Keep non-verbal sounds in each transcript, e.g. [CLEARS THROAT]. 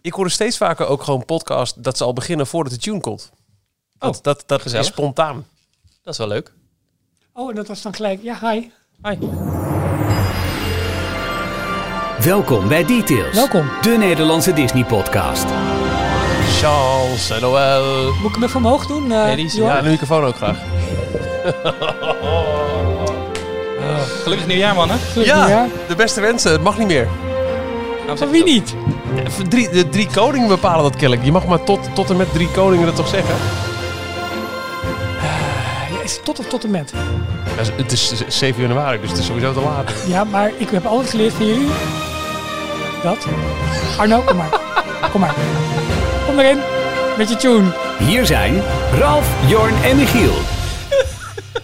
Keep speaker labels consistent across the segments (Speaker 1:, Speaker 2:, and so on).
Speaker 1: Ik hoor steeds vaker ook gewoon podcast dat ze al beginnen voordat de tune komt. Dat,
Speaker 2: Oh,
Speaker 1: dat, dat
Speaker 2: gezellig.
Speaker 1: is spontaan.
Speaker 2: Dat is wel leuk.
Speaker 3: Oh, en dat was dan gelijk. Ja, hi.
Speaker 2: Hi.
Speaker 4: Welkom bij Details.
Speaker 3: Welkom.
Speaker 4: De Nederlandse Disney podcast.
Speaker 1: Chance, Noël.
Speaker 3: Moet ik hem even omhoog doen? eh,
Speaker 2: Nee, die is-
Speaker 3: Johan?
Speaker 1: Ja, de microfoon ook graag.
Speaker 2: Gelukkig nieuwjaar, mannen.
Speaker 3: Gelukkig nieuwjaar.
Speaker 1: de beste wensen. Het mag niet meer.
Speaker 2: Nou,
Speaker 3: Van wie niet?
Speaker 1: Even Drie, de drie koningen bepalen dat kennelijk. Je mag maar tot, tot en met drie koningen dat toch zeggen?
Speaker 3: Ja, is het tot of tot en met?
Speaker 1: Ja, het is 7 januari, dus het is sowieso te laat.
Speaker 3: Ja, maar ik heb altijd geleerd van jullie. Dat. Arno, kom
Speaker 2: [LAUGHS]
Speaker 3: maar. Kom maar. Kom erin. Met je tune.
Speaker 4: Hier zijn Ralf, Jorn en Michiel.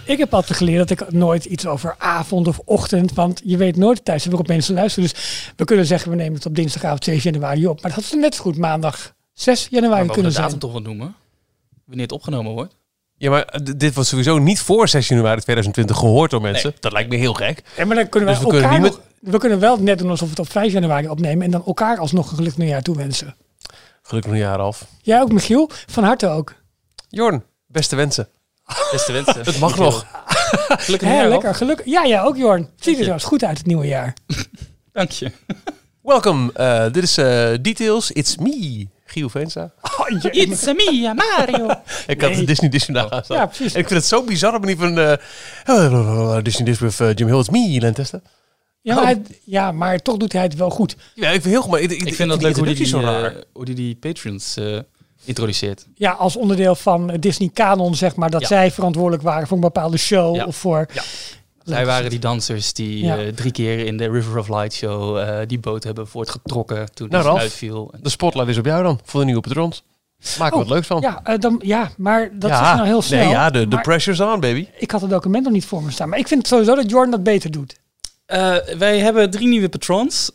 Speaker 3: Ik heb altijd geleerd dat ik nooit iets over avond of ochtend, want je weet nooit thuis waarop mensen luisteren. Dus we kunnen zeggen, we nemen het op dinsdagavond 7 januari op. Maar dat had ze net zo goed maandag 6 januari
Speaker 2: Maar Nou, we mogen
Speaker 3: kunnen
Speaker 2: de datum
Speaker 3: zijn.
Speaker 2: toch wat noemen? Wanneer het opgenomen wordt.
Speaker 1: Ja, maar eh, d- dit was sowieso niet voor 6 januari 2020 gehoord door mensen. Dat lijkt me heel gek.
Speaker 3: Ja, maar dan kunnen we
Speaker 1: Dus we kunnen
Speaker 3: elkaar
Speaker 1: niet
Speaker 3: nog- we kunnen wel net doen alsof we het op 5 januari opnemen en dan elkaar alsnog een gelukkig nieuwjaar toewensen.
Speaker 1: Gelukkig nieuwjaar, Ralf.
Speaker 3: Jij ook, Michiel? Van harte ook.
Speaker 1: Jorn, beste wensen.
Speaker 2: Beste wensen.
Speaker 1: Het mag nog.
Speaker 2: Gelukkig
Speaker 3: Hé,
Speaker 2: nieuwjaar, Rob.
Speaker 3: lekker, gelukkig. Ja, jij ook, Jorn. Ziet er
Speaker 2: je.
Speaker 3: zelfs goed uit het nieuwe jaar.
Speaker 2: Dank je.
Speaker 1: Welkom. Eh, dit is eh, Details. It's me, Giel Venza.
Speaker 3: Oh, jee.
Speaker 2: a me, Mario.
Speaker 1: Ik had de Disney Disney daar aan staan.
Speaker 3: Ja, precies.
Speaker 1: En ik vind het zo'n bizarre manier van... eh, Disney Disney with eh, Jim Hill. It's me, Lenteste.
Speaker 3: Ja,
Speaker 1: oh.
Speaker 3: maar hij- ja, maar toch doet hij het wel goed.
Speaker 1: Ja, ik vind heel goed. maar
Speaker 2: Ik, vind dat
Speaker 1: die
Speaker 2: leuk hoe die, die,
Speaker 1: introductie zo raar.
Speaker 2: eh, hoe die, die patrons eh, introduceert.
Speaker 3: Ja, als onderdeel van eh, Disney Canon, zeg maar, dat
Speaker 2: Ja.
Speaker 3: zij verantwoordelijk waren voor een bepaalde show
Speaker 2: Ja.
Speaker 3: of voor.
Speaker 2: Ja. Zij waren die dansers die
Speaker 3: Ja.
Speaker 2: eh, drie keer in de River of Light show eh, die boot hebben voortgetrokken toen
Speaker 1: Nou,
Speaker 2: die
Speaker 1: Ralf.
Speaker 2: uitviel. En-
Speaker 1: De spotlight is op jou dan, voor de nieuwe patrons. Maak er
Speaker 3: Oh,
Speaker 1: wat leuks van.
Speaker 3: Ja, eh, dan, ja, maar dat
Speaker 1: Ja.
Speaker 3: is nou heel snel.
Speaker 1: Nee, ja, de, de
Speaker 3: Maar
Speaker 1: pressure's on, baby.
Speaker 3: ik had het document nog niet voor me staan. Maar ik vind sowieso dat Jordan dat beter doet.
Speaker 2: Eh, wij hebben drie nieuwe patrons.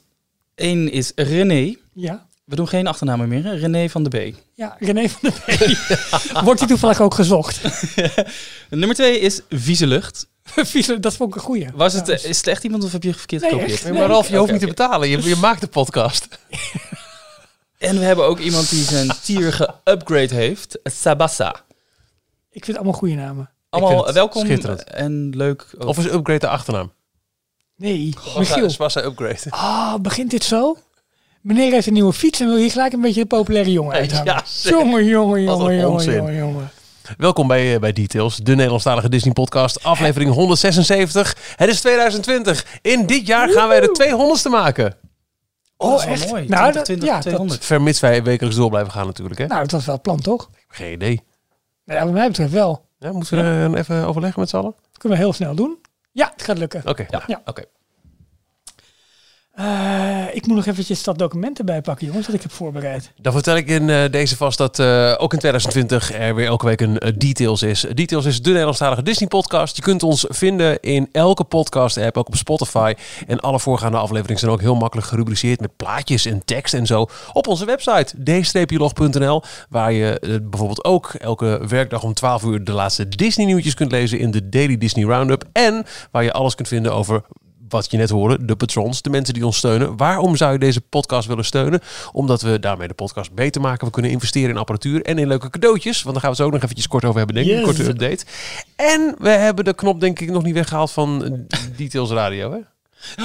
Speaker 2: Eén is René.
Speaker 3: Ja.
Speaker 2: We doen geen achternamen meer. hè? René van de B.
Speaker 3: Ja, René van der
Speaker 1: [LAUGHS]
Speaker 3: Bee. Wordt hij toevallig ook gezocht?
Speaker 2: Nummer twee is Vieze Lucht.
Speaker 3: Vieze, dat vond ik een goeie.
Speaker 2: Was het,
Speaker 3: Ja.
Speaker 2: eh, is het echt iemand of heb je verkeerd
Speaker 3: Nee,
Speaker 2: gekopieerd?
Speaker 3: echt.
Speaker 1: Nee,
Speaker 3: Nee,
Speaker 1: maar Ralf, je
Speaker 2: oké,
Speaker 1: hoeft niet te
Speaker 2: oké.
Speaker 1: betalen. Je, je maakt de podcast.
Speaker 2: En we hebben ook iemand die zijn tier geupgrade heeft. Sabassa.
Speaker 3: Ik vind het allemaal goede namen.
Speaker 1: vind
Speaker 2: Allemaal
Speaker 1: het
Speaker 2: welkom
Speaker 1: schitterend.
Speaker 2: en leuk. ook.
Speaker 1: Of is upgrade de achternaam?
Speaker 3: Nee,
Speaker 1: Michiel.
Speaker 3: Michiel.
Speaker 1: Spassa upgrade.
Speaker 3: Ah, begint dit zo? Meneer heeft een nieuwe fiets en wil hier gelijk een beetje de populaire jongen
Speaker 1: Ja,
Speaker 3: uithangen.
Speaker 1: [LAUGHS] zeg.
Speaker 3: jongen, jongen,
Speaker 1: Wat een
Speaker 3: jongen, jongen,
Speaker 1: onzin.
Speaker 3: jongen, jongen.
Speaker 1: Welkom bij, eh, bij Details, de Nederlandstalige Disney podcast, aflevering 176. Het is 2020. In dit jaar gaan wij de 200ste maken.
Speaker 3: Oh,
Speaker 2: dat is wel
Speaker 3: echt?
Speaker 2: mooi.
Speaker 3: Nou,
Speaker 2: 20,
Speaker 3: dat-
Speaker 2: 20,
Speaker 3: ja, dat-
Speaker 2: 200.
Speaker 1: Vermits wij wekelijks door blijven gaan natuurlijk. Hè?
Speaker 3: Nou, dat was wel het plan, toch?
Speaker 1: Geen idee.
Speaker 3: Nou, ja, wat mij betreft wel.
Speaker 1: Ja, moeten we er, eh, even overleggen met z'n allen?
Speaker 3: Dat kunnen we heel snel doen. Ja, het gaat lukken.
Speaker 1: Oké.
Speaker 2: Ja,
Speaker 3: Ja.
Speaker 2: oké.
Speaker 3: Eh, ik moet nog eventjes dat document erbij pakken, jongens, dat ik heb voorbereid.
Speaker 1: Dan vertel ik in eh, deze vast dat eh, ook in 2020 er weer elke week een eh, Details is. Details is de Nederlandstalige Disney podcast. Je kunt ons vinden in elke podcast app, ook op Spotify. En alle voorgaande afleveringen zijn ook heel makkelijk gerubriceerd met plaatjes en tekst en zo op onze website d-log.nl. Waar je eh, bijvoorbeeld ook elke werkdag om 12 uur de laatste Disney nieuwtjes kunt lezen in de Daily Disney Roundup. En waar je alles kunt vinden over wat je net hoorde, de patrons, de mensen die ons steunen. Waarom zou je deze podcast willen steunen? Omdat we daarmee de podcast beter maken. We kunnen investeren in apparatuur en in leuke cadeautjes. Want daar gaan we het zo ook nog eventjes kort over hebben, denk ik.
Speaker 3: Yes.
Speaker 1: Een korte update. En we hebben de knop, denk ik, nog niet weggehaald van eh, Details Radio, hè?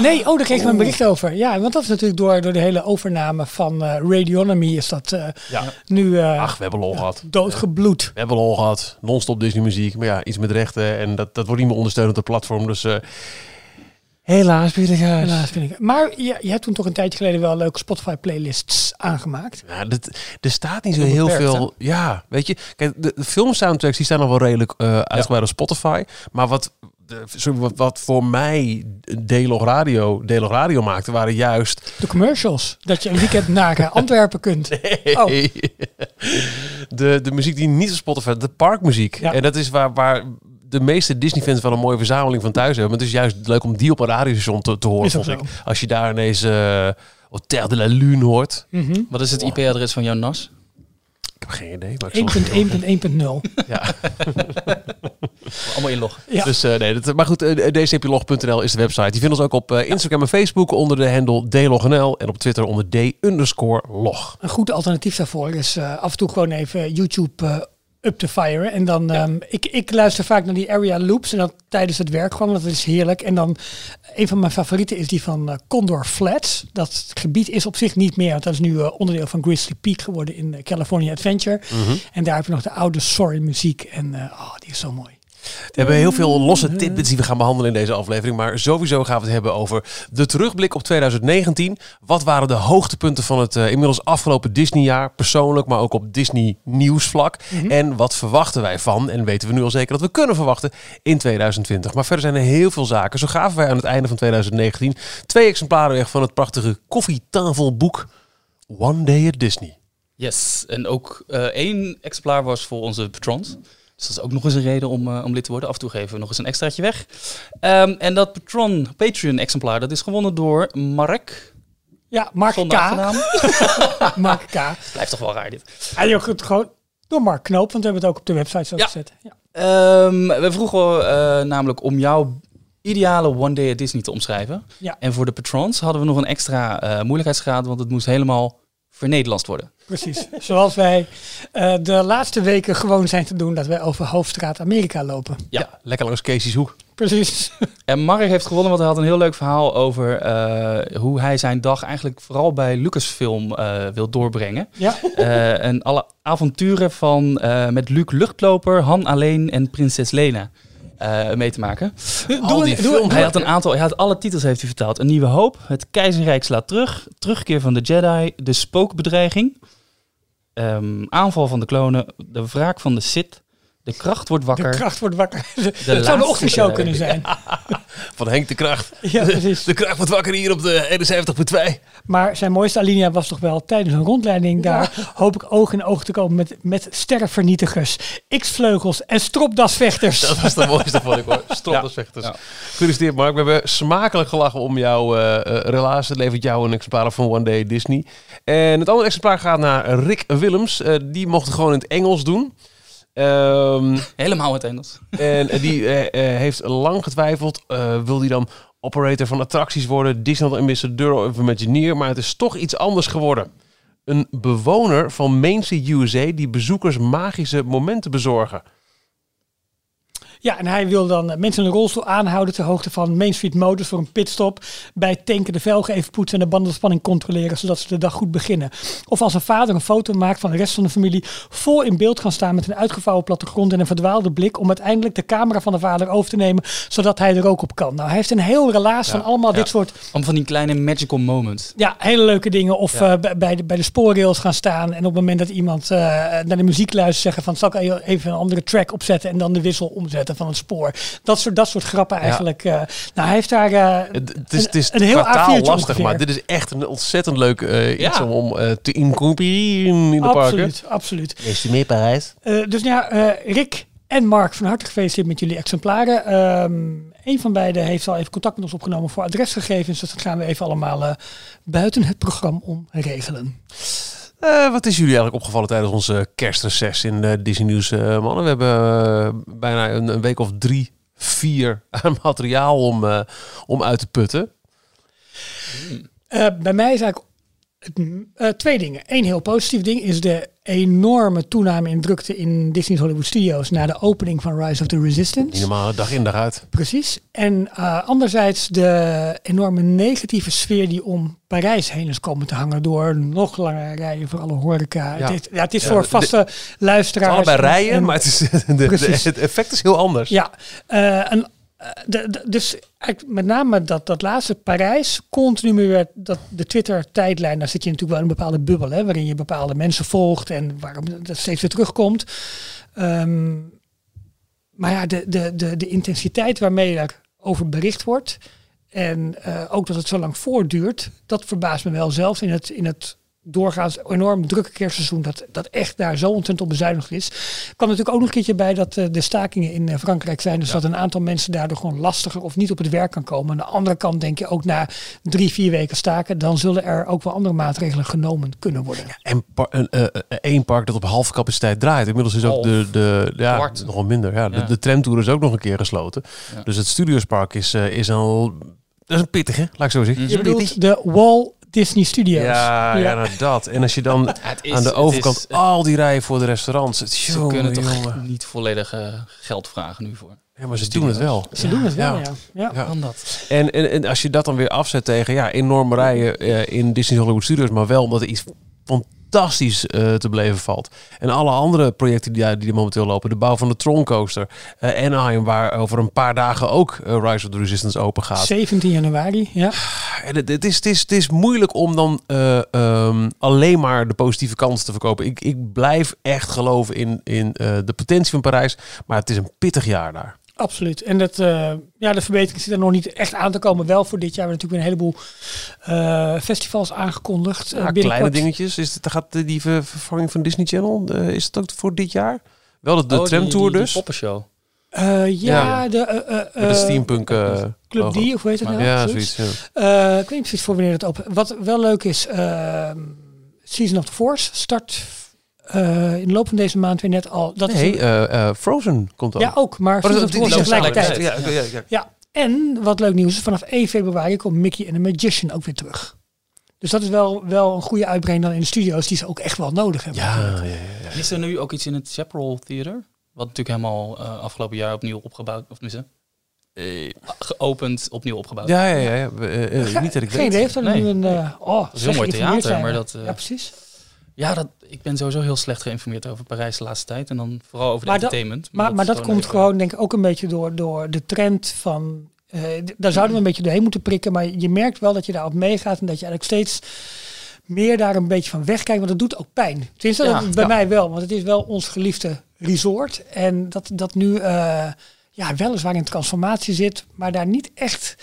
Speaker 3: Nee, oh, daar kreeg ik een bericht over. Ja, want dat is natuurlijk door, door de hele overname van eh Radionomy is dat eh,
Speaker 1: Ja.
Speaker 3: nu eh
Speaker 1: Ach, we hebben lol gehad.
Speaker 3: doodgebloed.
Speaker 1: We hebben lol gehad. Non-stop Disney muziek. Maar ja, iets met rechten. En dat, dat wordt niet meer ondersteund op de platform. Dus eh, helaas, Pieter
Speaker 3: Helaas vind ik. Maar je, je hebt toen toch een tijdje geleden wel leuke Spotify playlists aangemaakt.
Speaker 1: Ja, dat, er staat niet zo heel
Speaker 2: Onbeperkt,
Speaker 1: veel. Ja, weet je. Kijk, de, de filmsoundtracks die staan al wel redelijk eh uitgebreid op Spotify. Maar wat, de, sorry, wat, wat voor mij Delog Radio, Delog Radio maakte, waren juist.
Speaker 3: De commercials. Dat je een weekend naar eh, Antwerpen kunt. [LAUGHS] Oh.
Speaker 1: [LAUGHS] de, de muziek die niet op Spotify, de parkmuziek.
Speaker 3: Ja.
Speaker 1: En dat is waar. waar de meeste Disney-fans wel een mooie verzameling van thuis hebben. Maar het is juist leuk om die op een radiostation te, te horen,
Speaker 3: Is ook
Speaker 1: vond ik. Als je daar ineens eh Hotel de la Lune hoort.
Speaker 3: Mhm.
Speaker 2: Wat is het IP-adres van jouw NAS?
Speaker 1: Ik heb geen idee. maar ik zal-
Speaker 3: 1.1.1.0.
Speaker 1: Ja.
Speaker 2: Allemaal inloggen.
Speaker 3: Ja.
Speaker 1: Dus eh, nee, dat, maar goed, eh, dcplog.nl is de website. Je vindt ons ook op eh, Instagram en Facebook onder de handle dlognl en op Twitter onder d underscore log.
Speaker 3: Een goed alternatief daarvoor is eh, af en toe gewoon even YouTube eh, up te firen. En dan, ehm, ik, ik luister vaak naar die area loops en dan tijdens het werk gewoon, want dat is heerlijk. En dan, eh, een van mijn favorieten is die van eh, Condor Flats. Dat gebied is op zich niet meer, want dat is nu eh, onderdeel van Grizzly Peak geworden in eh, California Adventure. En daar heb je nog de oude Sorry muziek en eh, oh, die is zo mooi.
Speaker 1: We hebben heel veel losse tidbits die we gaan behandelen in deze aflevering. Maar sowieso gaan we het hebben over de terugblik op 2019. Wat waren de hoogtepunten van het eh, inmiddels afgelopen Disneyjaar? Persoonlijk, maar ook op Disney nieuwsvlak. En wat verwachten wij van? En weten we nu al zeker dat we kunnen verwachten in 2020. Maar verder zijn er heel veel zaken. Zo gaven wij aan het einde van 2019 twee exemplaren weg van het prachtige koffietafelboek One Day at Disney.
Speaker 2: Yes, en ook eh, één exemplaar was voor onze patrons. Dus dat is ook nog eens een reden om, eh, om lid te worden. Af en toe geven we nog eens een extraatje weg. Ehm, en dat patron, Patreon exemplaar, dat is gewonnen door Mark.
Speaker 3: Ja, Mark
Speaker 2: Zonder
Speaker 3: K.
Speaker 2: achternaam.
Speaker 3: [LAUGHS] Mark K.
Speaker 2: Blijft toch wel raar dit.
Speaker 3: En je goed gewoon door Mark Knoop, want we hebben het ook op de website zo
Speaker 2: Ja.
Speaker 3: gezet. Ja.
Speaker 2: Ehm, we vroegen eh, namelijk om jouw ideale One Day at Disney te omschrijven.
Speaker 3: Ja.
Speaker 2: En voor de patrons hadden we nog een extra eh, moeilijkheidsgraad, want het moest helemaal vernederlandst worden.
Speaker 3: Precies. Zoals wij eh, de laatste weken gewoon zijn te doen dat wij over Hoofdstraat Amerika lopen.
Speaker 2: Ja.
Speaker 1: lekker langs Casey's hoek.
Speaker 3: Precies.
Speaker 2: En Mark heeft gewonnen, want hij had een heel leuk verhaal over eh, hoe hij zijn dag eigenlijk vooral bij Lucasfilm eh, wil doorbrengen.
Speaker 3: Ja.
Speaker 2: Eh, en alle avonturen van eh, met Luc Luchtloper, Han Alleen en Prinses Lena eh, mee te maken.
Speaker 1: Al die
Speaker 3: [LAUGHS] doe-
Speaker 1: films.
Speaker 2: Hij had een aantal, hij had alle titels heeft hij vertaald. Een Nieuwe Hoop, Het Keizerrijk slaat terug, Terugkeer van de Jedi, De Spookbedreiging, ehm, Aanval van de Klonen, De Wraak van de Sith, De Kracht wordt
Speaker 3: De
Speaker 2: wakker.
Speaker 3: kracht wordt wakker. [LAUGHS] Het zou
Speaker 2: laatste
Speaker 3: de ochtendshow
Speaker 2: keer.
Speaker 3: kunnen zijn. [LAUGHS] Ja,
Speaker 1: Van Henk de Kracht.
Speaker 3: precies.
Speaker 1: De Kracht wordt wakker hier op de 71.2.
Speaker 3: Maar zijn mooiste alinea was toch wel tijdens een rondleiding daar. Hoop ik oog in oog te komen met, met sterrenvernietigers, x-vleugels en stropdasvechters.
Speaker 1: Dat was de mooiste, vond ik hoor. Stroppersvechters. Gefeliciteerd Mark. We hebben smakelijk gelachen om jouw eh eh, relaas. Het levert jou een exemplaar van One Day Disney. En het andere exemplaar gaat naar Rick Willems. Eh, die mocht het gewoon in het Engels doen. Ehm, [LAUGHS]
Speaker 2: Helemaal het Engels.
Speaker 1: en die eh, eh, heeft lang getwijfeld. eh, wil die dan operator van attracties worden? Disneyland Ambassadeur of Imagineer. Maar het is toch iets anders geworden. Een bewoner van Main Street USA die bezoekers magische momenten bezorgen.
Speaker 3: Ja, en hij wil dan eh, mensen in een rolstoel aanhouden ter hoogte van Main Street Motors voor een pitstop. Bij tanken de velgen even poetsen en de bandenspanning controleren zodat ze de dag goed beginnen. Of als een vader een foto maakt van de rest van de familie, vol in beeld gaan staan met een uitgevouwen plattegrond en een verdwaalde blik om uiteindelijk de camera van de vader over te nemen zodat hij er ook op kan. Nou, hij heeft een heel relaas van allemaal
Speaker 2: ja.
Speaker 3: dit soort
Speaker 2: Om van die kleine magical moments.
Speaker 3: ja, hele leuke dingen. Of eh, bij- bij, de, bij de spoorrails gaan staan. En op het moment dat iemand eh, naar de muziek luistert, zeggen van zal ik e- even een andere track opzetten en dan de wissel omzetten van het spoor. Dat soort, dat soort grappen eigenlijk. eh. nou, hij heeft daar. eh,
Speaker 1: Het, het is, het is
Speaker 3: Een- een heel
Speaker 1: qua taal
Speaker 3: A4'tje
Speaker 1: lastig,
Speaker 3: ongeveer.
Speaker 1: maar dit is echt een ontzettend leuk eh, iets
Speaker 2: Ja.
Speaker 1: om, om eh, te incorporeren in de parken.
Speaker 3: absoluut, absoluut.
Speaker 1: Is je mee Parijs?
Speaker 3: Eh, dus nou ja, eh, Rick en Mark, van harte gefeliciteerd met jullie exemplaren. Ehm een van beiden heeft al even contact met ons opgenomen voor adresgegevens. Dus dat gaan we even allemaal eh, buiten het programma om regelen.
Speaker 1: Eh, wat is jullie eigenlijk opgevallen tijdens onze kerstreces in eh, Disney News, eh, mannen? We hebben eh, bijna een, een week of drie, vier [LAUGHS] aan materiaal om, eh, om uit te putten.
Speaker 3: Eh, bij mij is eigenlijk het, eh, twee dingen. Eén heel positief ding is de enorme toename in drukte in Disney's Hollywood Studios na de opening van Rise of the
Speaker 1: Die
Speaker 3: Resistance.
Speaker 1: normale dag in, dag uit.
Speaker 3: Precies. En eh, anderzijds de enorme negatieve sfeer die om Parijs heen is komen te hangen door nog langere rijen voor alle horeca.
Speaker 1: Ja.
Speaker 3: Het, is, ja, het is
Speaker 1: Ja,
Speaker 3: voor
Speaker 1: de-
Speaker 3: vaste
Speaker 1: Het
Speaker 3: luisteraars.
Speaker 1: is allebei
Speaker 3: en-
Speaker 1: rijen,
Speaker 3: en-
Speaker 1: maar het, is, [LAUGHS] de, de-
Speaker 3: Precies.
Speaker 1: het effect is heel anders.
Speaker 3: ja, eh, en, eh, de, de- dus eigenlijk met name dat, dat laatste Parijs, continu weer dat, de Twitter-tijdlijn, daar zit je natuurlijk wel in een bepaalde bubbel, hè, waarin je bepaalde mensen volgt en waarom dat steeds weer terugkomt. Ehm, maar ja, de, de, de, de intensiteit waarmee daarover bericht wordt en eh, ook dat het zo lang voortduurt, dat verbaast me wel zelfs in het, in het doorgaans enorm drukke kerstseizoen, dat, dat echt daar zo ontzettend op bezuinigd is. kwam natuurlijk ook nog een keertje bij dat eh, de stakingen in eh, Frankrijk zijn. Dus dat een aantal mensen daardoor gewoon lastiger of niet op het werk kan komen. Aan de andere kant denk je ook na drie, vier weken staken, dan zullen er ook wel andere maatregelen genomen kunnen worden.
Speaker 1: En par- een, eh, eh, één park dat op halve capaciteit draait. Inmiddels is ook
Speaker 2: Half.
Speaker 1: de, de ja,
Speaker 2: Kwart.
Speaker 1: nogal minder. Ja. De,
Speaker 2: Ja.
Speaker 1: de tramtour is ook nog een keer gesloten.
Speaker 2: Ja.
Speaker 1: Dus het Studiospark is, eh, is een, dat is een pittige, laat ik zo zeggen.
Speaker 3: Je bedoelt de Walt Disney Studios.
Speaker 1: Ja, ja. nou dat. En als je dan
Speaker 2: Het [LAUGHS] is-
Speaker 1: aan de
Speaker 2: het
Speaker 1: overkant
Speaker 2: is-
Speaker 1: al die rijen voor de restaurants. Het,
Speaker 2: ze kunnen toch
Speaker 1: jongen.
Speaker 2: niet volledig eh, geld vragen nu voor.
Speaker 1: Ja, maar ze doen het wel.
Speaker 3: Ze doen het wel, ja. ja.
Speaker 1: Ja.
Speaker 2: Kan dat?
Speaker 1: En, en, en als je dat dan weer afzet tegen ja, enorme rijen eh, in Disney Hollywood Studios, maar wel omdat er iets fantastisch eh, te beleven valt. En alle andere projecten die, daar- die er momenteel lopen, de bouw van de Tron Coaster, eh, Anaheim, waar over een paar dagen ook eh, Rise of the Resistance open gaat.
Speaker 3: 17 januari, ja.
Speaker 1: En het, het is, het, is, het is moeilijk om dan eh, ehm, alleen maar de positieve kansen te verkopen. Ik, ik blijf echt geloven in, in eh, de potentie van Parijs, maar het is een pittig jaar daar.
Speaker 3: Absoluut. En dat, eh, ja, de verbetering zit er nog niet echt aan te komen. Wel voor dit jaar hebben we natuurlijk weer een heleboel eh, festivals aangekondigd. Eh,
Speaker 1: Ja,
Speaker 3: binnenkort-
Speaker 1: kleine dingetjes. Is het, gaat die ver- vervanging van Disney Channel, eh, is het ook voor dit jaar? Wel de, de
Speaker 2: Oh, die-
Speaker 1: tramtour
Speaker 2: die- die
Speaker 1: dus.
Speaker 2: poppenshow.
Speaker 3: Eh, ja,
Speaker 1: Ja.
Speaker 3: de eh, eh,
Speaker 1: Met de
Speaker 3: eh,
Speaker 1: steampunk eh,
Speaker 3: Club
Speaker 1: logo.
Speaker 3: D, of hoe heet het
Speaker 2: Maar-
Speaker 3: nou?
Speaker 1: Ja,
Speaker 3: Zoiets.
Speaker 1: zoiets. ja.
Speaker 3: Eh, ik weet niet precies voor wanneer het open Wat wel leuk is, ehm, Season of the Force start eh, in de loop van deze maand weer net al. Dat
Speaker 1: Nee,
Speaker 3: is,
Speaker 1: eh, eh, Frozen komt ook.
Speaker 3: ja, ook, maar
Speaker 1: Oh, dat-
Speaker 3: Season of the
Speaker 1: die- die
Speaker 3: Force
Speaker 2: loopt
Speaker 3: tegelijkertijd.
Speaker 2: tegelijkertijd.
Speaker 1: Ja, oké, ja, ja.
Speaker 3: Ja, en wat leuk nieuws is, vanaf 1 februari komt Mickey en de Magician ook weer terug. Dus dat is wel, wel een goede uitbrenging dan in de studio's, die ze ook echt wel nodig hebben.
Speaker 1: Ja, ja, ja.
Speaker 2: En Is er nu ook iets in het Chaparral Theater? Wat natuurlijk helemaal eh, afgelopen jaar opnieuw opgebouwd, of tenminste, geopend, opnieuw opgebouwd.
Speaker 1: Ja, ja, ja, ja. Eh, eh,
Speaker 3: Ge-
Speaker 1: niet dat ik
Speaker 3: Geen idee,
Speaker 1: weet.
Speaker 3: heeft er
Speaker 2: Nee.
Speaker 3: nu een... eh, oh,
Speaker 2: is heel mooi theater, maar dat, eh,
Speaker 3: ja, precies.
Speaker 2: Ja, dat, ik ben sowieso heel slecht geïnformeerd over Parijs de laatste tijd. En dan vooral over de
Speaker 3: Maar dat-
Speaker 2: entertainment.
Speaker 3: Maar, maar dat
Speaker 2: is
Speaker 3: komt
Speaker 2: even-
Speaker 3: gewoon denk ik ook een beetje door, door de trend van... eh, d- daar zouden we een beetje doorheen moeten prikken. Maar je merkt wel dat je daarop meegaat. En dat je eigenlijk steeds meer daar een beetje van wegkijkt. Want dat doet ook pijn. Tenminste,
Speaker 2: Ja,
Speaker 3: dat bij
Speaker 2: ja.
Speaker 3: mij wel. Want het is wel ons geliefde resort. En dat, dat nu eh, ja, weliswaar in transformatie zit. Maar daar niet echt...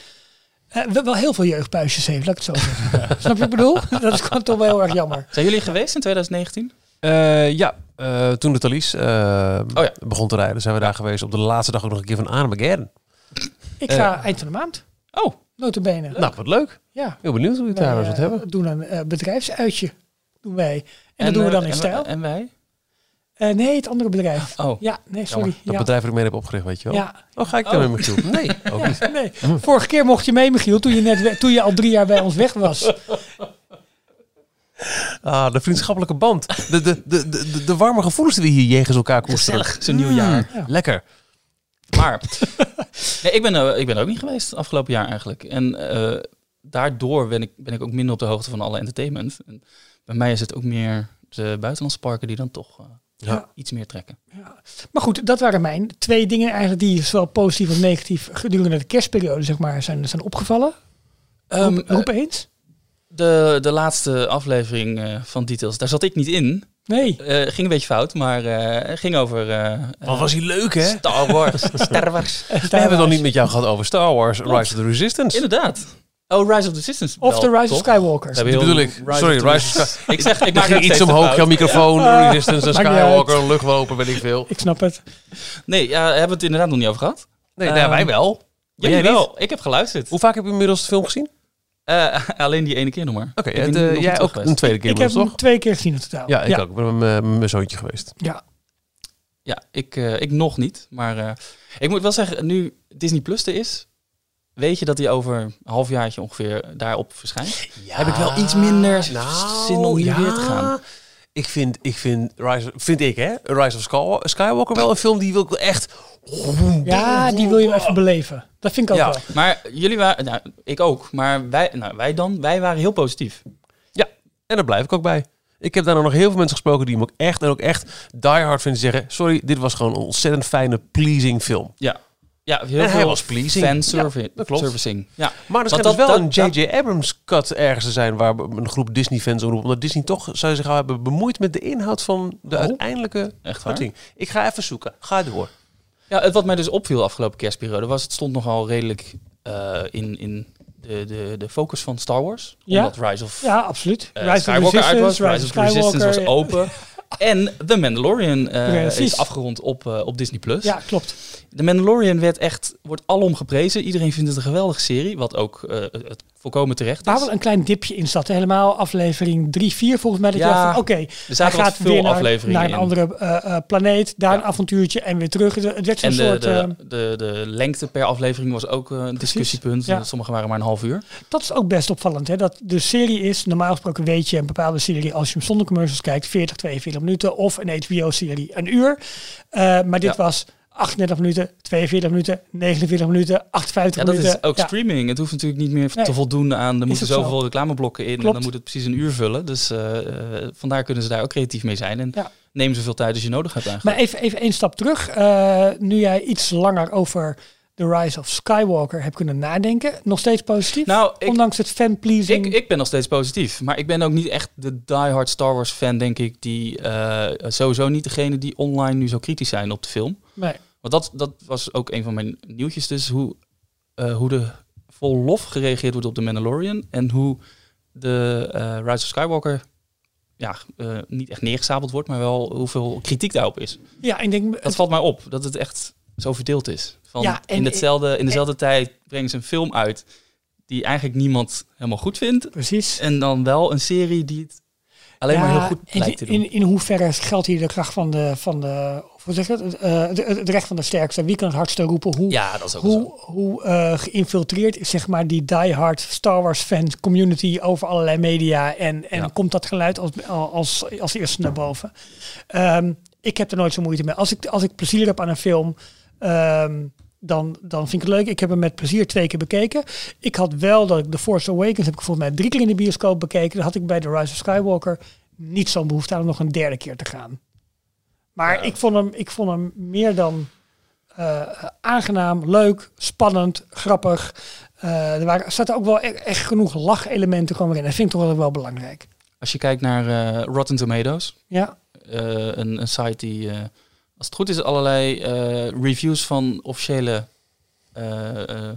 Speaker 3: eh, wel- wel heel veel jeugdbuisjes heeft, laat ik het zo zeggen. Snap je wat ik bedoel? Dat is gewoon toch wel heel erg jammer.
Speaker 2: Zijn jullie geweest in 2019?
Speaker 1: Eh, ja, eh, toen de Thalys eh,
Speaker 2: Oh ja.
Speaker 1: begon te rijden, zijn we daar geweest. Op de laatste dag ook nog een keer van Armageddon.
Speaker 3: Ik
Speaker 1: Eh.
Speaker 3: ga eind van de maand,
Speaker 2: Oh,
Speaker 3: notabene.
Speaker 1: Nou, wat leuk.
Speaker 3: Ja.
Speaker 1: Heel benieuwd hoe we het
Speaker 3: Wij,
Speaker 1: daar nou
Speaker 3: eh,
Speaker 1: zult hebben.
Speaker 3: doen een eh, bedrijfsuitje. Doen wij. En, dat doen we
Speaker 2: eh,
Speaker 3: dan in
Speaker 2: en-
Speaker 3: stijl.
Speaker 2: En wij?
Speaker 3: Eh, nee, het andere bedrijf.
Speaker 2: Oh,
Speaker 3: Ja, nee, sorry.
Speaker 1: Jammer, dat
Speaker 3: Ja.
Speaker 1: bedrijf dat ik mee heb opgericht, weet je wel.
Speaker 3: Ja.
Speaker 1: Oh, ga ik daar met
Speaker 2: Oh.
Speaker 1: me toe?
Speaker 3: [LAUGHS]
Speaker 1: Nee, ook niet.
Speaker 3: Ja,
Speaker 1: [LAUGHS]
Speaker 3: nee. Vorige keer mocht je mee, Michiel, toen je, net, we- toen je al drie jaar bij ons weg
Speaker 1: [LAUGHS]
Speaker 3: was.
Speaker 1: Ah, de vriendschappelijke band. De, de, de, de, de- de warme gevoelens die we hier jegens elkaar koesteren.
Speaker 2: gezellig. Zijn nieuw jaar.
Speaker 1: Mm, Lekker.
Speaker 2: Maar
Speaker 1: [LAUGHS]
Speaker 2: nee, ik, ben, eh, ik ben er ook niet geweest afgelopen jaar eigenlijk. En eh, daardoor ben ik, ben ik ook minder op de hoogte van alle entertainment. En bij mij is het ook meer de buitenlandse parken die dan toch eh,
Speaker 1: Ja.
Speaker 2: iets meer trekken.
Speaker 3: Maar goed, dat waren mijn twee dingen eigenlijk die zowel positief als negatief gedurende de kerstperiode zeg maar, zijn, zijn opgevallen.
Speaker 2: Ehm,
Speaker 1: eh,
Speaker 3: roep, roep eens.
Speaker 2: De, de laatste aflevering eh, van Details, daar zat ik niet in.
Speaker 3: Nee.
Speaker 2: Eh, ging een beetje fout, maar eh, ging over eh,
Speaker 1: Wat was hij leuk, hè?
Speaker 2: Star
Speaker 1: [LAUGHS]
Speaker 2: Wars. Star Wars.
Speaker 1: We hebben het nog niet met jou gehad over Star Wars Rise of the Resistance.
Speaker 2: Inderdaad. Oh, Rise of the Resistance.
Speaker 3: Of
Speaker 2: wel,
Speaker 3: The Rise
Speaker 2: toch?
Speaker 3: of Skywalker.
Speaker 2: Daar heb je
Speaker 1: Die
Speaker 2: heel-
Speaker 1: bedoel ik.
Speaker 2: of
Speaker 1: Sorry, Rise
Speaker 2: the
Speaker 1: of
Speaker 2: Resistance.
Speaker 1: [LAUGHS]
Speaker 2: Ik zeg, ik
Speaker 1: Ik
Speaker 2: maak
Speaker 1: ging
Speaker 2: er
Speaker 1: iets omhoog, jouw microfoon, Resistance en
Speaker 3: Maakt niet uit.
Speaker 1: Skywalker, luchtlopen, weet ik veel.
Speaker 3: Ik snap het.
Speaker 2: Nee, ja, hebben we het inderdaad nog niet over gehad.
Speaker 1: Nee, nou,
Speaker 2: Ehm,
Speaker 1: wij wel. Maar
Speaker 2: Jij
Speaker 1: jij
Speaker 2: wel. Ik heb geluisterd.
Speaker 1: Hoe vaak heb je inmiddels de film gezien?
Speaker 2: Eh, alleen die ene keer nog maar.
Speaker 1: Oké,
Speaker 2: Ik ben
Speaker 1: het,
Speaker 2: nog
Speaker 1: eh,
Speaker 2: niet
Speaker 1: jij
Speaker 2: terug
Speaker 1: ook
Speaker 2: geweest.
Speaker 1: een tweede keer
Speaker 3: ik heb
Speaker 1: inmiddels,
Speaker 3: hem
Speaker 1: toch?
Speaker 3: twee keer gezien in totaal.
Speaker 1: Ja, ik
Speaker 3: ja.
Speaker 1: ook. Ik ben met mijn- mijn zoontje geweest.
Speaker 3: Ja.
Speaker 2: Ja, ik, eh, ik nog niet. Maar eh, ik moet wel zeggen, nu Disney Plus er is, weet je dat hij over een halfjaartje ongeveer daarop verschijnt. Heb ik wel iets minder
Speaker 1: nou,
Speaker 2: zin om hier weer te gaan.
Speaker 1: Ah, Ik vind, ik vind, Rise, vind ik hè, Rise of Sky- Skywalker wel een film die wil ik wel echt...
Speaker 3: ja, die wil je even beleven. Dat vind ik ook
Speaker 1: Ja.
Speaker 3: wel.
Speaker 2: Maar jullie waren, nou, ik ook, maar wij, nou, wij dan, wij waren heel positief.
Speaker 1: En daar blijf ik ook bij. Ik heb daar nog heel veel mensen gesproken die hem ook echt en ook echt diehard vinden zeggen... Sorry, dit was gewoon een ontzettend fijne, pleasing film.
Speaker 2: Ja, ja heel
Speaker 1: En
Speaker 2: veel
Speaker 1: hij was pleasing.
Speaker 2: fanservi-
Speaker 1: Ja, dat klopt.
Speaker 2: servicing. Ja.
Speaker 1: Maar er
Speaker 2: Want
Speaker 1: schijnt
Speaker 2: dat-
Speaker 1: dus wel
Speaker 2: dat-
Speaker 1: een J.J. Abrams cut ergens te zijn waar een groep Disney-fans omroepen. Omdat Disney toch, zou zich al hebben bemoeid met de inhoud van de
Speaker 2: Oh.
Speaker 1: uiteindelijke
Speaker 2: Echt waar?
Speaker 1: uiting. Ik ga even zoeken. Ga door.
Speaker 2: Ja, het wat mij dus opviel afgelopen kerstperiode was, het stond nogal redelijk eh, in, in de, de, de focus van Star Wars.
Speaker 3: Ja.
Speaker 2: Omdat Rise of
Speaker 3: ja, absoluut.
Speaker 2: eh,
Speaker 3: Rise of
Speaker 2: Skywalker uit was. Rise of the Resistance was
Speaker 3: ja.
Speaker 2: open.
Speaker 3: [LAUGHS]
Speaker 2: En The Mandalorian eh,
Speaker 3: Precies.
Speaker 2: is afgerond op, eh, op Disney+. Plus.
Speaker 3: Ja, klopt.
Speaker 2: The Mandalorian werd echt, wordt alom geprezen. Iedereen vindt het een geweldige serie, wat ook eh, het volkomen terecht
Speaker 3: Waar
Speaker 2: is.
Speaker 3: wel een klein dipje in zat. hè. Helemaal aflevering 3, 4 volgens mij. Dat
Speaker 2: Ja.
Speaker 3: je dacht van, oké,
Speaker 2: Er
Speaker 3: hij
Speaker 2: zaten wat
Speaker 3: gaat
Speaker 2: veel
Speaker 3: weer naar,
Speaker 2: afleveringen
Speaker 3: naar een
Speaker 2: in.
Speaker 3: andere eh, eh, planeet. Daar
Speaker 2: Ja.
Speaker 3: een avontuurtje en weer terug. Het, het werd zo'n
Speaker 2: En de,
Speaker 3: soort... eh,
Speaker 2: de, de, de lengte per aflevering was ook eh, een discussiepunt.
Speaker 3: ja.
Speaker 2: Sommige waren maar een half uur.
Speaker 3: Dat is ook best opvallend. Hè? Dat de serie is, normaal gesproken weet je een bepaalde serie, als je hem zonder commercials kijkt, 40, 42 minuten. Of een HBO-serie, een uur. Eh, maar dit
Speaker 2: Ja.
Speaker 3: was 38 minuten, 42 minuten, 49 minuten, 58
Speaker 2: Ja, dat
Speaker 3: minuten.
Speaker 2: is ook
Speaker 3: Ja,
Speaker 2: streaming. Het hoeft natuurlijk niet meer te
Speaker 3: Nee.
Speaker 2: voldoen aan... er moeten
Speaker 3: ook zo.
Speaker 2: zoveel reclameblokken in en
Speaker 3: Klopt.
Speaker 2: dan moet het precies een uur vullen. Dus eh, eh, vandaar kunnen ze daar ook creatief mee zijn. En
Speaker 3: Ja.
Speaker 2: neem zoveel tijd als je nodig hebt eigenlijk.
Speaker 3: Maar even, even één stap terug. Eh, nu jij iets langer over The Rise of Skywalker hebt kunnen nadenken. Nog steeds positief?
Speaker 2: Nou, ik-
Speaker 3: Ondanks het fanpleasing.
Speaker 2: Ik, ik ben nog steeds positief. Maar ik ben ook niet echt de diehard Star Wars fan, denk ik. Die eh, sowieso niet degene die online nu zo kritisch zijn op de film.
Speaker 3: nee.
Speaker 2: Want dat, dat was ook een van mijn nieuwtjes. Dus hoe, eh, hoe de vol lof gereageerd wordt op The Mandalorian. En hoe de eh, Rise of Skywalker ja, eh, niet echt neergezabeld wordt. Maar wel hoeveel kritiek daarop is.
Speaker 3: Ja, ik denk...
Speaker 2: Dat valt mij op. Dat het echt zo verdeeld is. Van
Speaker 3: Ja, en
Speaker 2: in, hetzelfde, in dezelfde tijd brengen ze een film uit. Die eigenlijk niemand helemaal goed vindt.
Speaker 3: Precies.
Speaker 2: En dan wel een serie die het alleen maar
Speaker 3: Ja,
Speaker 2: heel goed
Speaker 3: en
Speaker 2: lijkt te doen.
Speaker 3: In, in hoeverre geldt hier de kracht van de, van de hoe zeg je dat? Eh, het, het recht van de sterkste? Wie kan het hardste roepen? Hoe,
Speaker 2: ja, dat is ook zo.
Speaker 3: hoe, hoe eh, geïnfiltreerd is zeg maar die diehard Star Wars fan community over allerlei media en, en
Speaker 2: Ja.
Speaker 3: komt dat geluid als, als, als eerste naar boven? Ehm, ik heb er nooit zo moeite mee. Als ik, als ik plezier heb aan een film, ehm, dan, dan vind ik het leuk. Ik heb hem met plezier twee keer bekeken. Ik had wel dat ik The Force Awakens heb ik volgens mij drie keer in de bioscoop bekeken. Dat had ik bij The Rise of Skywalker niet zo'n behoefte aan om nog een derde keer te gaan. Maar ik, vond hem, ik vond hem meer dan eh, aangenaam, leuk, spannend, grappig. Eh, er waren, zaten ook wel e- echt genoeg lachelementen gewoon weer in. Dat vind ik toch wel, wel belangrijk.
Speaker 2: Als je kijkt naar eh, Rotten Tomatoes,
Speaker 3: Ja,
Speaker 2: eh, een, een site die, eh, als het goed is, allerlei eh, reviews van officiële eh, eh,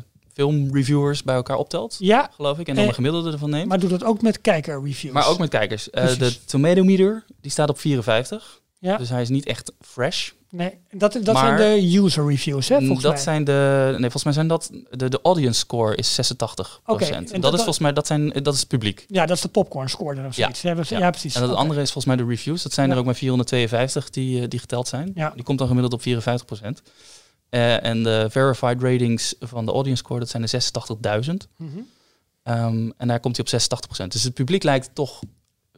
Speaker 2: filmreviewers bij elkaar optelt,
Speaker 3: ja
Speaker 2: geloof ik. En dan
Speaker 3: Eh,
Speaker 2: een gemiddelde ervan neemt. Maar,
Speaker 3: maar doe dat ook met kijkerreviews.
Speaker 2: ook met kijkers. Eh,
Speaker 3: Precies.
Speaker 2: de Tomato Meter, die staat op 54.
Speaker 3: Ja.
Speaker 2: Dus hij is niet echt fresh.
Speaker 3: Nee, dat dat
Speaker 2: Maar-
Speaker 3: zijn de user reviews, hè, volgens
Speaker 2: dat
Speaker 3: mij.
Speaker 2: zijn de. Nee, volgens mij zijn dat. De, de audience score is 86
Speaker 3: Oké, en
Speaker 2: procent. dat, is
Speaker 3: dat- dat-
Speaker 2: volgens mij. Dat, zijn, dat is het publiek.
Speaker 3: Ja, dat is de popcorn score of
Speaker 2: Ja.
Speaker 3: zoiets. Ja, ja.
Speaker 2: Ja.
Speaker 3: precies.
Speaker 2: En dat
Speaker 3: Oké.
Speaker 2: andere is volgens mij de reviews. Dat zijn
Speaker 3: Ja.
Speaker 2: er ook maar 452 die, eh, die geteld zijn.
Speaker 3: Ja.
Speaker 2: Die komt dan gemiddeld op 54 procent. Eh, en de verified ratings van de audience score, dat zijn er 86.000.
Speaker 3: Mhm.
Speaker 2: Ehm, en daar komt hij op 86 procent. Dus het publiek lijkt toch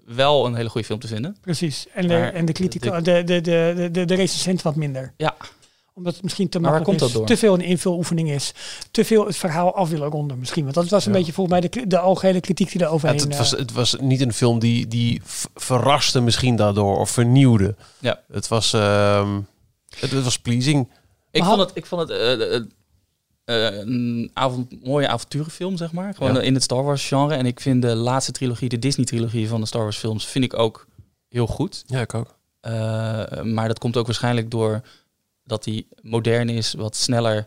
Speaker 2: wel een hele goede film te vinden.
Speaker 3: Precies. En de,
Speaker 2: Maar
Speaker 3: en de, critico, de, de, de, de, de, de recensent wat minder.
Speaker 2: Ja.
Speaker 3: Omdat het misschien te
Speaker 2: Maar waar
Speaker 3: makkelijk
Speaker 2: komt
Speaker 3: is.
Speaker 2: dat door?
Speaker 3: Te veel een invuloefening is. Te veel het verhaal af willen ronden misschien. Want dat was een
Speaker 2: Ja.
Speaker 3: beetje volgens mij de, de algehele kritiek die daar overheen...
Speaker 1: het, het
Speaker 3: eh,
Speaker 1: was, het was niet een film die, die v- verraste misschien daardoor of vernieuwde.
Speaker 2: Ja.
Speaker 1: Het was, ehm, het, het was pleasing.
Speaker 2: Ik
Speaker 3: Maar had-
Speaker 2: vond het, ik vond het eh, eh, eh, een avond, mooie avonturenfilm, zeg maar. Gewoon
Speaker 1: Ja.
Speaker 2: in het Star Wars genre. En ik vind de laatste trilogie, de Disney-trilogie van de Star Wars films, vind ik ook heel goed.
Speaker 1: Ja, ik ook.
Speaker 2: Eh, maar dat komt ook waarschijnlijk door dat die modern is, wat sneller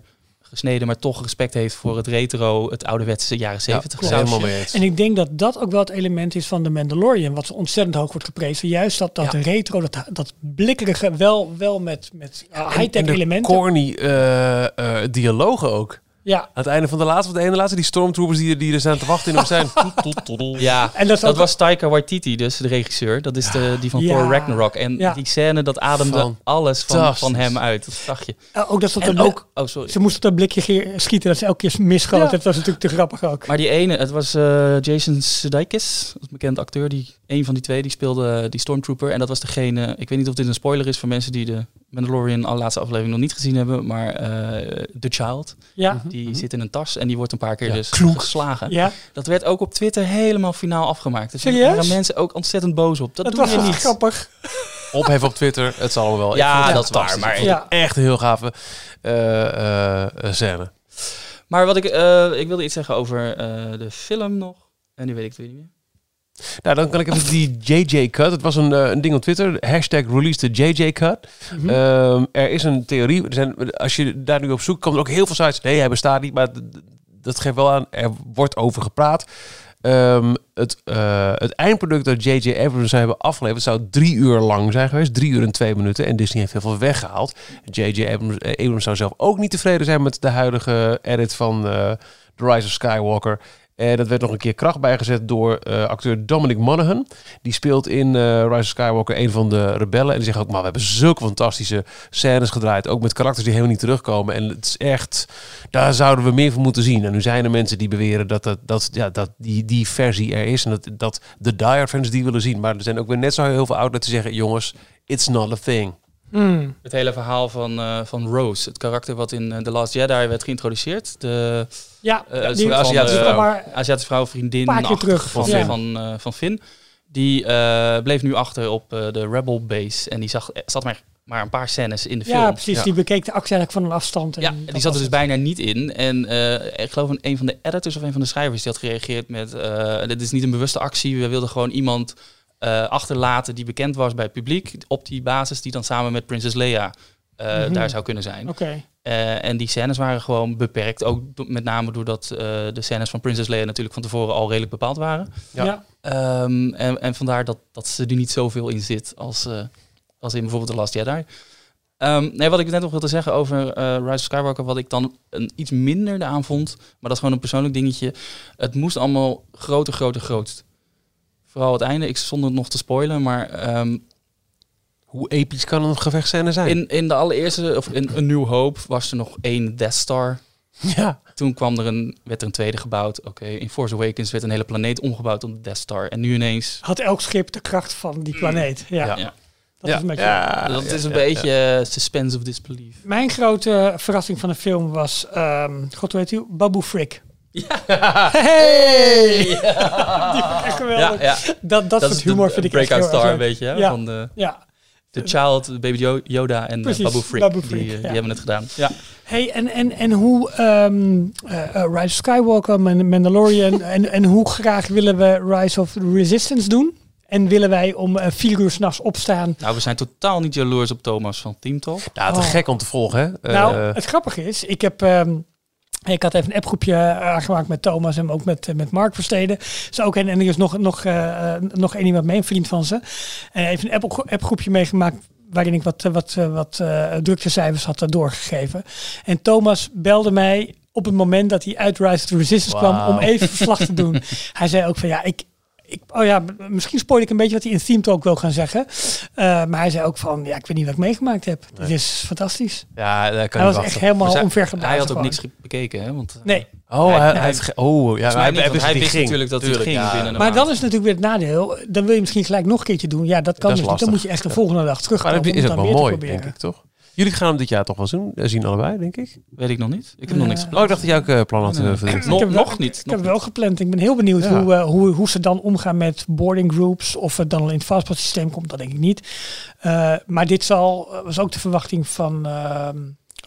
Speaker 2: gesneden, maar toch respect heeft voor het retro, het ouderwetse jaren
Speaker 1: Ja,
Speaker 2: 70
Speaker 1: het
Speaker 2: sausje.
Speaker 1: helemaal mee eens.
Speaker 3: En ik denk dat dat ook wel het element is van de Mandalorian, wat zo ontzettend hoog wordt geprezen. Juist dat, dat
Speaker 2: Ja.
Speaker 3: retro, dat, dat blikkerige, wel, wel met, met eh,
Speaker 1: En-
Speaker 3: high-tech
Speaker 1: en de
Speaker 3: elementen.
Speaker 1: corny eh, eh, dialogen ook.
Speaker 3: ja,
Speaker 1: Aan het einde van de laatste, van de ene laatste, die stormtroopers die, er- die er staan te wachten in op zijn.
Speaker 2: Ja,
Speaker 3: en dat, is
Speaker 2: dat
Speaker 3: ook-
Speaker 2: was Taika Waititi, dus de regisseur. Dat is de, die van
Speaker 3: Ja.
Speaker 2: Thor Ragnarok. En
Speaker 3: Ja.
Speaker 2: die scène, dat ademde alles van, van
Speaker 1: Fantastisch.
Speaker 2: hem uit. Dat zag je.
Speaker 3: eh, ook dat ze op
Speaker 2: En
Speaker 3: dat
Speaker 2: ook, oh sorry.
Speaker 3: Ze moesten op dat blikje ge- schieten dat ze elke keer misschoten.
Speaker 2: Ja.
Speaker 3: Dat was natuurlijk te grappig ook.
Speaker 2: Maar die ene, het was eh, Jason Sudeikis, dat is een bekend acteur. Die, een van die twee, die speelde eh, die Stormtrooper. En dat was degene, ik weet niet of dit een spoiler is voor mensen die de Mandalorian alle laatste aflevering nog niet gezien hebben. Maar eh The Child,
Speaker 3: ja.
Speaker 2: die zit in een tas en die wordt een paar keer
Speaker 1: Ja,
Speaker 2: dus
Speaker 1: klonk.
Speaker 2: geslagen.
Speaker 3: mhm. ja,
Speaker 2: Dat werd ook op Twitter helemaal finaal afgemaakt. Dus
Speaker 3: Serieus?
Speaker 2: daar waren mensen ook ontzettend boos op. Dat,
Speaker 3: dat
Speaker 2: doe
Speaker 3: was
Speaker 2: je
Speaker 3: wel
Speaker 2: niet.
Speaker 3: grappig.
Speaker 1: Ophef op Twitter, het zal allemaal wel. Ik
Speaker 2: Ja,
Speaker 1: vond het
Speaker 2: dat is waar,
Speaker 1: fantastisch.
Speaker 2: maar-
Speaker 1: Ik vond het
Speaker 3: Ja.
Speaker 1: echt een heel gave eh, eh, eh, scène.
Speaker 2: Maar wat ik, eh, ik wilde iets zeggen over eh, de film nog. En nu weet ik het weer niet meer.
Speaker 1: Nou, dan kan ik even die JJ Cut. Het was een, eh, een ding op Twitter. Hashtag release the JJ Cut.
Speaker 3: Mhm.
Speaker 1: Ehm, er is een theorie. Er zijn, als je daar nu op zoekt, komen er ook heel veel sites. Nee, hij bestaat niet. Maar d- d- dat geeft wel aan, er wordt over gepraat. Ehm, het, eh, het eindproduct dat J.J. Abrams zou hebben afgeleverd zou drie uur lang zijn geweest. Drie uur en twee minuten. En Disney heeft heel veel weggehaald. J.J. Abrams, eh, Abrams zou zelf ook niet tevreden zijn met de huidige edit van eh, The Rise of Skywalker. En dat werd nog een keer kracht bijgezet door eh, acteur Dominic Monaghan. Die speelt in eh, Rise of Skywalker een van de rebellen. En die zegt ook, maar we hebben zulke fantastische scènes gedraaid. Ook met karakters die helemaal niet terugkomen. En het is echt, daar zouden we meer van moeten zien. En nu zijn er mensen die beweren dat, dat, dat, ja, dat die, die versie er is. En dat, dat de diehard fans die willen zien. Maar er zijn ook weer net zo heel veel ouders die zeggen, jongens, it's not a thing.
Speaker 3: Hmm.
Speaker 2: Het hele verhaal van, eh, van Rose, het karakter wat in eh, The Last Jedi werd geïntroduceerd. De
Speaker 3: Ja,
Speaker 2: Eh,
Speaker 3: die-
Speaker 2: het is
Speaker 3: die
Speaker 2: een Aziatische
Speaker 3: die-
Speaker 2: vrouw.
Speaker 3: maar-
Speaker 2: Aziatische vrouw, vriendin
Speaker 3: Paar keer
Speaker 2: achtig
Speaker 3: terug,
Speaker 2: van,
Speaker 3: ja.
Speaker 2: van, eh, van Finn. Die eh, bleef nu achter op eh, de Rebel Base. En die zag, eh, zat maar, maar een paar scènes in de film.
Speaker 3: ja, precies. Die bekeek de actie eigenlijk van een afstand. En
Speaker 2: Ja,
Speaker 3: dat
Speaker 2: die
Speaker 3: was
Speaker 2: zat er dus
Speaker 3: het.
Speaker 2: bijna niet in. En eh, ik geloof een, een van de editors of een van de schrijvers die had gereageerd met... eh, dit is niet een bewuste actie. We wilden gewoon iemand eh, achterlaten die bekend was bij het publiek. Op die basis die dan samen met Prinses Leia eh,
Speaker 3: Mhm.
Speaker 2: daar zou kunnen zijn.
Speaker 3: Oké.
Speaker 2: Eh, en die scènes waren gewoon beperkt. Ook do- met name doordat eh, de scènes van Princess Leia natuurlijk van tevoren al redelijk bepaald waren.
Speaker 1: Ja.
Speaker 3: Ja.
Speaker 2: Ehm, en, en vandaar dat, dat ze er niet zoveel in zit als, eh, als in bijvoorbeeld The Last Jedi. Ehm, nee, wat ik net nog wilde zeggen over eh, Rise of Skywalker, wat ik dan een, iets minder aan vond, maar dat is gewoon een persoonlijk dingetje. Het moest allemaal groter, groter, grootst. Vooral het einde, ik zonder het nog te spoilen, maar ehm,
Speaker 1: Hoe episch kan een gevechtscène zijn?
Speaker 2: in, in de allereerste, of in A New Hope, was er nog één Death Star
Speaker 1: Ja,
Speaker 2: Toen kwam er een, werd er een tweede gebouwd. Oké, in Force Awakens werd een hele planeet omgebouwd tot de Death Star. En nu ineens.
Speaker 3: Had elk schip de kracht van die planeet. Ja,
Speaker 1: Ja.
Speaker 2: Hmm. Ja.
Speaker 3: dat
Speaker 1: ja.
Speaker 3: is een beetje...
Speaker 1: Ja,
Speaker 2: dat
Speaker 1: ja,
Speaker 2: is een
Speaker 1: ja,
Speaker 2: beetje eh, suspense of disbelief.
Speaker 3: Mijn grote verrassing van de film was, ehm, god weet u, Babu Frick.
Speaker 1: ja.
Speaker 3: Hey! die vond ik echt geweldig.
Speaker 2: Ja, ja.
Speaker 3: Dat, dat, soort
Speaker 2: de
Speaker 3: humor vind ik echt heel
Speaker 2: Breakout
Speaker 3: erg
Speaker 2: Star,
Speaker 3: leuk.
Speaker 2: een beetje. hè,
Speaker 3: Ja.
Speaker 2: Van de,
Speaker 3: Ja.
Speaker 2: de Child, Baby Jo- Yoda en eh,
Speaker 3: Precies,
Speaker 2: Babu Frick.
Speaker 3: Babu
Speaker 2: die,
Speaker 3: Frick,
Speaker 2: eh, die
Speaker 3: ja.
Speaker 2: hebben het gedaan. Ja.
Speaker 3: Hey, en, en, en hoe ehm, eh, eh, Rise of Skywalker,
Speaker 2: [LAUGHS]
Speaker 3: Man- Mandalorian, en, en hoe graag willen we Rise of the Resistance doen? En willen wij om eh, vier uur s'nachts opstaan?
Speaker 2: Nou, we zijn totaal niet jaloers op Thomas van Team Talk.
Speaker 1: Ja, te
Speaker 3: Oh.
Speaker 1: gek om te volgen, hè?
Speaker 3: nou,
Speaker 1: Eh,
Speaker 3: het grappige is, ik heb... ehm, ik had even een appgroepje eh, aangemaakt met Thomas en ook met, eh, met Mark Versteden. Ze ook en, en er is nog, nog, eh, eh, nog één iemand mee, een vriend van ze. En even een app- appgroepje meegemaakt waarin ik wat, eh, wat, eh, wat eh, druktecijfers had eh, doorgegeven. En Thomas belde mij op het moment dat hij uit Rise of the Resistance kwam
Speaker 1: Wauw.
Speaker 3: om even verslag te
Speaker 1: [LAUGHS]
Speaker 3: doen. Hij zei ook van ja, ik, ik, oh ja, m- misschien spoil ik een beetje wat hij in Theme Talk wil gaan zeggen. Eh, maar hij zei ook van ja, ik weet niet wat ik meegemaakt heb. Dit is fantastisch.
Speaker 1: ja, daar kan
Speaker 3: Hij
Speaker 1: je wachten.
Speaker 3: was echt helemaal
Speaker 2: Maar zij- Dus Hij
Speaker 3: omvergeblazen.
Speaker 2: had ook
Speaker 3: gewoon.
Speaker 2: niks ge- bekeken, hè? Want, eh,
Speaker 3: Nee,
Speaker 1: Oh, hij,
Speaker 2: Hij-
Speaker 1: hij
Speaker 2: hij-
Speaker 1: heeft ge- oh, ja,
Speaker 2: volgens mij
Speaker 1: hij, hij
Speaker 2: niet, want
Speaker 1: wist
Speaker 2: hij
Speaker 1: dat
Speaker 2: wist
Speaker 1: ging.
Speaker 2: natuurlijk dat hij ging binnen de
Speaker 3: maar
Speaker 2: maand.
Speaker 3: dan is natuurlijk weer het nadeel. Dan wil je misschien gelijk nog een keertje doen. Ja, dat
Speaker 1: Dat is
Speaker 3: kan dus niet. Dan
Speaker 1: lastig.
Speaker 3: moet je echt de
Speaker 1: Ja.
Speaker 3: volgende dag
Speaker 1: Maar
Speaker 3: terugkomen.
Speaker 1: dat
Speaker 3: om
Speaker 1: is
Speaker 3: het
Speaker 1: ook wel
Speaker 3: dan weer te
Speaker 1: mooi,
Speaker 3: proberen.
Speaker 1: denk ik, toch? Jullie gaan hem dit jaar toch wel zien, eh, zien allebei, denk ik.
Speaker 2: Weet ik nog niet. Ik heb nog
Speaker 3: Nee.
Speaker 2: niks gepland.
Speaker 1: Oh, ik dacht dat jij ook eh, plan had.
Speaker 2: Nee, nee.
Speaker 1: eh, voor dit.
Speaker 2: Nog,
Speaker 3: heb wel-
Speaker 2: nog niet.
Speaker 3: Ik heb
Speaker 2: Nog
Speaker 3: wel gepland. Ik ben heel benieuwd
Speaker 1: Ja.
Speaker 3: hoe, eh, hoe, hoe ze dan omgaan met boarding groups. Of het dan al in het fastpass systeem komt, dat denk ik niet. Eh, maar dit zal, eh, was ook de verwachting van, ehm,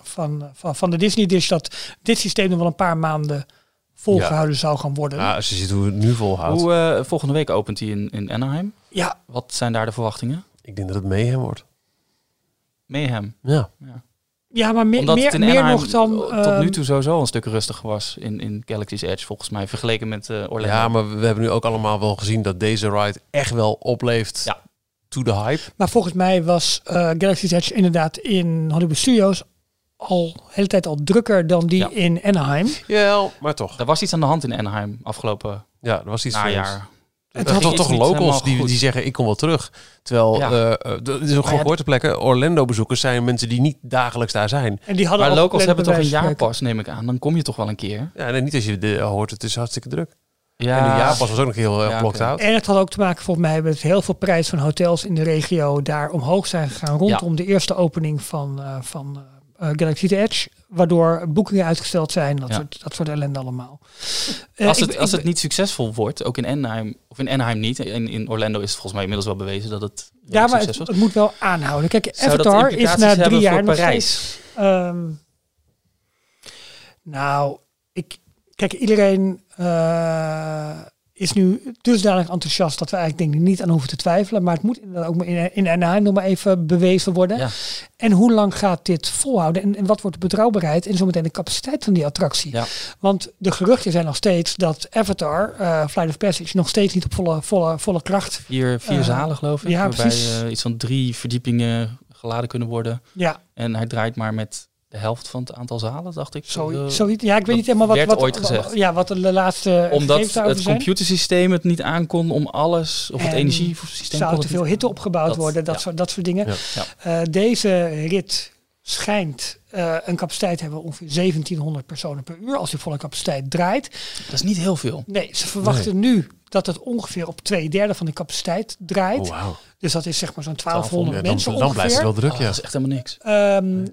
Speaker 3: van, van, van de Disney Dish. Dat dit systeem nog wel een paar maanden volgehouden zou gaan worden.
Speaker 1: Nou, als je ziet hoe het nu volhoudt.
Speaker 2: Hoe, eh, volgende week opent hij in, in Anaheim.
Speaker 3: Ja,
Speaker 2: Wat zijn daar de verwachtingen?
Speaker 1: Ik denk dat het mee hem wordt.
Speaker 2: Mayhem.
Speaker 1: Ja.
Speaker 3: ja maar me-
Speaker 2: Omdat
Speaker 3: meer,
Speaker 2: het in
Speaker 3: meer
Speaker 2: Anaheim eh,
Speaker 3: nog dan...
Speaker 2: tot
Speaker 3: ehm,
Speaker 2: nu toe sowieso een stuk rustiger was in, in Galaxy's Edge, volgens mij, vergeleken met eh Orlando.
Speaker 1: ja, maar we hebben nu ook allemaal wel gezien dat deze ride echt wel opleeft
Speaker 2: Ja.
Speaker 1: to the hype.
Speaker 3: Maar volgens mij was eh Galaxy's Edge inderdaad in Hollywood Studios al de hele tijd al drukker dan die
Speaker 2: Ja.
Speaker 3: in Anaheim.
Speaker 1: Ja, maar toch.
Speaker 2: Er was iets aan de hand in Anaheim afgelopen
Speaker 1: Ja, er was iets
Speaker 2: najaar.
Speaker 1: Het
Speaker 2: Nou
Speaker 1: had
Speaker 2: ging
Speaker 1: toch
Speaker 2: iets
Speaker 1: toch
Speaker 2: niet
Speaker 1: locals
Speaker 2: helemaal
Speaker 1: die,
Speaker 2: goed.
Speaker 1: die zeggen ik kom wel terug. Terwijl,
Speaker 2: Ja.
Speaker 1: eh, eh, d- dit is ook
Speaker 2: ja,
Speaker 1: gewoon
Speaker 2: d-
Speaker 1: geboorteplekken. Orlando bezoekers zijn mensen die niet dagelijks daar zijn.
Speaker 3: En die hadden
Speaker 2: Maar
Speaker 3: al
Speaker 2: locals hebben toch een
Speaker 3: gepland bij wijze van
Speaker 2: jaarpas, neem ik aan. Dan kom je toch wel een keer.
Speaker 1: Ja, en niet als je dit hoort, het is hartstikke druk.
Speaker 2: Ja,
Speaker 1: En de jaarpas was ook nog heel
Speaker 2: Ja,
Speaker 1: erg blocked
Speaker 2: oké.
Speaker 1: out.
Speaker 3: spreken. En het had ook te maken volgens mij met heel veel prijs van hotels in de regio daar omhoog zijn gegaan rondom de eerste opening van, eh van eh, Galaxy's Edge. Waardoor boekingen uitgesteld zijn, dat,
Speaker 2: Ja.
Speaker 3: soort, dat soort ellende allemaal. Eh,
Speaker 2: Als
Speaker 3: ik-
Speaker 2: het, als
Speaker 3: ik-
Speaker 2: het niet succesvol wordt, ook in Anaheim, of in Anaheim niet, in, in Orlando is het volgens mij inmiddels wel bewezen dat het
Speaker 3: ja, maar het,
Speaker 2: succes was.
Speaker 3: het moet wel aanhouden. Kijk,
Speaker 2: Zou dat
Speaker 3: Avatar is
Speaker 2: implicaties
Speaker 3: na drie
Speaker 2: hebben
Speaker 3: jaar
Speaker 2: voor
Speaker 3: nog steeds
Speaker 2: Parijs?
Speaker 3: Ehm, nou, ik, kijk, iedereen eh, is nu dusdanig enthousiast dat we eigenlijk denk ik niet aan hoeven te twijfelen. Maar het moet inderdaad ook maar in, in NA nog maar even bewezen worden.
Speaker 2: Ja.
Speaker 3: En hoe lang gaat dit volhouden? En, en wat wordt de betrouwbaarheid en zometeen de capaciteit van die attractie?
Speaker 2: Ja.
Speaker 3: Want de geruchten zijn nog steeds dat Avatar, eh, Flight of Passage, nog steeds niet op volle, volle, volle kracht.
Speaker 2: Vier, vier
Speaker 3: Eh,
Speaker 2: zalen, geloof ik.
Speaker 3: ja,
Speaker 2: waarbij
Speaker 3: precies.
Speaker 2: eh, iets van drie verdiepingen geladen kunnen worden.
Speaker 3: Ja,
Speaker 2: En hij draait maar met de helft van het aantal zalen, dacht ik.
Speaker 3: zo,
Speaker 2: Eh,
Speaker 3: zoiets. Ja, ik weet niet helemaal wat,
Speaker 2: werd
Speaker 3: wat,
Speaker 2: ooit
Speaker 3: wat-
Speaker 2: gezegd.
Speaker 3: Ja, wat de laatste gegevens
Speaker 2: omdat
Speaker 3: daarover
Speaker 2: het
Speaker 3: zijn.
Speaker 2: computersysteem het niet aankon om alles, of het
Speaker 3: En
Speaker 2: energiesysteem. kon
Speaker 3: zou
Speaker 2: het
Speaker 3: te veel
Speaker 2: niet-
Speaker 3: hitte opgebouwd
Speaker 2: Dat-
Speaker 3: worden, dat,
Speaker 2: ja.
Speaker 3: soort, dat soort dingen.
Speaker 1: Ja.
Speaker 2: Ja.
Speaker 3: Eh, deze rit schijnt eh, een capaciteit te hebben ongeveer 1700 personen per uur als je volle capaciteit draait.
Speaker 2: Dat is niet heel veel.
Speaker 3: Nee, ze verwachten nu dat het ongeveer op twee derde van de capaciteit draait.
Speaker 1: Oh, wauw.
Speaker 3: Dus dat is zeg maar zo'n
Speaker 1: 1200
Speaker 3: 1200
Speaker 1: ja,
Speaker 3: mensen
Speaker 1: dan, dan blijft het
Speaker 3: ongeveer.
Speaker 1: wel druk,
Speaker 2: Ah,
Speaker 1: ja.
Speaker 2: Dat is echt helemaal niks.
Speaker 3: Ehm,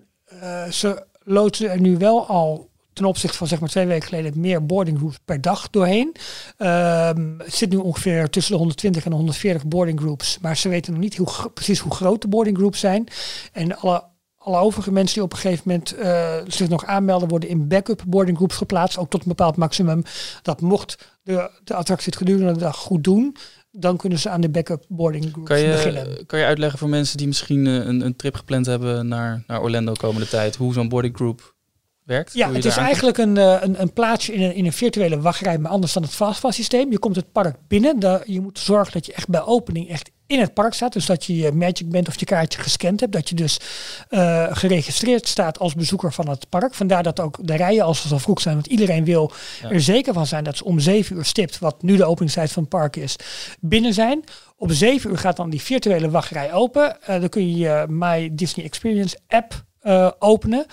Speaker 3: eh, ze loodsen er nu wel al ten opzichte van zeg maar twee weken geleden meer boarding groups per dag doorheen. Ehm, het zit nu ongeveer tussen de 120 en de 140 boarding groups. Maar ze weten nog niet hoe, gro- precies hoe groot de boarding groups zijn. En alle, alle overige mensen die op een gegeven moment eh, zich nog aanmelden... worden in backup boarding groups geplaatst. Ook tot een bepaald maximum. Dat mocht de, de attractie het gedurende de dag goed doen... dan kunnen ze aan de backup boarding groups
Speaker 2: Kan
Speaker 3: beginnen.
Speaker 2: je, kan je uitleggen voor mensen die misschien eh, een, een trip gepland hebben naar, naar Orlando komende tijd, hoe zo'n boarding group werkt?
Speaker 3: Ja,
Speaker 2: Hoe je
Speaker 3: het is
Speaker 2: daar
Speaker 3: eigenlijk een, eh, een, een plaatsje in een, in een virtuele wachtrij, maar anders dan het fastpass systeem. Je komt het park binnen, daar, je moet zorgen dat je echt bij opening echt in het park staat. Dus dat je je magic bent of je kaartje gescand hebt. Dat je dus eh, geregistreerd staat als bezoeker van het park. Vandaar dat ook de rijen als ze al vroeg zijn. Want iedereen wil
Speaker 2: Ja.
Speaker 3: er zeker van zijn dat ze om 7 uur stipt, wat nu de openingstijd van het park is, binnen zijn. Om 7 uur gaat dan die virtuele wachtrij open. Eh, dan kun je je My Disney Experience app eh, openen.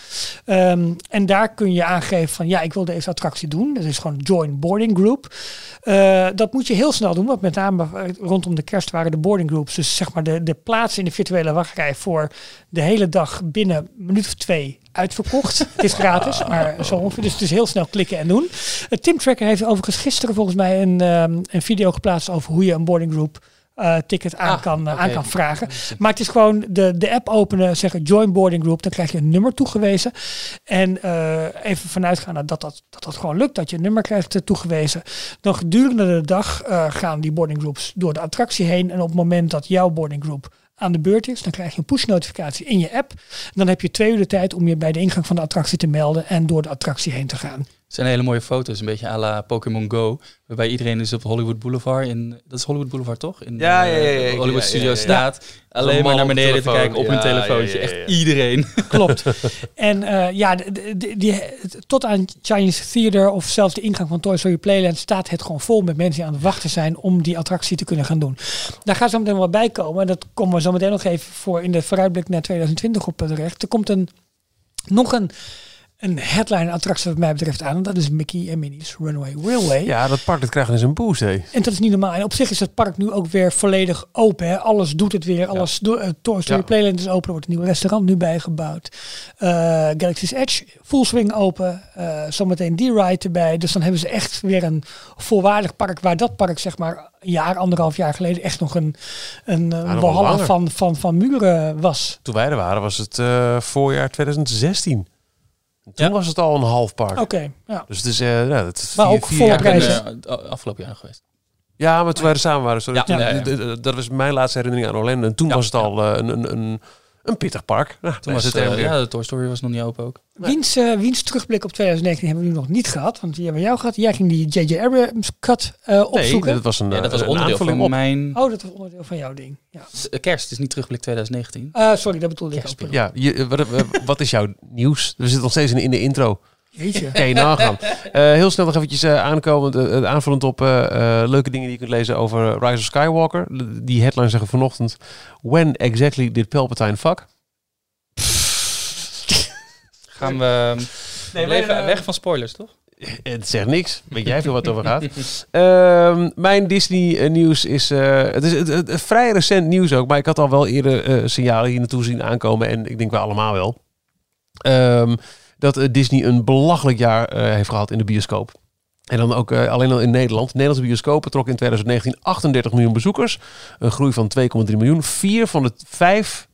Speaker 3: Ehm, en daar kun je aangeven van ja, ik wil deze attractie doen. Dat is gewoon Join Boarding Group. Eh, dat moet je heel snel doen, want met name eh, rondom de kerst waren de boarding groups. Dus zeg maar de, de plaatsen in de virtuele wachtrij voor de hele dag binnen een minuut of twee uitverkocht. het is gratis, maar zo ongeveer. Dus het is heel snel klikken en doen. Eh, Tim Tracker heeft overigens gisteren volgens mij een, ehm, een video geplaatst over hoe je een boarding group eh, ticket aan,
Speaker 2: Ah,
Speaker 3: kan, eh, aan
Speaker 2: oké.
Speaker 3: kan vragen. Maar het is gewoon de, de app openen, zeggen join boarding group. Dan krijg je een nummer toegewezen. En eh, even vanuitgaan dat dat, dat dat gewoon lukt, dat je een nummer krijgt eh, toegewezen. Dan gedurende de dag eh, gaan die boarding groups door de attractie heen. En op het moment dat jouw boarding group aan de beurt is, dan krijg je een push notificatie in je app. Dan heb je twee uur de tijd om je bij de ingang van de attractie te melden en door de attractie heen te gaan.
Speaker 2: Het zijn hele mooie foto's, een beetje à la Pokémon Go. Waarbij iedereen dus op Hollywood Boulevard, in, dat is Hollywood Boulevard toch? In
Speaker 5: Ja,
Speaker 2: eh,
Speaker 5: ja, ja, ja,
Speaker 2: Hollywood
Speaker 5: ja, ja,
Speaker 2: Studio
Speaker 5: ja.
Speaker 2: staat.
Speaker 5: man
Speaker 2: Alleen maar naar
Speaker 5: op de
Speaker 2: beneden te
Speaker 5: telefoon.
Speaker 2: kijken op
Speaker 5: Ja,
Speaker 2: een telefoontje.
Speaker 5: ja, ja, ja.
Speaker 2: Echt iedereen.
Speaker 3: Klopt. en eh, ja, de- de- de- die, tot aan Chinese Theater of zelfs de ingang van Toy Story Playland staat het gewoon vol met mensen die aan het wachten zijn om die attractie te kunnen gaan doen. Daar gaat zo meteen wel bij komen. En dat komen we zo meteen nog even voor in de vooruitblik naar 2020 op eh, terecht. Er komt een, nog een, een headline attractie wat mij betreft aan. En dat is Mickey en Minnie's Runaway Railway.
Speaker 1: Ja, dat park dat krijgt dus een boost, hé.
Speaker 3: En dat is niet normaal. En op zich is het park nu ook weer volledig open. Hè? Alles doet het weer. Alles door, eh, Toy Story
Speaker 1: Ja.
Speaker 3: Playland is open. Er wordt een nieuw restaurant nu bijgebouwd. Eh, Galaxy's Edge, full swing open. Eh, zometeen die ride erbij. Dus dan hebben ze echt weer een volwaardig park. Waar dat park zeg maar een jaar, anderhalf jaar geleden echt nog een, een eh,
Speaker 1: nog wel
Speaker 3: walhalla
Speaker 1: langer.
Speaker 3: van, van, van muren was.
Speaker 1: Toen wij er waren was het eh, voorjaar 2016. Toen
Speaker 2: Ja.
Speaker 1: was het al een half park.
Speaker 3: Oké, ja.
Speaker 1: Dus het is, eh, nou, het is
Speaker 3: Maar
Speaker 1: vier,
Speaker 3: ook
Speaker 1: vier
Speaker 3: volle
Speaker 1: jaar
Speaker 3: prijzen.
Speaker 1: geleden.
Speaker 2: Ik ben, eh, afgelopen jaar geweest.
Speaker 1: Ja, maar toen wij er samen waren, sorry.
Speaker 2: Ja,
Speaker 1: Toen-
Speaker 2: ja, ja.
Speaker 1: d- d- d- Dat was mijn laatste herinnering aan Orlando. En toen
Speaker 2: Ja,
Speaker 1: was het al eh, een, een, een, een pittig park. Nou,
Speaker 2: Toen
Speaker 1: daar
Speaker 2: was het,
Speaker 1: zitten we
Speaker 2: eh,
Speaker 1: weer.
Speaker 2: ja, de Toy Story was nog niet open ook.
Speaker 3: Wiens, eh, wiens terugblik op 2019 hebben we nu nog niet gehad. Want die hebben we jou gehad. Jij ging die J.J. Abrams cut eh,
Speaker 1: Nee,
Speaker 3: opzoeken.
Speaker 1: dat was een, eh,
Speaker 2: Ja, dat was
Speaker 1: een
Speaker 2: onderdeel
Speaker 1: aanvulling
Speaker 2: van
Speaker 1: op.
Speaker 2: mijn
Speaker 3: Oh, dat was onderdeel van jouw ding. Ja.
Speaker 2: eh, kerst. Het is niet terugblik 2019.
Speaker 3: Eh, sorry, dat bedoelde ik ook.
Speaker 2: Kerstperiode.
Speaker 1: Ja, je, eh, wat, eh, wat is jouw nieuws? We zitten nog steeds in, in de intro. [LAUGHS]
Speaker 3: Jeetje.
Speaker 2: [LAUGHS]
Speaker 1: Oké, nagaan. Eh, heel snel nog eventjes eh, aankomend, eh, eh, aanvullend op eh, eh, leuke dingen die je kunt lezen over Rise of Skywalker. L- Die headline zeggen vanochtend, when exactly did Palpatine fuck?
Speaker 2: Gaan we
Speaker 5: Nee,
Speaker 2: nee,
Speaker 5: maar,
Speaker 2: even
Speaker 5: eh,
Speaker 2: weg van spoilers, toch?
Speaker 1: Eh, Het zegt niks. Weet jij veel wat over gaat? Ehm, mijn Disney eh, nieuws is, eh, het is het, het- het vrij recent nieuws ook, maar ik had al wel eerder eh, signalen hier naartoe zien aankomen en ik denk wel allemaal wel. Ehm, dat eh, Disney een belachelijk jaar eh, heeft gehad in de bioscoop. En dan ook eh, alleen al in Nederland. Nederlandse bioscopen trokken in 2019 38 miljoen bezoekers. Een groei van 2,3 miljoen. Vier van de vijf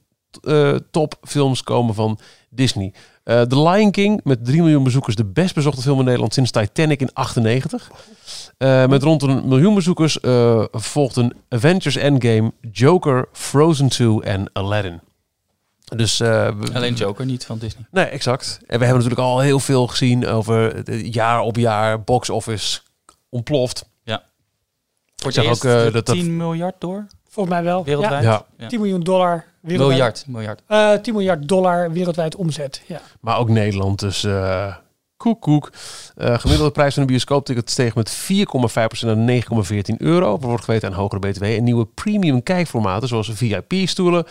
Speaker 1: eh, topfilms komen van Disney. Eh The Lion King met 3 miljoen bezoekers, de best bezochte film in Nederland sinds Titanic in 98. Eh, met rond een miljoen bezoekers eh, volgden Avengers Endgame, Joker, Frozen 2 en Aladdin. Dus, eh, we-
Speaker 2: Alleen Joker, niet van Disney.
Speaker 1: Nee, exact. En we hebben natuurlijk al heel veel gezien over eh, jaar op jaar box office ontploft.
Speaker 2: Voor
Speaker 1: zag
Speaker 2: het eerst
Speaker 1: ook, eh,
Speaker 2: de
Speaker 1: dat dat-
Speaker 2: 10 miljard door
Speaker 3: Volgens mij wel.
Speaker 2: wereldwijd.
Speaker 1: Ja.
Speaker 3: 10 miljoen dollar wereldwijd.
Speaker 2: Miljard, miljard.
Speaker 3: Eh, 10 miljard dollar wereldwijd omzet. Ja.
Speaker 1: Maar ook Nederland, dus eh koek koek. Eh, gemiddelde prijs van een bioscoopticket steeg met 4,5% naar 9,14 euro. Er wordt geweten aan hogere btw en nieuwe premium kijkformaten zoals VIP-stoelen,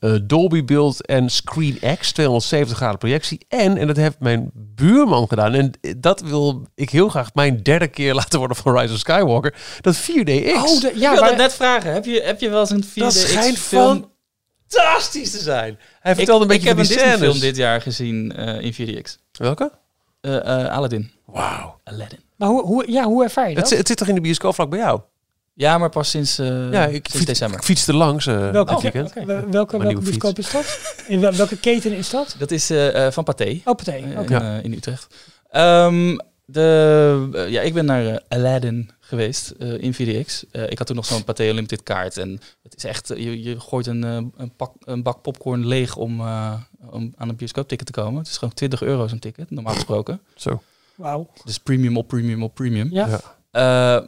Speaker 1: eh, Dolby Beeld en Screen X, 270 graden projectie. En, en dat heeft mijn buurman gedaan en dat wil ik heel graag mijn derde keer [LAUGHS] laten worden van Rise of Skywalker, dat 4DX.
Speaker 2: Ja,
Speaker 3: Oh, de- ja,
Speaker 2: ik wilde
Speaker 3: maar,
Speaker 2: het net vragen. Heb je, heb je wel eens een 4
Speaker 1: dat schijnt fantastisch te zijn. Hij
Speaker 2: Ik,
Speaker 1: vertelde een beetje
Speaker 2: ik
Speaker 1: van
Speaker 2: heb een
Speaker 1: die
Speaker 2: Disney film
Speaker 1: scènes.
Speaker 2: dit jaar gezien eh, in 4DX.
Speaker 1: Welke?
Speaker 2: Eh eh, Aladdin.
Speaker 1: Wauw.
Speaker 2: Aladdin.
Speaker 3: maar hoe, hoe, ja, hoe ervaar je
Speaker 1: Het,
Speaker 3: dat?
Speaker 1: zit- het zit toch in de bioscoop vlak bij jou?
Speaker 2: Ja, maar pas sinds, eh,
Speaker 1: Ja, ik
Speaker 2: sinds
Speaker 1: fiets,
Speaker 2: december.
Speaker 1: ik fietste langs eh
Speaker 3: welke
Speaker 1: dit weekend.
Speaker 3: wel- welke, welke
Speaker 1: nieuwe
Speaker 3: bioscoop is dat? In wel- welke keten is dat?
Speaker 2: Dat is eh, eh, van Pathé eh,
Speaker 3: Oh, Pathé. Oké.
Speaker 2: in, eh, in Utrecht. Ehm, de, eh, ja, ik ben naar eh, Aladdin geweest eh, in 4DX. Eh, ik had toen nog zo'n Pathé Limited kaart. En het is echt, eh, je, je gooit een, eh, een, pak, een bak popcorn leeg om, eh, om aan een bioscoopticket te komen. Het is gewoon 20 euro zo'n ticket, normaal gesproken.
Speaker 1: Zo.
Speaker 3: Wauw.
Speaker 2: Dus premium op premium op premium.
Speaker 3: Ja.
Speaker 1: Ja.
Speaker 2: Eh,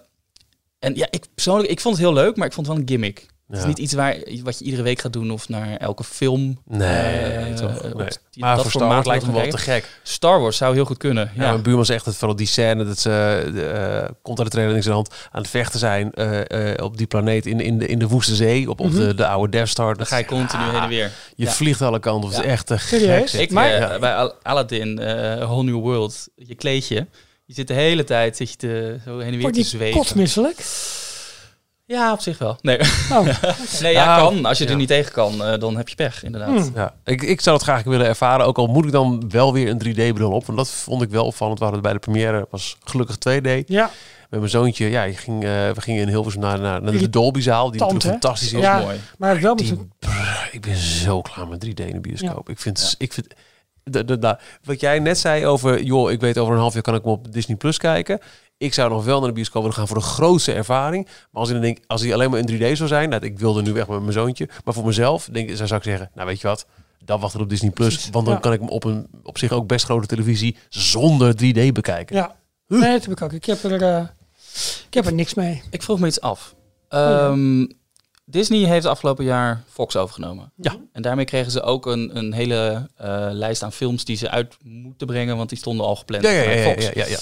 Speaker 2: en ja, ik persoonlijk, ik vond het heel leuk, maar ik vond het wel een gimmick. Het
Speaker 1: Ja.
Speaker 2: is niet iets waar, wat je iedere week gaat doen of naar elke film.
Speaker 1: Nee,
Speaker 2: eh,
Speaker 1: toch?
Speaker 2: eh,
Speaker 1: Nee.
Speaker 2: op die-
Speaker 1: Maar
Speaker 2: dat
Speaker 1: voor Star
Speaker 2: formaat
Speaker 1: Wars lijkt me
Speaker 2: wil
Speaker 1: wel
Speaker 2: gaan
Speaker 1: te gek.
Speaker 2: kijken. Star Wars zou heel goed kunnen.
Speaker 1: Ja.
Speaker 2: Ja,
Speaker 1: mijn buurman zegt het vooral die scène dat ze eh, de, eh, komt uit de trailer in zijn hand aan het vechten zijn eh, eh, op die planeet in, in, de, in de woeste zee op, op de, de oude Death Star. Ah,
Speaker 2: dan ga je continu heen en weer.
Speaker 1: Je
Speaker 2: Ja.
Speaker 1: vliegt alle kanten. Het is
Speaker 2: Ja.
Speaker 1: echt te gek.
Speaker 3: Serieus?
Speaker 1: zeg.
Speaker 2: Ik,
Speaker 3: Maar-
Speaker 2: eh, bij Al- Aladdin, eh, A Whole New World, je kleedje. Je zit de hele tijd zit je te, zo heen en weer
Speaker 3: Word
Speaker 2: te
Speaker 3: je
Speaker 2: zweven.
Speaker 3: kotsmisselijk?
Speaker 2: Ja, op zich wel. Nee,
Speaker 3: Oh,
Speaker 2: nee ja,
Speaker 1: Nou,
Speaker 2: kan. Als je
Speaker 1: ja.
Speaker 2: er niet tegen kan, eh, dan heb je pech, inderdaad.
Speaker 3: Hmm.
Speaker 1: Ja, ik, ik zou dat graag willen ervaren. Ook al moet ik dan wel weer een 3D-bril op. Want dat vond ik wel opvallend. We hadden bij de première was gelukkig 2D.
Speaker 3: ja.
Speaker 1: Met mijn zoontje, ja, je ging, eh, we gingen in Hilversum naar, naar, naar de
Speaker 3: Irritant,
Speaker 1: Dolbyzaal. Die natuurlijk
Speaker 3: hè?
Speaker 1: fantastisch
Speaker 2: Dat
Speaker 1: is.
Speaker 2: is
Speaker 3: Ja.
Speaker 2: mooi.
Speaker 3: Maar wel met
Speaker 1: Die,
Speaker 3: zo'n...
Speaker 1: brrr, ik ben zo klaar met 3D in de bioscoop. Ik vind, ik vind da- da- da- wat jij net zei over, joh, ik weet over een half jaar kan ik hem op Disney Plus kijken. Ik zou nog wel naar de bioscoop willen gaan voor de grootste ervaring. Maar als ik dan denk, als hij alleen maar in 3D zou zijn, nou, ik wilde nu weg met mijn zoontje. Maar voor mezelf denk, ik- zou ik zeggen, nou weet je wat, dan wacht ik op Disney Plus.
Speaker 3: Precies,
Speaker 1: Want dan
Speaker 3: ja.
Speaker 1: kan ik hem op een op zich ook best grote televisie zonder 3D bekijken.
Speaker 3: Ja. Nee, dat heb ik ook. Ik heb er, eh, ik heb er niks mee.
Speaker 2: Ik vroeg me iets af.
Speaker 1: Oh
Speaker 2: Ehm, Disney heeft afgelopen jaar Fox overgenomen.
Speaker 1: Ja.
Speaker 2: En daarmee kregen ze ook een, een hele eh, lijst aan films die ze uit moeten brengen, want die stonden al gepland
Speaker 1: Ja, ja, ja,
Speaker 2: bij
Speaker 1: ja,
Speaker 2: Fox.
Speaker 1: ja, ja, ja.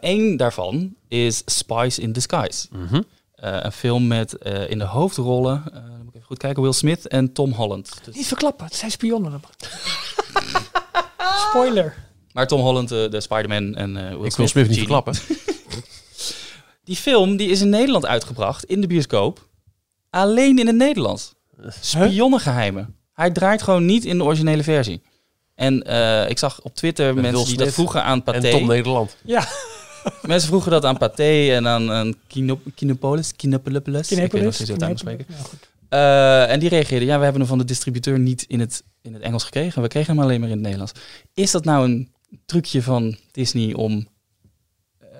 Speaker 2: Eén daarvan is Spies in Disguise.
Speaker 1: Mhm.
Speaker 2: Eh, een film met eh, in de hoofdrollen, eh, moet ik even goed kijken, Will Smith en Tom Holland. Dus-
Speaker 3: Niet verklappen. Het zijn spionnen.
Speaker 2: [LAUGHS]
Speaker 3: dan. Spoiler.
Speaker 2: maar Tom Holland, eh, de Spider-Man en eh, Will
Speaker 1: Ik wil
Speaker 2: Smith.
Speaker 1: Smith niet
Speaker 2: Genie.
Speaker 1: verklappen.
Speaker 2: Die film die is in Nederland uitgebracht, in de bioscoop. Alleen in het Nederlands. Spionnengeheimen. Hij draait gewoon niet in de originele versie. En eh, ik zag op Twitter
Speaker 1: Met
Speaker 2: mensen
Speaker 1: Will
Speaker 2: die dat
Speaker 1: Smith
Speaker 2: vroegen aan
Speaker 1: En Tom
Speaker 2: Pathé.
Speaker 1: Nederland.
Speaker 3: Ja.
Speaker 2: Mensen vroegen dat aan Pathé en aan, aan Kino, Kinopolis. Kinopolis. Ik weet nog
Speaker 3: Kinepolis.
Speaker 2: steeds hoe het uitspreken.
Speaker 3: Kinepolis. Ja, goed.
Speaker 2: Eh, en die reageerden, ja, we hebben hem van de distributeur niet in het, in het Engels gekregen. We kregen hem alleen maar in het Nederlands. Is dat nou een trucje van Disney om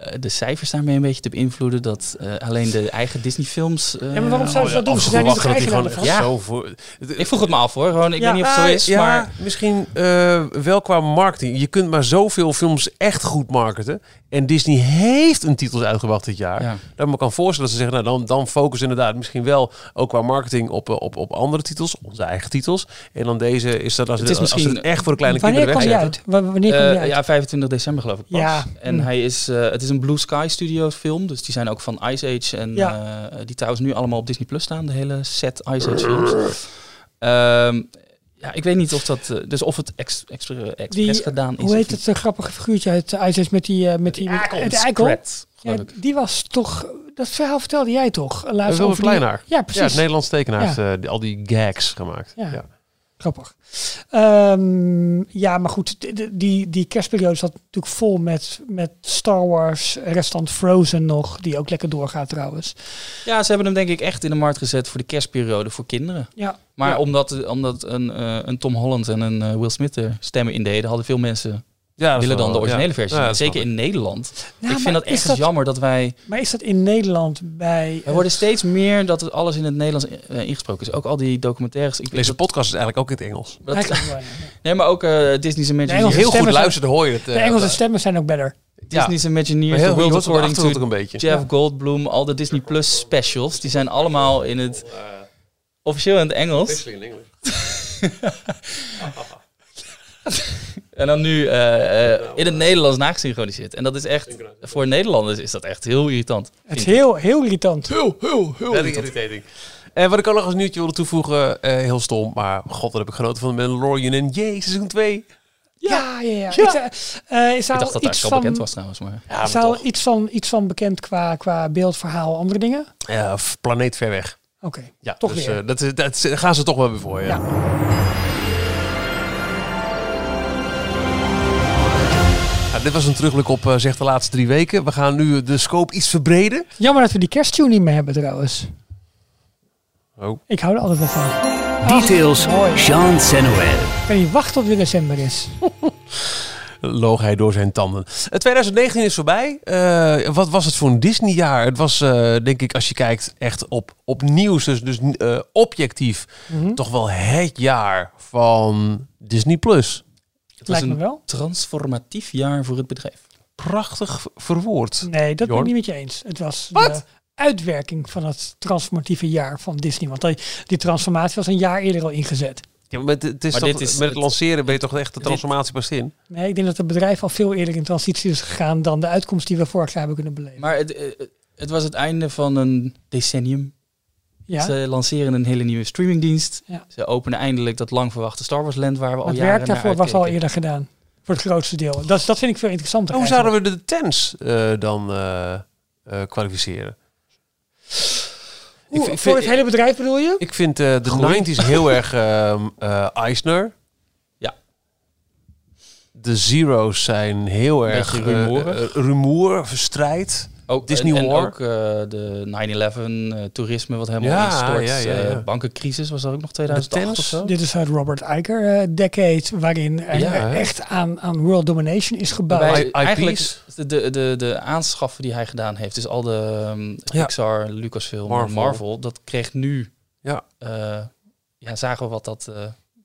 Speaker 2: eh, de cijfers daarmee een beetje te beïnvloeden? Dat eh, alleen de eigen Disney-films... eh,
Speaker 3: Ja, maar waarom zouden ze dat doen? Ze zijn niet
Speaker 1: Afgewacht
Speaker 3: de
Speaker 1: dat
Speaker 3: eigenaar
Speaker 1: hij
Speaker 3: van.
Speaker 1: gewoon
Speaker 2: van.
Speaker 1: echt zo voor...
Speaker 2: Ik vroeg het me af hoor, gewoon, ik
Speaker 3: Ja,
Speaker 2: weet niet of het zo is,
Speaker 1: ja,
Speaker 2: maar...
Speaker 1: misschien eh, wel qua marketing. Je kunt maar zoveel films echt goed marketen. En Disney heeft een titels uitgebracht dit jaar.
Speaker 2: Ja.
Speaker 1: Dat ik me kan voorstellen dat ze zeggen, nou dan, dan focus inderdaad misschien wel ook qua marketing op, eh, op, op andere titels, onze eigen titels. En dan deze is dat als,
Speaker 2: Het
Speaker 1: het
Speaker 2: is
Speaker 1: als ze het
Speaker 2: misschien-
Speaker 1: echt voor de kleine
Speaker 3: Wanneer
Speaker 1: kinderen
Speaker 3: kwam hij
Speaker 1: wegzetten.
Speaker 3: uit? Wa- Wanneer kwam hij
Speaker 2: Eh,
Speaker 3: uit?
Speaker 2: ja, 25 december geloof ik pas.
Speaker 3: Ja.
Speaker 2: En
Speaker 3: Hm.
Speaker 2: hij is, eh, het is een Blue Sky Studios film, dus die zijn ook van Ice Age. En
Speaker 3: Ja.
Speaker 2: eh, die trouwens nu allemaal op Disney Plus staan, de hele set Ice Age films. Ehm, ja, ik weet niet of dat, eh, dus of het ex, ex, eh, expres
Speaker 3: Die-
Speaker 2: gedaan is.
Speaker 3: Hoe heet het eh, grappige figuurtje uit uh, ISIS met die... eh, met die met- het eikel? Ja,
Speaker 2: ik.
Speaker 3: die was toch... Dat verhaal vertelde jij toch? eh, Laatst
Speaker 1: Wilbert
Speaker 3: over die-
Speaker 1: Pleinaar.
Speaker 3: Ja,
Speaker 1: Ja, het
Speaker 3: precies.
Speaker 1: Nederlands tekenaar
Speaker 3: Ja.
Speaker 1: heeft eh, die- al die gags gemaakt. Ja.
Speaker 3: Ja. Grappig. Ehm, ja, maar goed, d- d- die, die kerstperiode zat natuurlijk vol met, met Star Wars, restant Frozen nog, die ook lekker doorgaat trouwens.
Speaker 2: Ja, ze hebben hem denk ik echt in de markt gezet voor de kerstperiode voor kinderen.
Speaker 3: Ja,
Speaker 2: Maar
Speaker 3: Ja.
Speaker 2: omdat, omdat een, eh, een Tom Holland en een eh, Will Smith er stemmen in deden, hadden veel mensen
Speaker 1: Ja, dat is
Speaker 2: willen
Speaker 1: wel-
Speaker 2: dan de originele
Speaker 1: ja.
Speaker 2: versie.
Speaker 1: Ja, dat
Speaker 2: Zeker
Speaker 1: snap
Speaker 2: in Nederland.
Speaker 3: Nou,
Speaker 2: ik
Speaker 3: maar
Speaker 2: vind dat
Speaker 3: is
Speaker 2: echt jammer dat wij...
Speaker 3: Maar is dat in Nederland bij...
Speaker 2: We worden steeds meer dat het alles in het Nederlands eh, ingesproken is. Ook al die documentaires. Ik
Speaker 1: ik. Deze podcast is eigenlijk ook in het Engels.
Speaker 2: dat-
Speaker 3: Eigenlijk wel, ja.
Speaker 2: nee, maar ook eh, Disney's
Speaker 3: De
Speaker 2: Imagineers.
Speaker 3: Engelse
Speaker 1: Heel goed
Speaker 3: stemmen zijn-
Speaker 1: luisteren, dan hoor je het. eh,
Speaker 3: De Engelse
Speaker 1: dat-
Speaker 3: stemmen zijn ook better.
Speaker 1: ja.
Speaker 2: Disney's
Speaker 1: Maar
Speaker 2: Imagineers,
Speaker 1: heel
Speaker 2: The
Speaker 1: goed, je hoort het op
Speaker 2: World
Speaker 1: de
Speaker 2: According
Speaker 1: achtergrond ook
Speaker 2: to
Speaker 1: een beetje.
Speaker 2: Jeff Goldblum, al de Disney Plus specials. Die zijn allemaal in het... Officieel in het Engels. [LAUGHS] En dan nu eh, eh, in het Nederlands nagesynchroniseerd. En dat is echt, voor Nederlanders is dat echt heel irritant.
Speaker 3: Het is heel, heel irritant.
Speaker 1: Heel, heel, heel irritating. En wat ik ook nog als nieuwtje wilde toevoegen, eh, heel stom, maar god, wat heb ik genoten van de Mandalorian en jee, seizoen 2.
Speaker 3: Ja, ja, ja.
Speaker 1: Ja.
Speaker 3: Ik, eh, eh, is
Speaker 2: Ik
Speaker 3: daar
Speaker 2: dacht dat dat eigenlijk
Speaker 3: iets
Speaker 2: al
Speaker 3: van,
Speaker 2: bekend was trouwens. Maar.
Speaker 1: Ja,
Speaker 3: is daar al iets van, iets van bekend qua, qua beeld, verhaal, andere dingen? Oké,
Speaker 1: Ja, f- planeet ver weg. Ja,
Speaker 3: toch
Speaker 1: dus,
Speaker 3: weer.
Speaker 1: eh, dat, is- dat is- daar gaan ze toch wel weer voor, ja.
Speaker 3: Ja.
Speaker 1: Nou, dit was een terugblik op, eh, zeg, de laatste drie weken. We gaan nu de scope iets verbreden.
Speaker 3: Jammer dat we die kersttune niet meer hebben trouwens.
Speaker 1: Oh.
Speaker 3: Ik hou er altijd wel van. Oh,
Speaker 4: Details,
Speaker 3: Ah, mooi.
Speaker 4: Jean Senoel.
Speaker 3: Ik kan niet wachten tot weer december is.
Speaker 1: Loog hij door zijn tanden. Eh, 2019 is voorbij. Eh, wat was het voor een Disney-jaar? Het was, eh, denk ik, als je kijkt echt op, op nieuws, dus, dus eh, objectief,
Speaker 3: Mhm.
Speaker 1: toch wel het jaar van Disney+. Plus.
Speaker 2: Het was
Speaker 3: Lijkt me
Speaker 2: een
Speaker 3: wel.
Speaker 2: transformatief jaar voor het bedrijf.
Speaker 1: Prachtig verwoord.
Speaker 3: Nee, dat ben ik
Speaker 1: Jorn?
Speaker 3: niet met je eens. Het was
Speaker 1: Wat?
Speaker 3: de uitwerking van het transformatieve jaar van Disney. Want die, die transformatie was een jaar eerder al ingezet.
Speaker 1: Ja, maar het, het is
Speaker 2: Maar
Speaker 1: toch-
Speaker 2: dit is-
Speaker 1: met het
Speaker 2: het-
Speaker 1: lanceren ben je toch echt de
Speaker 2: dit-
Speaker 1: transformatie pas in?
Speaker 3: Nee, ik denk dat het bedrijf al veel eerder in transitie is gegaan dan de uitkomst die we vorig jaar hebben kunnen beleven.
Speaker 2: Maar het, eh, het was het einde van een decennium.
Speaker 3: ja?
Speaker 2: Ze lanceren een hele nieuwe streamingdienst.
Speaker 3: Ja.
Speaker 2: Ze openen eindelijk dat lang verwachte Star Wars Land waar we al
Speaker 3: Het
Speaker 2: jaren
Speaker 3: werk daarvoor
Speaker 2: naar
Speaker 3: was al
Speaker 2: uitkeken.
Speaker 3: eerder gedaan. Voor het grootste deel. Dat, dat vind ik veel interessanter.
Speaker 1: Hoe
Speaker 3: eigenlijk.
Speaker 1: zouden we de tens eh, dan eh, eh, kwalificeren?
Speaker 3: Hoe,
Speaker 1: ik vind-
Speaker 3: voor het hele bedrijf bedoel je?
Speaker 1: Ik vind eh, de
Speaker 2: Groei.
Speaker 1: 90s heel erg ehm eh, Eisner.
Speaker 2: Ja.
Speaker 1: De Zero's zijn heel erg
Speaker 2: Beetje
Speaker 1: eh,
Speaker 2: rumoerig.
Speaker 1: eh, rumoer, verstrijd.
Speaker 2: Ook,
Speaker 1: Disney
Speaker 2: en, en
Speaker 1: War.
Speaker 2: ook eh, de 9-11, eh, toerisme wat helemaal
Speaker 1: Ja,
Speaker 2: instort.
Speaker 1: ja, ja,
Speaker 2: eh,
Speaker 1: ja.
Speaker 2: bankencrisis was dat ook nog
Speaker 1: De
Speaker 2: 2008
Speaker 1: tens.
Speaker 2: of zo?
Speaker 3: Dit is het Robert Iker eh, decade, waarin er
Speaker 1: Ja, hè?
Speaker 3: echt aan, aan world domination is gebouwd.
Speaker 2: Waarbij
Speaker 1: I- IP's.
Speaker 2: eigenlijk de, de, de, de aanschaffen die hij gedaan heeft, dus al de ehm,
Speaker 1: Ja.
Speaker 2: Pixar, Lucasfilm,
Speaker 1: Marvel.
Speaker 2: Marvel. dat kreeg nu,
Speaker 1: Ja.
Speaker 2: eh, ja, zagen we wat dat eh,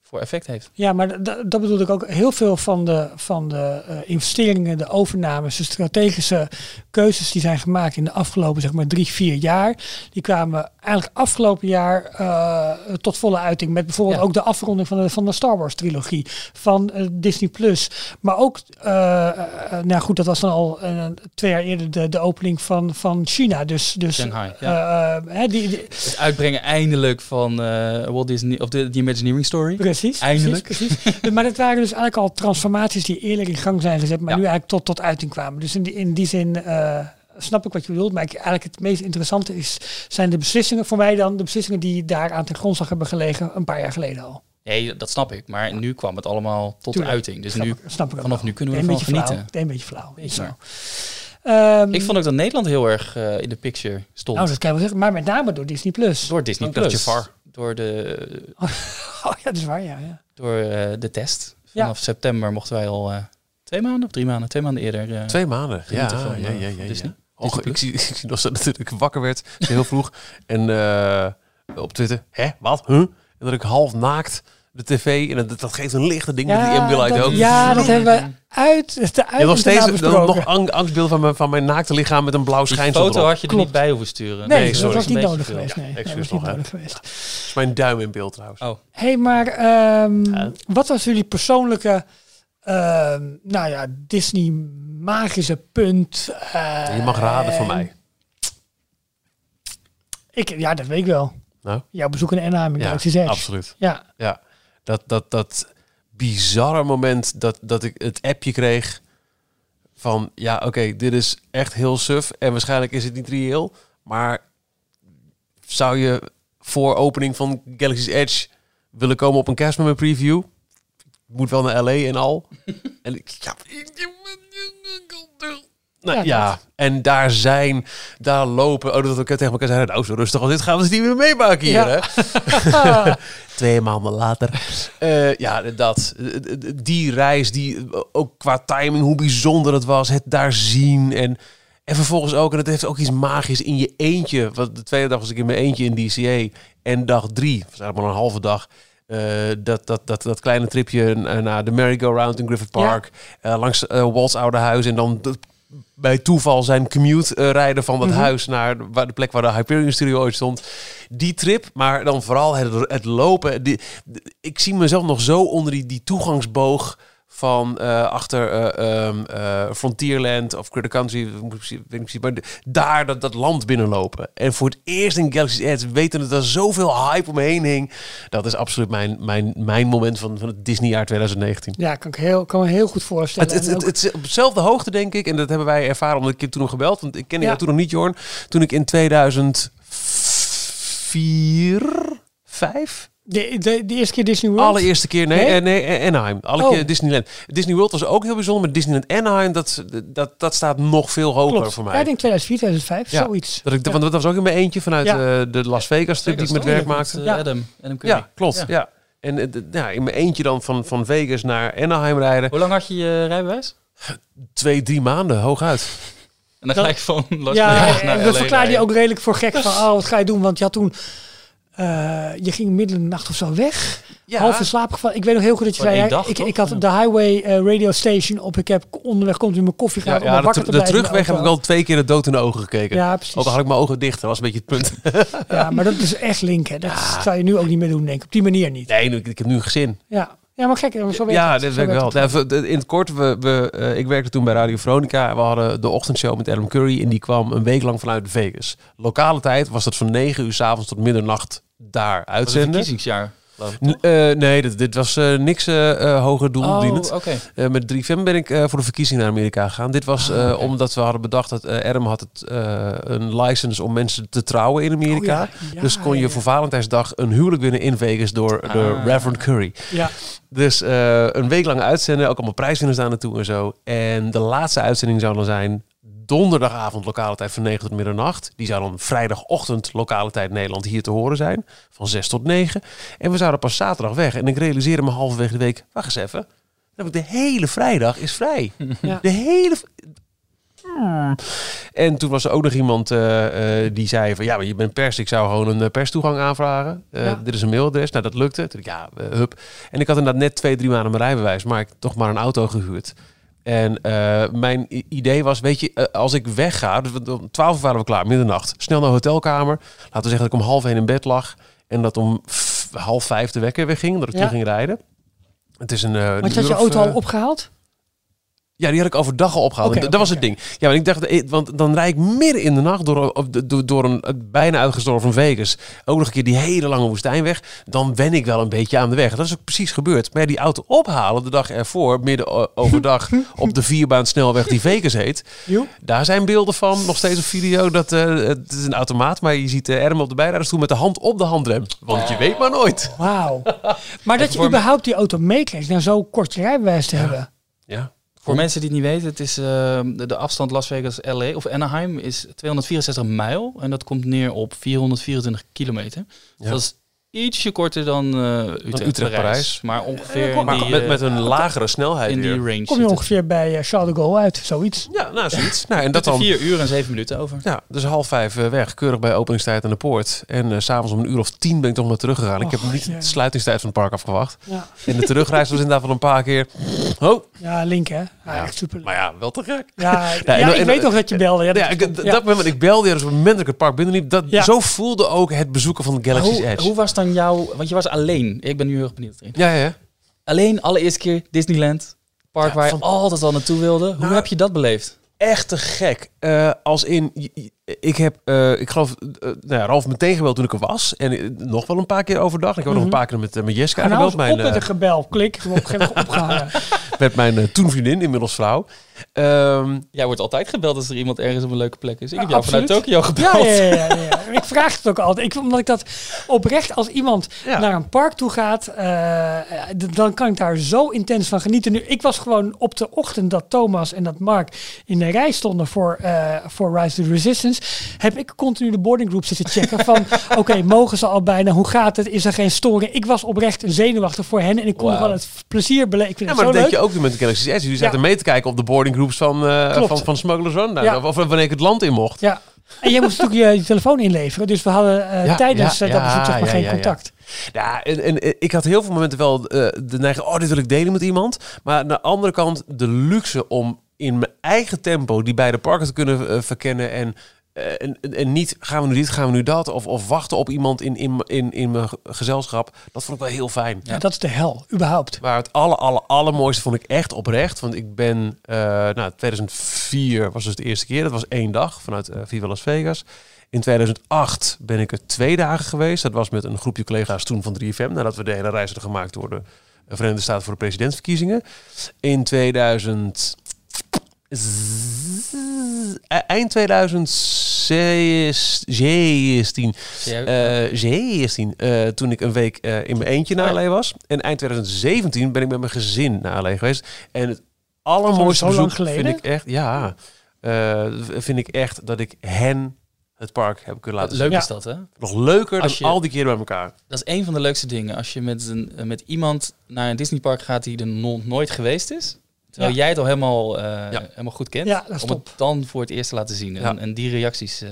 Speaker 2: voor effect heeft.
Speaker 3: Ja, maar da- dat bedoel ik ook. Heel veel van de, van de eh, investeringen, de overnames, de strategische keuzes die zijn gemaakt in de afgelopen zeg maar, drie, vier jaar. Die kwamen eigenlijk afgelopen jaar eh, tot volle uiting. Met bijvoorbeeld
Speaker 2: Ja.
Speaker 3: ook de afronding van de, van de Star Wars trilogie van eh, Disney Plus. Maar ook, eh, eh, eh, nou goed, dat was dan al eh, twee jaar eerder de, de opening van, van China. Dus, dus
Speaker 2: Shanghai,
Speaker 3: eh, eh, hè, die, die-
Speaker 2: Het uitbrengen eindelijk van eh, Walt Disney, of de, The Imagineering Story.
Speaker 3: Precies.
Speaker 2: Eindelijk.
Speaker 3: Precies, precies. maar dat waren dus eigenlijk al transformaties die eerder in gang zijn gezet, maar
Speaker 2: Ja.
Speaker 3: nu eigenlijk tot, tot uiting kwamen. Dus in die, in die zin eh, snap ik wat je bedoelt, maar ik, eigenlijk het meest interessante is, zijn de beslissingen, voor mij dan de beslissingen die daar aan ten grondslag hebben gelegen een paar jaar geleden al.
Speaker 2: Nee, dat snap ik, maar nu kwam het allemaal tot
Speaker 3: Tuurlijk.
Speaker 2: uiting. Dus
Speaker 3: Snap
Speaker 2: nu,
Speaker 3: ik- snap ik ook
Speaker 2: vanaf
Speaker 3: wel.
Speaker 2: nu kunnen we
Speaker 3: Een
Speaker 2: ervan
Speaker 3: beetje flauw.
Speaker 2: genieten.
Speaker 3: Een beetje flauw.
Speaker 2: Beetje
Speaker 3: Zo.
Speaker 2: maar.
Speaker 3: Ehm,
Speaker 2: Ik vond ook dat Nederland heel erg eh, in de picture stond.
Speaker 3: nou, dat kan je wel zeggen, maar met name door Disney+. Plus.
Speaker 2: door Disney
Speaker 1: Ook dat
Speaker 2: Plus.
Speaker 1: Jafar.
Speaker 2: Door de,
Speaker 3: Oh ja, dat is waar, ja. ja.
Speaker 2: door eh, de test.
Speaker 3: Ja.
Speaker 2: Vanaf september mochten wij al eh, twee maanden of drie maanden, twee maanden eerder. eh,
Speaker 1: Twee maanden. Ja,
Speaker 2: genieten van,
Speaker 1: ja,
Speaker 2: eh,
Speaker 1: ja,
Speaker 2: van
Speaker 1: ja,
Speaker 2: Disney.
Speaker 1: ja. Och, ik, zie, [LAUGHS] ik zie nog zo dat ik wakker werd, zo heel vroeg. En eh, op Twitter, hè, wat, huh? En dat ik half naakt de tv, en dat, dat geeft een lichte ding met die MBL uit
Speaker 3: dat,
Speaker 1: ook.
Speaker 3: ja, dat hebben we uit de
Speaker 1: Je hebt nog
Speaker 3: uit
Speaker 1: steeds nog,
Speaker 3: besproken.
Speaker 1: nog ang- angstbeelden van mijn, van mijn naakte lichaam met een blauw
Speaker 2: Die
Speaker 1: schijnsel
Speaker 2: foto
Speaker 1: erop.
Speaker 2: had je er
Speaker 3: Klopt.
Speaker 2: niet bij hoeven sturen.
Speaker 3: Nee,
Speaker 1: Nee,
Speaker 3: dat
Speaker 1: sorry.
Speaker 3: was niet
Speaker 2: Een beetje
Speaker 3: nodig
Speaker 2: veel.
Speaker 3: geweest. Nee, Nee, dat
Speaker 1: excuus
Speaker 3: was niet
Speaker 1: nog, hè.
Speaker 3: nodig geweest.
Speaker 1: Dat is mijn duim in beeld trouwens.
Speaker 2: Oh.
Speaker 3: hey, maar ehm,
Speaker 1: Ja.
Speaker 3: wat was jullie persoonlijke, ehm, nou ja, Disney magische punt? eh,
Speaker 1: Je mag raden van mij.
Speaker 3: Ik, ja, dat weet ik wel.
Speaker 1: Nou?
Speaker 3: Jouw bezoek in Anaheim, ja, Galaxy's Edge.
Speaker 1: absoluut.
Speaker 3: Ja,
Speaker 1: Ja, dat, dat, dat bizarre moment dat, dat ik het appje kreeg van... Ja, oké, dit is echt heel suf en waarschijnlijk is het niet reëel. Maar zou je voor opening van Galaxy's Edge willen komen op een kerstman preview. Moet wel naar LA en al. en ik, ja. Nou,
Speaker 3: Ja,
Speaker 1: ja, en daar zijn, daar lopen. Oh, dat we tegen elkaar zeiden. Nou, zo rustig als dit gaan we het niet meer meemaken hier.
Speaker 3: Ja.
Speaker 1: Hè? Twee maanden later. Eh, ja, dat. Eh, eh, Die reis, die eh, ook qua timing, hoe bijzonder het was. Het daar zien. En, en vervolgens ook, en het heeft ook iets magisch in je eentje. Want de tweede dag was ik in mijn eentje in DCA. En dag drie, dat was eigenlijk maar een halve dag. eh, dat, dat, dat, dat kleine tripje na- naar de merry-go-round in Griffith
Speaker 3: Ja.
Speaker 1: Park. eh, langs eh Walt's oude huis. En dan dat- bij toeval zijn commute eh, rijden van dat
Speaker 3: Mhm.
Speaker 1: huis naar de- waar de plek waar de Hyperion Studio ooit stond. Die trip, maar dan vooral het, het lopen. Die- de- ik zie mezelf nog zo onder die, die toegangsboog van eh, achter eh, ehm, eh, Frontierland of Critter Country, ik moet precies- weet ik precies, maar de- daar dat, dat land binnenlopen. En voor het eerst in Galaxy's Edge, weten dat er zoveel hype omheen hing, dat is absoluut mijn, mijn, mijn moment van, van het Disneyjaar 2019.
Speaker 3: Ja, kan ik heel, kan me heel goed voorstellen.
Speaker 1: Het, het,
Speaker 3: En
Speaker 1: het,
Speaker 3: ook-
Speaker 1: het is op dezelfde hoogte, denk ik. En dat hebben wij ervaren, omdat ik je toen nog gebeld. Want ik kende
Speaker 3: Ja.
Speaker 1: jou toen nog niet, Jorn. Toen ik in 2004, 5?
Speaker 3: de, de, de eerste keer Disney World.
Speaker 1: Allereerste keer, nee,
Speaker 3: Nee?
Speaker 1: eh, nee, eh, Anaheim. Alle
Speaker 3: Oh.
Speaker 1: keer Disneyland. Disney World was ook heel bijzonder, maar Disneyland Anaheim, dat, dat, dat staat nog veel hoger
Speaker 3: Klopt.
Speaker 1: voor
Speaker 3: Ja,
Speaker 1: mij.
Speaker 3: ik denk 2004, 2005,
Speaker 1: Ja.
Speaker 3: zoiets.
Speaker 1: dat ik,
Speaker 3: Ja.
Speaker 1: Want dat was ook in mijn eentje vanuit
Speaker 3: Ja.
Speaker 1: eh, de Las Vegas trip die ik met werk maakte.
Speaker 3: Ja.
Speaker 2: Ja. Adam, Adam Curry.
Speaker 1: Ja, klopt. Ja. En eh, d- ja, in mijn eentje dan van, van Vegas naar Anaheim rijden.
Speaker 2: Hoe lang had je je rijbewijs?
Speaker 1: Twee, drie maanden, hooguit.
Speaker 2: En dan
Speaker 3: Dat-
Speaker 2: gelijk van Las
Speaker 3: Ja,
Speaker 2: Vegas naar
Speaker 3: en dat
Speaker 2: LA
Speaker 3: verklaarde je
Speaker 2: rijden.
Speaker 3: ook redelijk voor gek
Speaker 1: [LAUGHS]
Speaker 3: van, oh, wat ga je doen? Want je had toen, eh, je ging midden in de nacht of zo weg.
Speaker 1: Ja.
Speaker 3: Half in slaap gevallen. Ik weet nog heel goed dat je
Speaker 2: Voor
Speaker 3: zei,
Speaker 2: één
Speaker 3: ja,
Speaker 2: dag,
Speaker 3: ik,
Speaker 2: toch?
Speaker 3: ik had de highway eh, radio station op. Ik heb onderweg komt u mijn koffie
Speaker 1: Ja,
Speaker 3: gaan om
Speaker 1: ja,
Speaker 3: maar
Speaker 1: de,
Speaker 3: wakker
Speaker 1: ter-
Speaker 3: te
Speaker 1: de
Speaker 3: blijven in de
Speaker 1: terugweg heb ik
Speaker 3: auto.
Speaker 1: al twee keer de dood in de ogen gekeken.
Speaker 3: Ja, precies.
Speaker 1: Ook al had ik mijn ogen dicht, dat was een beetje het
Speaker 3: [LAUGHS]
Speaker 1: punt.
Speaker 3: Ja, maar dat is echt link, hè. Dat zou je nu ook niet meer doen, denk ik. Op die manier niet.
Speaker 1: Nee, nu- ik, ik heb nu een gezin.
Speaker 3: Ja, ja maar gek. Zo werkt
Speaker 1: ja,
Speaker 3: het.
Speaker 1: dat
Speaker 3: Zo
Speaker 1: weet ik
Speaker 3: werkt
Speaker 1: wel.
Speaker 3: het.
Speaker 1: Ja, voor- de- in het kort, we, we, eh, ik werkte toen bij Radio Veronica. We hadden de ochtendshow met Adam Curry en die kwam een week lang vanuit Vegas. Lokale tijd was dat van 9 uur s'avonds tot middernacht daar
Speaker 2: Dat was een
Speaker 1: uitzenden.
Speaker 2: verkiezingsjaar. geloof ik.
Speaker 1: N- eh, nee, dit, dit was eh, niks eh, eh, hoger
Speaker 2: Oh,
Speaker 1: doeldienend.
Speaker 2: oké.
Speaker 1: Eh, met 3FM ben ik eh, voor de verkiezingen naar Amerika gegaan. Dit was
Speaker 3: Ah,
Speaker 1: eh, omdat we hadden bedacht dat eh Adam had het, eh, een license om mensen te trouwen in Amerika.
Speaker 3: Oh, ja. Ja,
Speaker 1: dus kon je
Speaker 3: ja, ja.
Speaker 1: voor Valentijnsdag een huwelijk winnen in Vegas door, door
Speaker 2: Ah.
Speaker 1: Reverend Curry.
Speaker 3: Ja,
Speaker 1: Dus eh, een week lang uitzenden, ook allemaal prijswinners daar naartoe en zo. En de laatste uitzending zou dan zijn donderdagavond lokale tijd van 9 tot middernacht. Die zou dan vrijdagochtend lokale tijd Nederland hier te horen zijn, van 6 tot 9. En we zouden pas zaterdag weg. En ik realiseerde me halverwege de week, wacht eens even. Dan heb ik de hele vrijdag is vrij. [LAUGHS]
Speaker 3: Ja.
Speaker 1: De hele... v- Hmm. En toen was er ook nog iemand eh, eh, die zei van... ja, maar je bent pers, ik zou gewoon een eh, perstoegang aanvragen. Eh,
Speaker 3: Ja.
Speaker 1: Dit is een mailadres. Nou, dat lukte. Toen dacht ik, ja, eh, hup. En ik had inderdaad net twee, drie maanden mijn rijbewijs... maar ik toch maar een auto gehuurd. En eh, mijn i- idee was, weet je, eh, als ik wegga... Dus we- om twaalf uur waren we klaar, middernacht. Snel naar de hotelkamer. Laten we zeggen dat ik om half één in bed lag... en dat om f- half vijf de wekker wegging, dat ik
Speaker 3: Ja.
Speaker 1: terug ging rijden. Het is een, eh, een
Speaker 3: Want je had
Speaker 1: uur
Speaker 3: je
Speaker 1: of,
Speaker 3: auto
Speaker 1: eh,
Speaker 3: al opgehaald?
Speaker 1: ja, die had ik overdag al opgehaald.
Speaker 3: Oké,
Speaker 1: dat
Speaker 3: oké,
Speaker 1: was het ding. Ja, want ik dacht, eh, want dan rijd ik midden in de nacht door, op de- door, door een eh, bijna uitgestorven Vegas. Ook nog een keer die hele lange woestijnweg. Dan wen ik wel een beetje aan de weg. Dat is ook precies gebeurd. Maar ja, die auto ophalen de dag ervoor, midden
Speaker 3: [LAUGHS]
Speaker 1: o- overdag, op de vierbaan snelweg die Vegas heet.
Speaker 3: Jo.
Speaker 1: Daar zijn beelden van, nog steeds op video. Dat, eh, het is een automaat, maar je ziet eh Erm op de bijrijdersstoel met de hand op de handrem. Want je weet maar nooit. [LAUGHS]
Speaker 3: Wauw. Maar dat je
Speaker 2: voor-
Speaker 3: überhaupt die auto meekreeg, nou zo kort je rijbewijs te hebben.
Speaker 1: Ja.
Speaker 2: Voor mensen die het niet weten, het is, eh, de, de afstand Las Vegas-LA of Anaheim is 264 mijl. En dat komt neer op 424 kilometer. Dus
Speaker 1: Ja.
Speaker 2: Dat is ietsje korter dan eh Utrecht-Parijs.
Speaker 1: Utrecht-Parijs.
Speaker 2: maar ongeveer in
Speaker 1: Maar
Speaker 2: die,
Speaker 1: met,
Speaker 2: eh,
Speaker 1: met een lagere snelheid
Speaker 2: in die
Speaker 1: weer.
Speaker 2: range.
Speaker 3: Kom je ongeveer bij eh, Charles de Gaulle uit, zoiets.
Speaker 1: Ja, nou zoiets. Nou, en dat
Speaker 2: dat
Speaker 1: dan
Speaker 2: 4 uur en 7 minuten over.
Speaker 1: Ja, dus half vijf eh, weg, keurig bij openingstijd aan de poort. En eh, s s'avonds om een uur of tien ben ik toch maar teruggegaan. ik heb
Speaker 3: Och,
Speaker 1: niet
Speaker 3: jee.
Speaker 1: de sluitingstijd van het park afgewacht.
Speaker 3: Ja,
Speaker 1: En de terugreis was inderdaad wel een paar keer. Oh,
Speaker 3: ja link hè. Ja,
Speaker 1: Ja.
Speaker 3: Echt super.
Speaker 1: maar ja, wel te gek.
Speaker 3: Ja, ja,
Speaker 1: en dan-
Speaker 3: ik
Speaker 1: en-
Speaker 3: weet nog dat je belde. Ja, dat
Speaker 1: Ja, ik,
Speaker 3: klopt.
Speaker 1: d-
Speaker 3: Ja.
Speaker 1: dat moment, ik belde je, dus op het moment dat ik het park binnenliep, dat,
Speaker 3: Ja.
Speaker 1: zo voelde ook het bezoeken van de Galaxy's
Speaker 2: Hoe,
Speaker 1: Edge.
Speaker 2: hoe was dan jouw... Want je was alleen. Ik ben nu heel erg benieuwd. Erin.
Speaker 1: Ja, ja, ja.
Speaker 2: Alleen, allereerste keer Disneyland. het Park
Speaker 1: Ja,
Speaker 2: waar je
Speaker 1: van-
Speaker 2: altijd al naartoe wilde. Hoe
Speaker 1: Nou,
Speaker 2: heb je dat beleefd?
Speaker 1: echt te gek. Eh, als in, j- j- ik heb, eh, ik geloof, eh, nou ja, Ralf meteen gebeld toen ik er was. En eh, nog wel een paar keer overdag. Ik heb nog
Speaker 3: Mhm.
Speaker 1: een paar keer met, eh, met Jessica
Speaker 3: Gaan nou
Speaker 1: gebeld.
Speaker 3: eens op
Speaker 1: Mijn, eh, [LAUGHS]
Speaker 3: met een gebel. Klik, ik heb hem op een gegeven moment opgehangen.
Speaker 1: met mijn eh, toen vriendin, inmiddels vrouw. Ehm,
Speaker 2: Jij wordt altijd gebeld als er iemand ergens op een leuke plek is. Ik
Speaker 3: Ja,
Speaker 2: heb jou vanuit
Speaker 3: absoluut.
Speaker 2: Tokio
Speaker 3: Ja,
Speaker 2: gebeld. Eh,
Speaker 3: ja, ja, ja, ja. Ik vraag het ook altijd. Ik, omdat ik dat oprecht, als iemand
Speaker 1: Ja.
Speaker 3: naar een park toe gaat, eh, d- dan kan ik daar zo intens van genieten. Nu, ik was gewoon op de ochtend dat Thomas en dat Mark in de rij stonden voor, eh, voor Rise of the Resistance, heb ik continu de boarding group zitten
Speaker 1: [LAUGHS]
Speaker 3: checken van, oké, mogen ze al bijna? Hoe gaat het? Is er geen storing? Ik was oprecht zenuwachtig voor hen en ik kon
Speaker 2: Wauw.
Speaker 3: gewoon het plezier beleven. Ik vind
Speaker 1: ja,
Speaker 3: het
Speaker 1: maar
Speaker 3: zo
Speaker 1: dat
Speaker 3: leuk.
Speaker 1: deed je ook nu met de Galaxy's Edge. Jullie zaten
Speaker 3: Ja.
Speaker 1: mee te kijken op de boarding groups van, eh,
Speaker 3: Klopt.
Speaker 1: van, van Smugglers Run. Nou,
Speaker 3: Ja.
Speaker 1: Of, of wanneer ik het land in mocht.
Speaker 3: Ja. En jij moest natuurlijk je, je telefoon inleveren, dus we hadden eh,
Speaker 1: Ja,
Speaker 3: tijdens
Speaker 1: ja,
Speaker 3: eh, dat bezoek zeg
Speaker 1: ja,
Speaker 3: maar
Speaker 1: ja,
Speaker 3: geen
Speaker 1: ja, ja.
Speaker 3: contact.
Speaker 1: Ja, en, en eh, ik had heel veel momenten wel eh, de neiging, oh, dit wil ik delen met iemand. Maar aan de andere kant de luxe om in mijn eigen tempo die beide parken te kunnen eh, verkennen en... eh, en, en- en niet gaan we nu dit, gaan we nu dat. Of, of wachten op iemand in, in, in, in mijn gezelschap. Dat vond ik wel heel fijn.
Speaker 3: Ja, dat is de hel, überhaupt.
Speaker 1: Maar het alle, alle, allermooiste vond ik echt oprecht. Want ik ben, eh nou, 2004 was dus de eerste keer. Dat was één dag vanuit eh, Viva Las Vegas. In 2008 ben ik er twee dagen geweest. Dat was met een groepje collega's toen van 3FM. Nadat we de hele reis hadden gemaakt door de Verenigde Staten voor de presidentsverkiezingen. In 2000... eh, Eind 2016
Speaker 2: Ja. Oh
Speaker 1: eh 16, eh, toen ik een week eh, in mijn eentje naar LA was. En eind 2017 ben ik met mijn gezin naar LA geweest. En het allermooiste
Speaker 3: Dat is
Speaker 1: bezoek
Speaker 3: zo lang geleden.
Speaker 1: vind ik echt, ja, eh, vind ik echt dat ik hen het park heb kunnen laten zien.
Speaker 2: Leuk
Speaker 3: Ja.
Speaker 2: is dat, hè?
Speaker 1: Nog leuker dan
Speaker 2: Als je-
Speaker 1: al die keren bij elkaar.
Speaker 2: Dat is een van de leukste dingen. Als je met, een, eh, met iemand naar een Disneypark gaat die er no- nooit geweest is. Terwijl
Speaker 3: Ja.
Speaker 2: jij het al helemaal, eh,
Speaker 1: Ja.
Speaker 2: helemaal goed kent.
Speaker 3: Ja, dat is
Speaker 2: om
Speaker 3: top.
Speaker 2: het dan voor het eerst te laten zien. En,
Speaker 1: Ja.
Speaker 2: en die reacties.
Speaker 3: [LAUGHS]
Speaker 2: eh,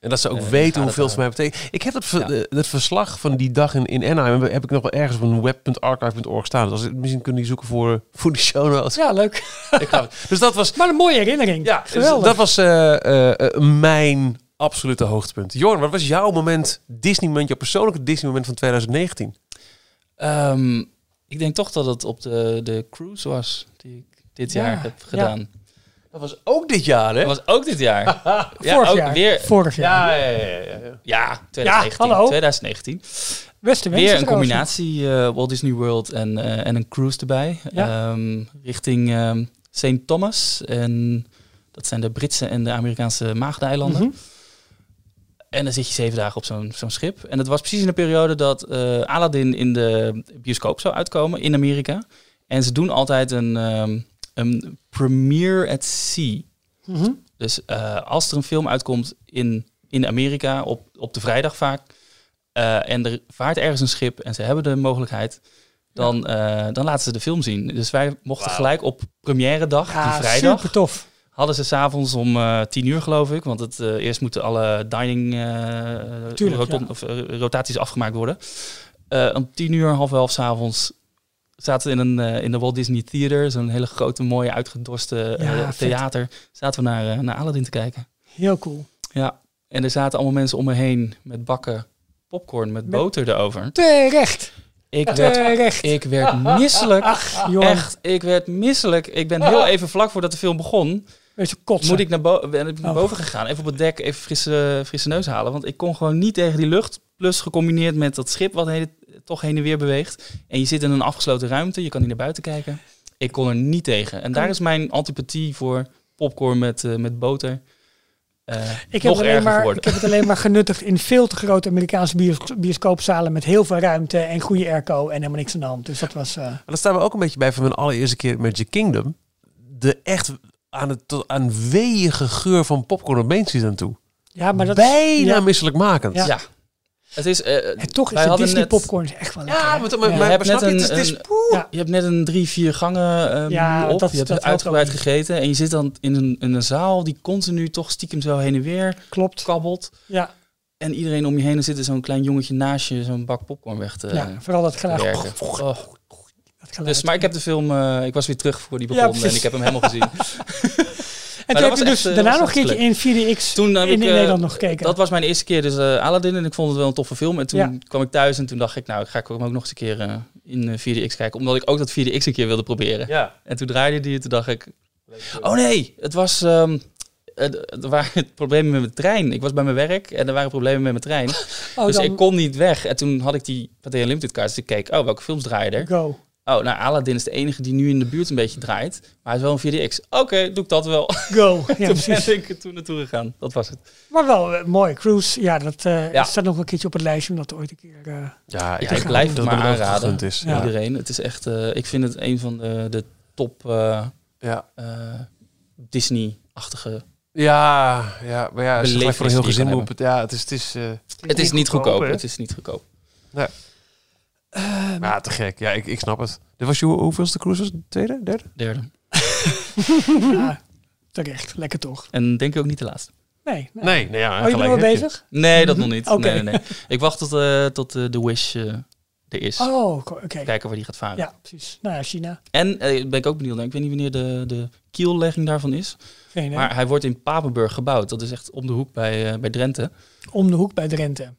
Speaker 1: En dat ze ook
Speaker 2: Eh,
Speaker 1: weten
Speaker 2: gaat
Speaker 1: hoeveel
Speaker 2: het
Speaker 1: het voor mij betekent. Ik heb dat, ver-
Speaker 2: Ja.
Speaker 1: eh, dat verslag van die dag in, in Anaheim heb ik nog wel ergens op een web.archive.org staan. Dus als- misschien kunnen die zoeken voor, voor die show notes.
Speaker 3: Ja, leuk.
Speaker 1: Ik geloof het. dus dat was
Speaker 3: Maar een mooie herinnering.
Speaker 1: Ja,
Speaker 3: Ja,
Speaker 1: dus
Speaker 3: geweldig.
Speaker 1: dat was eh, eh, eh, mijn absolute hoogtepunt. Jorn, wat was jouw moment, Disney moment, jouw persoonlijke Disney moment van 2019?
Speaker 2: Ehm, ik denk toch dat het op de, de cruise was die ik dit
Speaker 3: Ja,
Speaker 2: jaar heb
Speaker 3: ja.
Speaker 2: gedaan.
Speaker 1: Dat was ook dit jaar, hè?
Speaker 2: Dat was ook dit jaar.
Speaker 3: [LAUGHS]
Speaker 2: ja,
Speaker 3: Vorig
Speaker 2: ook
Speaker 3: jaar.
Speaker 2: weer.
Speaker 3: Vorig jaar.
Speaker 1: ja, ja, ja, ja, ja.
Speaker 2: Ja, 2019.
Speaker 3: hallo.
Speaker 2: 2019.
Speaker 3: Beste wensen
Speaker 2: Weer een
Speaker 3: trouwens.
Speaker 2: combinatie eh, Walt Disney World en, eh, en een cruise erbij.
Speaker 3: Ja.
Speaker 2: Ehm, richting ehm St. Thomas. En dat zijn de Britse en de Amerikaanse maagdeilanden.
Speaker 3: Mhm.
Speaker 2: En dan zit je zeven dagen op zo'n zo'n schip. En dat was precies in de periode dat eh Aladdin in de bioscoop zou uitkomen in Amerika. En ze doen altijd een, ehm, een premiere at sea.
Speaker 3: Mhm.
Speaker 2: Dus eh, als er een film uitkomt in, in Amerika, op, op de vrijdag vaak, eh, en er vaart ergens een schip en ze hebben de mogelijkheid, dan, eh, dan laten ze de film zien. Dus wij mochten gelijk op première dag,
Speaker 3: Ja,
Speaker 2: die vrijdag,
Speaker 3: super tof.
Speaker 2: hadden ze s'avonds om eh tien uur geloof ik, want het, eh, eerst moeten alle dining eh,
Speaker 3: Tuurlijk,
Speaker 2: roton-
Speaker 3: ja.
Speaker 2: of, eh, rotaties afgemaakt worden. Eh, om tien uur, half elf s'avonds zaten we in, een, eh, in de Walt Disney Theater, zo'n hele grote mooie uitgedorste eh,
Speaker 3: Ja, vet.
Speaker 2: theater, zaten we naar, eh, naar Aladdin te kijken.
Speaker 3: Heel cool.
Speaker 2: Ja, en er zaten allemaal mensen om me heen met bakken popcorn met,
Speaker 3: Met- eh,
Speaker 2: boter erover.
Speaker 3: Terecht.
Speaker 2: Ik werd,
Speaker 3: Terecht.
Speaker 2: ik werd
Speaker 3: [LAUGHS]
Speaker 2: misselijk.
Speaker 3: Johan,
Speaker 2: Echt, ik werd misselijk. Ik
Speaker 3: [LAUGHS]
Speaker 2: ben heel even vlak voordat de film begon,
Speaker 3: weet je, kotsen.
Speaker 2: moet ik naar, bo- ben ik naar
Speaker 3: Oh.
Speaker 2: boven gegaan. Even op het dek, even frisse, frisse neus halen. Want ik kon gewoon niet tegen die lucht. Plus gecombineerd met dat schip wat heen- toch heen en weer beweegt. En je zit in een afgesloten ruimte, je kan niet naar buiten kijken. Ik kon er niet tegen. En daar is mijn antipathie voor popcorn met, eh, met boter eh, nog
Speaker 3: Ik heb, het alleen
Speaker 2: erger
Speaker 3: maar,
Speaker 2: geworden.
Speaker 3: ik heb het alleen maar genuttigd in veel te grote Amerikaanse bios- bioscoopzalen met heel veel ruimte en goede airco en helemaal niks aan de hand. Dus dat was... eh,
Speaker 1: En dat staan we ook een beetje bij van mijn allereerste keer met Magic Kingdom. De echt aan het tot aan weeige geur van popcorn op Main Street aan toe.
Speaker 3: ja, maar dat
Speaker 1: Bijna
Speaker 3: ja.
Speaker 1: misselijkmakend.
Speaker 3: Ja.
Speaker 2: Ja. Het is, eh,
Speaker 3: En toch
Speaker 2: Wij
Speaker 3: is de
Speaker 2: hadden
Speaker 3: Disney
Speaker 2: net-
Speaker 3: popcorn is echt wel lekker.
Speaker 1: Ja,
Speaker 3: hè?
Speaker 1: maar, maar,
Speaker 3: Ja.
Speaker 1: maar,
Speaker 2: Je hebt
Speaker 1: snap je?
Speaker 2: net
Speaker 1: Het is, het is
Speaker 2: een-
Speaker 1: poeh.
Speaker 3: Ja.
Speaker 2: je hebt net een drie, vier gangen eh,
Speaker 3: Ja,
Speaker 2: menu op.
Speaker 3: dat-
Speaker 2: je hebt
Speaker 3: dat
Speaker 2: het
Speaker 3: helpt
Speaker 2: uitgebreid
Speaker 3: ook niet.
Speaker 2: gegeten. En je zit dan in een, in een zaal die continu toch stiekem zo heen en weer
Speaker 3: Klopt.
Speaker 2: kabbelt.
Speaker 3: Ja,
Speaker 2: En iedereen om je heen en zit er zo'n klein jongetje naast je zo'n bak popcorn weg te,
Speaker 3: ja, vooral dat
Speaker 2: te
Speaker 3: geluid.
Speaker 2: werken. Oh.
Speaker 3: Dat geluid.
Speaker 2: Dus, maar ik heb de film, eh, ik was weer terug voor die
Speaker 3: Ja,
Speaker 2: begon en
Speaker 3: precies.
Speaker 2: ik heb hem helemaal
Speaker 3: [LAUGHS]
Speaker 2: gezien.
Speaker 3: en
Speaker 2: dat
Speaker 3: toen heb
Speaker 2: was
Speaker 3: je
Speaker 2: echt,
Speaker 3: dus
Speaker 2: eh,
Speaker 3: daarna
Speaker 2: was
Speaker 3: nog een keertje in 4DX
Speaker 2: Toen heb
Speaker 3: in,
Speaker 2: ik,
Speaker 3: in
Speaker 2: eh,
Speaker 3: Nederland nog gekeken.
Speaker 2: Dat was mijn eerste keer, dus eh Aladdin. En ik vond het wel een toffe film. En toen
Speaker 3: Ja.
Speaker 2: kwam ik thuis en toen dacht ik, nou, ik ga ik hem ook nog eens een keer eh, in eh, 4DX kijken. Omdat ik ook dat 4DX een keer wilde proberen.
Speaker 1: Ja.
Speaker 2: En toen draaide die en toen dacht ik... Oh nee, het was... ehm, het- er waren [LAUGHS] problemen met mijn trein. Ik was bij mijn werk en er waren problemen met mijn trein.
Speaker 3: oh,
Speaker 2: dus
Speaker 3: dan
Speaker 2: ik kon niet weg. En toen had ik die Pathé Unlimited kaart. Dus ik keek, oh, welke films draaien er?
Speaker 3: Go.
Speaker 2: Oh, nou, Aladdin is de enige die nu in de buurt een beetje draait. Maar hij is wel een 4DX. Oké, doe ik dat wel.
Speaker 3: Go. Ja,
Speaker 2: [LAUGHS] toen
Speaker 3: precies.
Speaker 2: ben ik er toen naartoe gegaan. Dat was het.
Speaker 3: Maar wel eh, mooi. Cruise, ja, dat eh,
Speaker 2: Ja.
Speaker 3: staat nog een keertje op het lijstje. Omdat ooit een keer... eh,
Speaker 1: Ja,
Speaker 2: Ja,
Speaker 1: denk
Speaker 2: ik blijf
Speaker 1: dat
Speaker 2: het maar
Speaker 1: beloofd gegund
Speaker 2: aanraden.
Speaker 1: Is.
Speaker 3: Ja.
Speaker 1: Ja.
Speaker 2: Iedereen. Het is echt, eh, ik vind het een van de, de top eh,
Speaker 1: Ja.
Speaker 2: eh, Disney-achtige.
Speaker 1: Ja, ja, maar ja, als je het gelijk voor een heel
Speaker 2: Belevenis die
Speaker 1: gezin
Speaker 2: je kan
Speaker 1: moet... bet- Ja, het is... Het is, eh,
Speaker 2: Het is niet goedkoop.
Speaker 1: hè?
Speaker 2: Het is niet goedkoop.
Speaker 1: Ja, te gek. Ja, ik, ik snap het. Dit was je hoe- hoeveelste cruise? Was het? Tweede? Derde?
Speaker 2: Derde. Mhm.
Speaker 3: ja, terecht. Lekker toch?
Speaker 2: En denk ik ook niet de laatste.
Speaker 3: Nee. nee.
Speaker 1: Nee, nee ja,
Speaker 3: oh, je bent
Speaker 1: gelijk
Speaker 3: al
Speaker 1: heb je.
Speaker 3: bezig?
Speaker 2: Nee, dat nog niet.
Speaker 3: Mhm. Oké.
Speaker 2: Nee, nee, nee. Ik wacht tot, eh, tot eh, de Wish eh, er is.
Speaker 3: Oh, ko- oké.
Speaker 2: Kijken waar die gaat varen.
Speaker 3: Ja, precies. Nou ja, China.
Speaker 2: En eh, ben ik ook benieuwd naar. Ik weet niet wanneer de, de kiellegging daarvan is.
Speaker 3: Geen, idee.
Speaker 2: Maar hij wordt in Papenburg gebouwd. Dat is echt om de hoek bij, eh, bij Drenthe.
Speaker 3: Om de hoek bij Drenthe.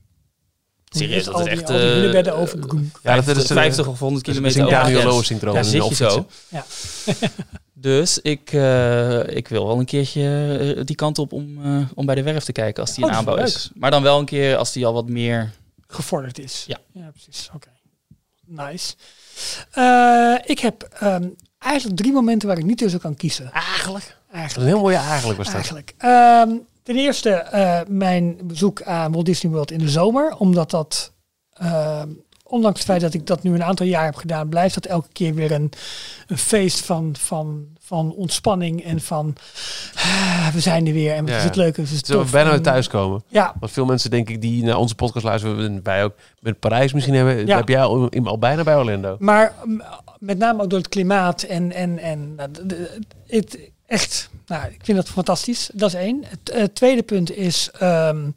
Speaker 2: Serieus, dat
Speaker 3: Al
Speaker 2: is
Speaker 3: die-
Speaker 2: echt...
Speaker 3: Al die
Speaker 2: eh,
Speaker 3: hunebedden over. Groenk.
Speaker 1: Ja, dat is
Speaker 2: 50 of 100 kilometer
Speaker 1: een
Speaker 2: over de grens.
Speaker 1: Daniel-syndroom.
Speaker 2: Daar zit je zo.
Speaker 3: Ja.
Speaker 2: [LAUGHS] dus ik, eh, ik wil wel een keertje eh, die kant op om, eh, om bij de werf te kijken als die
Speaker 3: Oh,
Speaker 2: in aanbouw
Speaker 3: leuk.
Speaker 2: is. Maar dan wel een keer als die al wat meer...
Speaker 3: gevorderd is.
Speaker 2: Ja.
Speaker 3: Ja, precies. Oké. Nice. Eh, ik heb ehm, eigenlijk drie momenten waar ik niet tussen kan kiezen.
Speaker 1: Eigenlijk. Dat is een
Speaker 3: Eigenlijk.
Speaker 1: heel mooie eigenlijk was dat.
Speaker 3: eigenlijk. Ehm, ten eerste eh, mijn bezoek aan Walt Disney World in de zomer. Omdat dat, ehm, ondanks het feit dat ik dat nu een aantal jaar heb gedaan, blijft dat elke keer weer een, een feest van, van, van ontspanning en van ah, we zijn er weer en wat
Speaker 1: Ja.
Speaker 3: is het leuk en wat is het
Speaker 1: Zullen we
Speaker 3: tof.
Speaker 1: bijna weer
Speaker 3: En-
Speaker 1: thuiskomen?
Speaker 3: Ja,
Speaker 1: Want veel mensen, denk ik, die naar onze podcast luisteren, en wij ook met Parijs misschien hebben,
Speaker 3: Ja.
Speaker 1: heb jij al, al bijna bij Orlando.
Speaker 3: Maar mm, met name ook door het klimaat en, en, en nou, de- de- het, echt, nou, ik vind dat fantastisch. Dat is één. Het eh, tweede punt is ehm,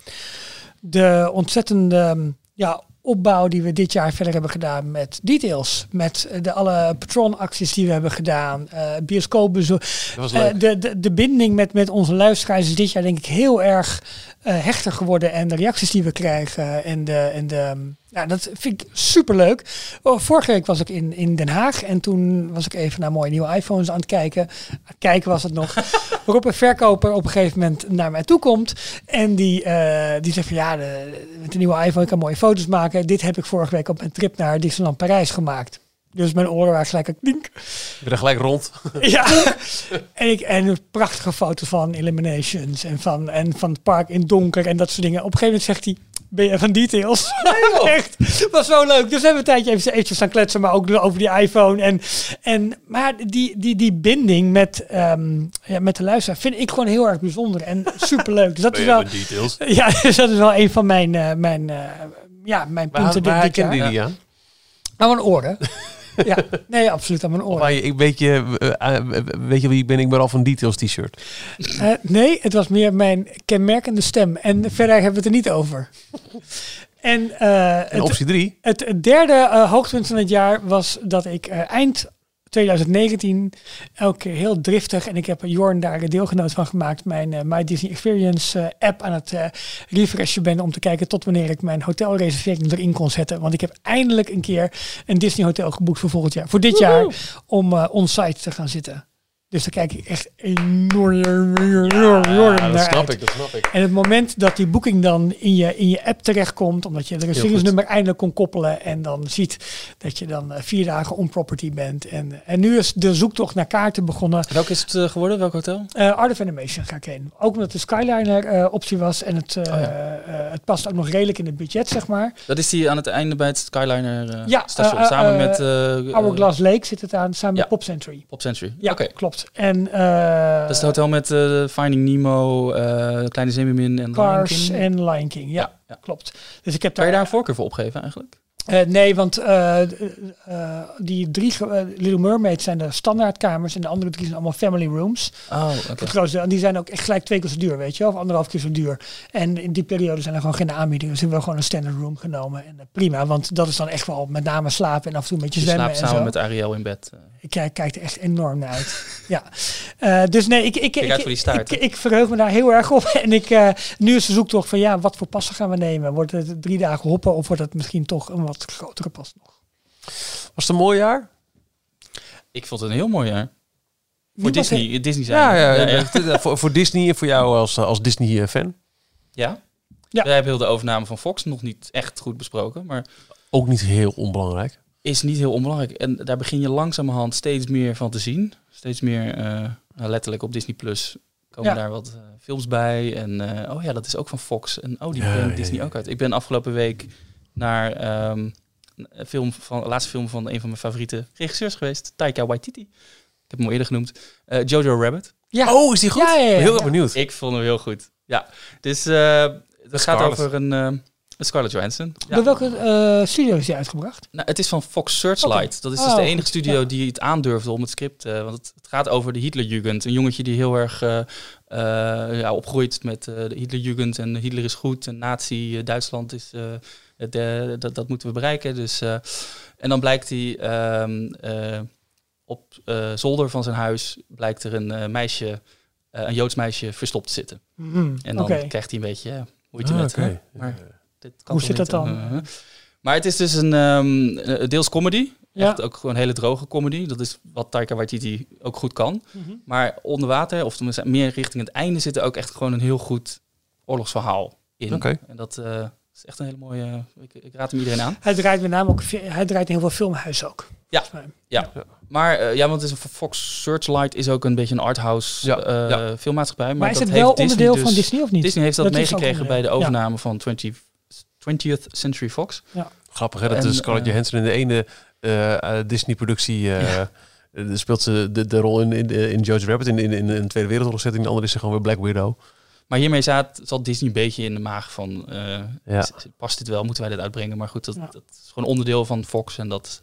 Speaker 3: de ontzettende mm, ja, opbouw die we dit jaar verder hebben gedaan met details. Met eh, de alle patronacties die we hebben gedaan, eh bioscoopbezoek.
Speaker 1: Dat was
Speaker 3: Eh,
Speaker 1: leuk.
Speaker 3: de, de, de binding met, met onze luisteraars is dit jaar denk ik heel erg eh, hechter geworden. En de reacties die we krijgen. En de, en de, ja, dat vind ik superleuk. Oh, Vorige week was ik in, in Den Haag. En toen was ik even naar mooie nieuwe iPhones aan het kijken. Aan het kijken was het nog. Waarop een verkoper op een gegeven moment naar mij toe komt. En die, eh, die zegt van ja, de, met de nieuwe iPhone kan ik mooie foto's maken. Dit heb ik vorige week op mijn trip naar Disneyland Parijs gemaakt. Dus mijn oren waren gelijk een klink.
Speaker 1: Ik ben er gelijk rond.
Speaker 3: [LAUGHS] Ja, en, ik, en een prachtige foto van Eliminations en van, en van het park in het donker en dat soort dingen. Op een gegeven moment zegt hij, ben je
Speaker 1: [LAUGHS]
Speaker 3: van details? [LAUGHS] Echt, was zo leuk. Dus we hebben een tijdje even, eventjes gaan kletsen, maar ook over die iPhone. En, en, maar die, die, die binding met, ehm, ja, met de luisteraar vind ik gewoon heel erg
Speaker 1: [LAUGHS]
Speaker 3: bijzonder en superleuk. Dus dat is wel,
Speaker 1: details.
Speaker 3: ja, [LAUGHS] dus dat is wel een van mijn, eh, mijn, eh, ja, mijn
Speaker 1: Waar,
Speaker 3: punten
Speaker 1: waar
Speaker 3: dit, dit
Speaker 1: herkende
Speaker 3: jaar.
Speaker 1: je die aan?
Speaker 3: Aan mijn oren. [LAUGHS] ja, nee, absoluut aan mijn oren.
Speaker 1: Waar je, ik weet, je, eh, eh, weet je wie ik ben? Ik ben al van details t-shirt.
Speaker 3: Eh, nee, het was meer mijn kenmerkende stem. En verder hebben we het er niet over. En, eh,
Speaker 1: En
Speaker 3: het,
Speaker 1: optie 3.
Speaker 3: het derde eh, hoogtepunt van het jaar was dat ik eh, eind 2019 elke keer heel driftig, en ik heb Jorn daar een deelgenoot van gemaakt, mijn eh, My Disney Experience eh, app aan het eh, refreshen ben om te kijken tot wanneer ik mijn hotelreservering erin kon zetten. Want ik heb eindelijk een keer een Disney hotel geboekt voor volgend jaar, voor dit jaar, om eh onsite te gaan zitten. Dus daar kijk ik echt enorm, enorm, enorm naar uit.
Speaker 1: Ah, dat snap ik.
Speaker 3: En het moment dat die boeking dan in je, in je app terechtkomt, omdat je de reserveringsnummer eindelijk kon koppelen en dan ziet dat je dan eh, vier dagen on-property bent. En, eh, en nu is de zoektocht naar kaarten begonnen.
Speaker 2: Welk is het eh, geworden? Welk hotel?
Speaker 3: Eh, Art of Animation ga ik heen. Ook omdat de Skyliner eh, optie was en het, eh,
Speaker 2: Oh
Speaker 3: eh, het past ook nog redelijk in het budget, zeg maar.
Speaker 2: Dat is die aan het einde bij het Skyliner eh,
Speaker 3: Ja,
Speaker 2: station.
Speaker 3: eh, eh,
Speaker 2: samen
Speaker 3: eh,
Speaker 2: met eh,
Speaker 3: Hourglass Lake zit het aan, samen
Speaker 2: ja.
Speaker 3: met Pop Century.
Speaker 2: eh, Pop Century.
Speaker 3: Ja,
Speaker 2: Oké.
Speaker 3: klopt. En, eh,
Speaker 2: Dat is het hotel met eh, Finding Nemo, eh, Kleine Zeemeermin en Lion
Speaker 3: Cars
Speaker 2: King.
Speaker 3: en Lion King. Ja,
Speaker 2: ja.
Speaker 3: klopt. Dus ik heb
Speaker 2: Kan
Speaker 3: daar
Speaker 2: je daar een voorkeur voor opgeven eigenlijk?
Speaker 3: Eh, nee, want eh, eh, eh, die drie ge- eh, Little Mermaid zijn de standaardkamers en de andere drie zijn allemaal family rooms.
Speaker 2: Oh, oké.
Speaker 3: Het grootste deel. En die zijn ook echt gelijk twee keer zo duur, weet je, wel, of anderhalf keer zo duur. En in die periode zijn er gewoon geen aanbiedingen. Dus hebben we gewoon een standard room genomen en eh, prima, want dat is dan echt wel met name slapen en af en toe een beetje
Speaker 2: Je
Speaker 3: zwemmen
Speaker 2: slaapt
Speaker 3: en
Speaker 2: samen
Speaker 3: zo.
Speaker 2: met Ariel in bed. eh.
Speaker 3: Ik kijk, kijk er echt enorm naar uit. [LAUGHS] ja. Eh, dus nee, ik, ik,
Speaker 2: Kijk
Speaker 3: ik,
Speaker 2: uit voor die staart,
Speaker 3: ik,
Speaker 2: hè?
Speaker 3: ik verheug me daar heel erg op. [LAUGHS] En ik, eh, nu is de zoektocht van ja, wat voor passen gaan we nemen? Wordt het drie dagen hoppen of wordt het misschien toch een wat grotere pas nog?
Speaker 1: Was het een mooi jaar?
Speaker 2: Ik vond het een heel mooi jaar. Voor
Speaker 3: Niemand
Speaker 2: Disney.
Speaker 3: heeft-
Speaker 2: Disney zijn.
Speaker 1: Ja, ja,
Speaker 2: ja. ja.
Speaker 1: Voor, voor Disney en voor jou als, eh, als Disney-fan.
Speaker 2: Ja?
Speaker 3: Ja.
Speaker 2: Wij hebben heel de overname van Fox nog niet echt goed besproken. Maar
Speaker 1: Ook niet heel onbelangrijk.
Speaker 2: is niet heel onbelangrijk. En daar begin je langzamerhand steeds meer van te zien. Steeds meer, eh, nou, letterlijk op Disney Plus komen
Speaker 3: Ja.
Speaker 2: daar wat eh, films bij. En eh, oh ja, dat is ook van Fox. En oh, die
Speaker 1: Ja,
Speaker 2: brengt
Speaker 1: ja,
Speaker 2: Disney
Speaker 1: ja.
Speaker 2: ook uit. Ik ben afgelopen week naar ehm, een film van, de laatste film van een van mijn favoriete regisseurs geweest, Taika Waititi. Ik heb hem al eerder genoemd. Eh, Jojo Rabbit.
Speaker 3: Ja.
Speaker 1: Oh, is die goed?
Speaker 3: Ja, ja, ja,
Speaker 1: Heel erg
Speaker 3: ja.
Speaker 1: benieuwd.
Speaker 2: Ik vond hem heel goed. Ja, dus eh, het gaat
Speaker 1: Scarlett.
Speaker 2: over een ehm, een Scarlett Johansson. Ja.
Speaker 3: Door welke eh, studio is die uitgebracht?
Speaker 2: Nou, het is van Fox Searchlight.
Speaker 3: Oké.
Speaker 2: Dat is dus
Speaker 3: Oh,
Speaker 2: de
Speaker 3: goed.
Speaker 2: enige studio
Speaker 3: Ja.
Speaker 2: die het aandurfde om het script. eh, want het, het gaat over de Hitlerjugend. Een jongetje die heel erg eh, eh, ja, opgroeit met eh, de Hitlerjugend. En Hitler is goed. En nazi, eh, Duitsland is... eh, het, eh, dat, dat moeten we bereiken. Dus, eh, en dan blijkt hij... ehm, eh, op eh, zolder van zijn huis blijkt er een eh, meisje... eh, een Joods meisje verstopt te zitten.
Speaker 3: Mhm,
Speaker 2: En dan
Speaker 3: Oké.
Speaker 2: krijgt hij een beetje... ja, hoe heet je
Speaker 1: Ah,
Speaker 2: met, hè?
Speaker 1: oké.
Speaker 2: Maar dit kan
Speaker 3: Hoe
Speaker 2: toch
Speaker 3: zit
Speaker 2: niet,
Speaker 3: dat dan?
Speaker 2: eh, eh. maar het is dus een ehm, eh, deels comedy.
Speaker 3: Ja.
Speaker 2: Echt ook gewoon hele droge comedy. Dat is wat Taika Waititi ook goed kan.
Speaker 3: Mhm.
Speaker 2: Maar onder water, of tenminste meer richting het einde, zit er ook echt gewoon een heel goed oorlogsverhaal in.
Speaker 1: Oké.
Speaker 2: En dat eh, is echt een hele mooie... Ik, ik raad hem iedereen aan.
Speaker 3: Hij draait met name ook, hij draait in heel veel filmhuizen ook.
Speaker 2: Ja.
Speaker 3: volgens mij.
Speaker 2: Maar eh, ja, want het is een Fox Searchlight is ook een beetje een arthouse
Speaker 1: Ja,
Speaker 2: eh,
Speaker 1: ja.
Speaker 2: filmmaatschappij. Maar,
Speaker 3: Maar, is
Speaker 2: dat
Speaker 3: het wel
Speaker 2: heeft Disney
Speaker 3: onderdeel
Speaker 2: dus-
Speaker 3: van Disney of niet?
Speaker 2: Disney heeft dat,
Speaker 3: Dat is ook
Speaker 2: meegekregen bij de
Speaker 3: onderdeel, ja.
Speaker 2: overname van 20, 20th Century Fox.
Speaker 1: Grappig hè, dat
Speaker 2: En,
Speaker 1: de Scarlett
Speaker 2: eh,
Speaker 1: Johansson in de ene eh, eh, Disney-productie eh, eh, speelt ze de, de rol in, in, in Jojo Rabbit in, in, in een Tweede Wereldoorlog-setting. En de andere is ze gewoon weer Black Widow.
Speaker 2: Maar hiermee zat, zat Disney een beetje in de maag van... eh,
Speaker 1: Ja.
Speaker 2: s- Past dit wel? Moeten wij dit uitbrengen? Maar goed, dat,
Speaker 3: Ja.
Speaker 2: dat is gewoon onderdeel van Fox. En dat,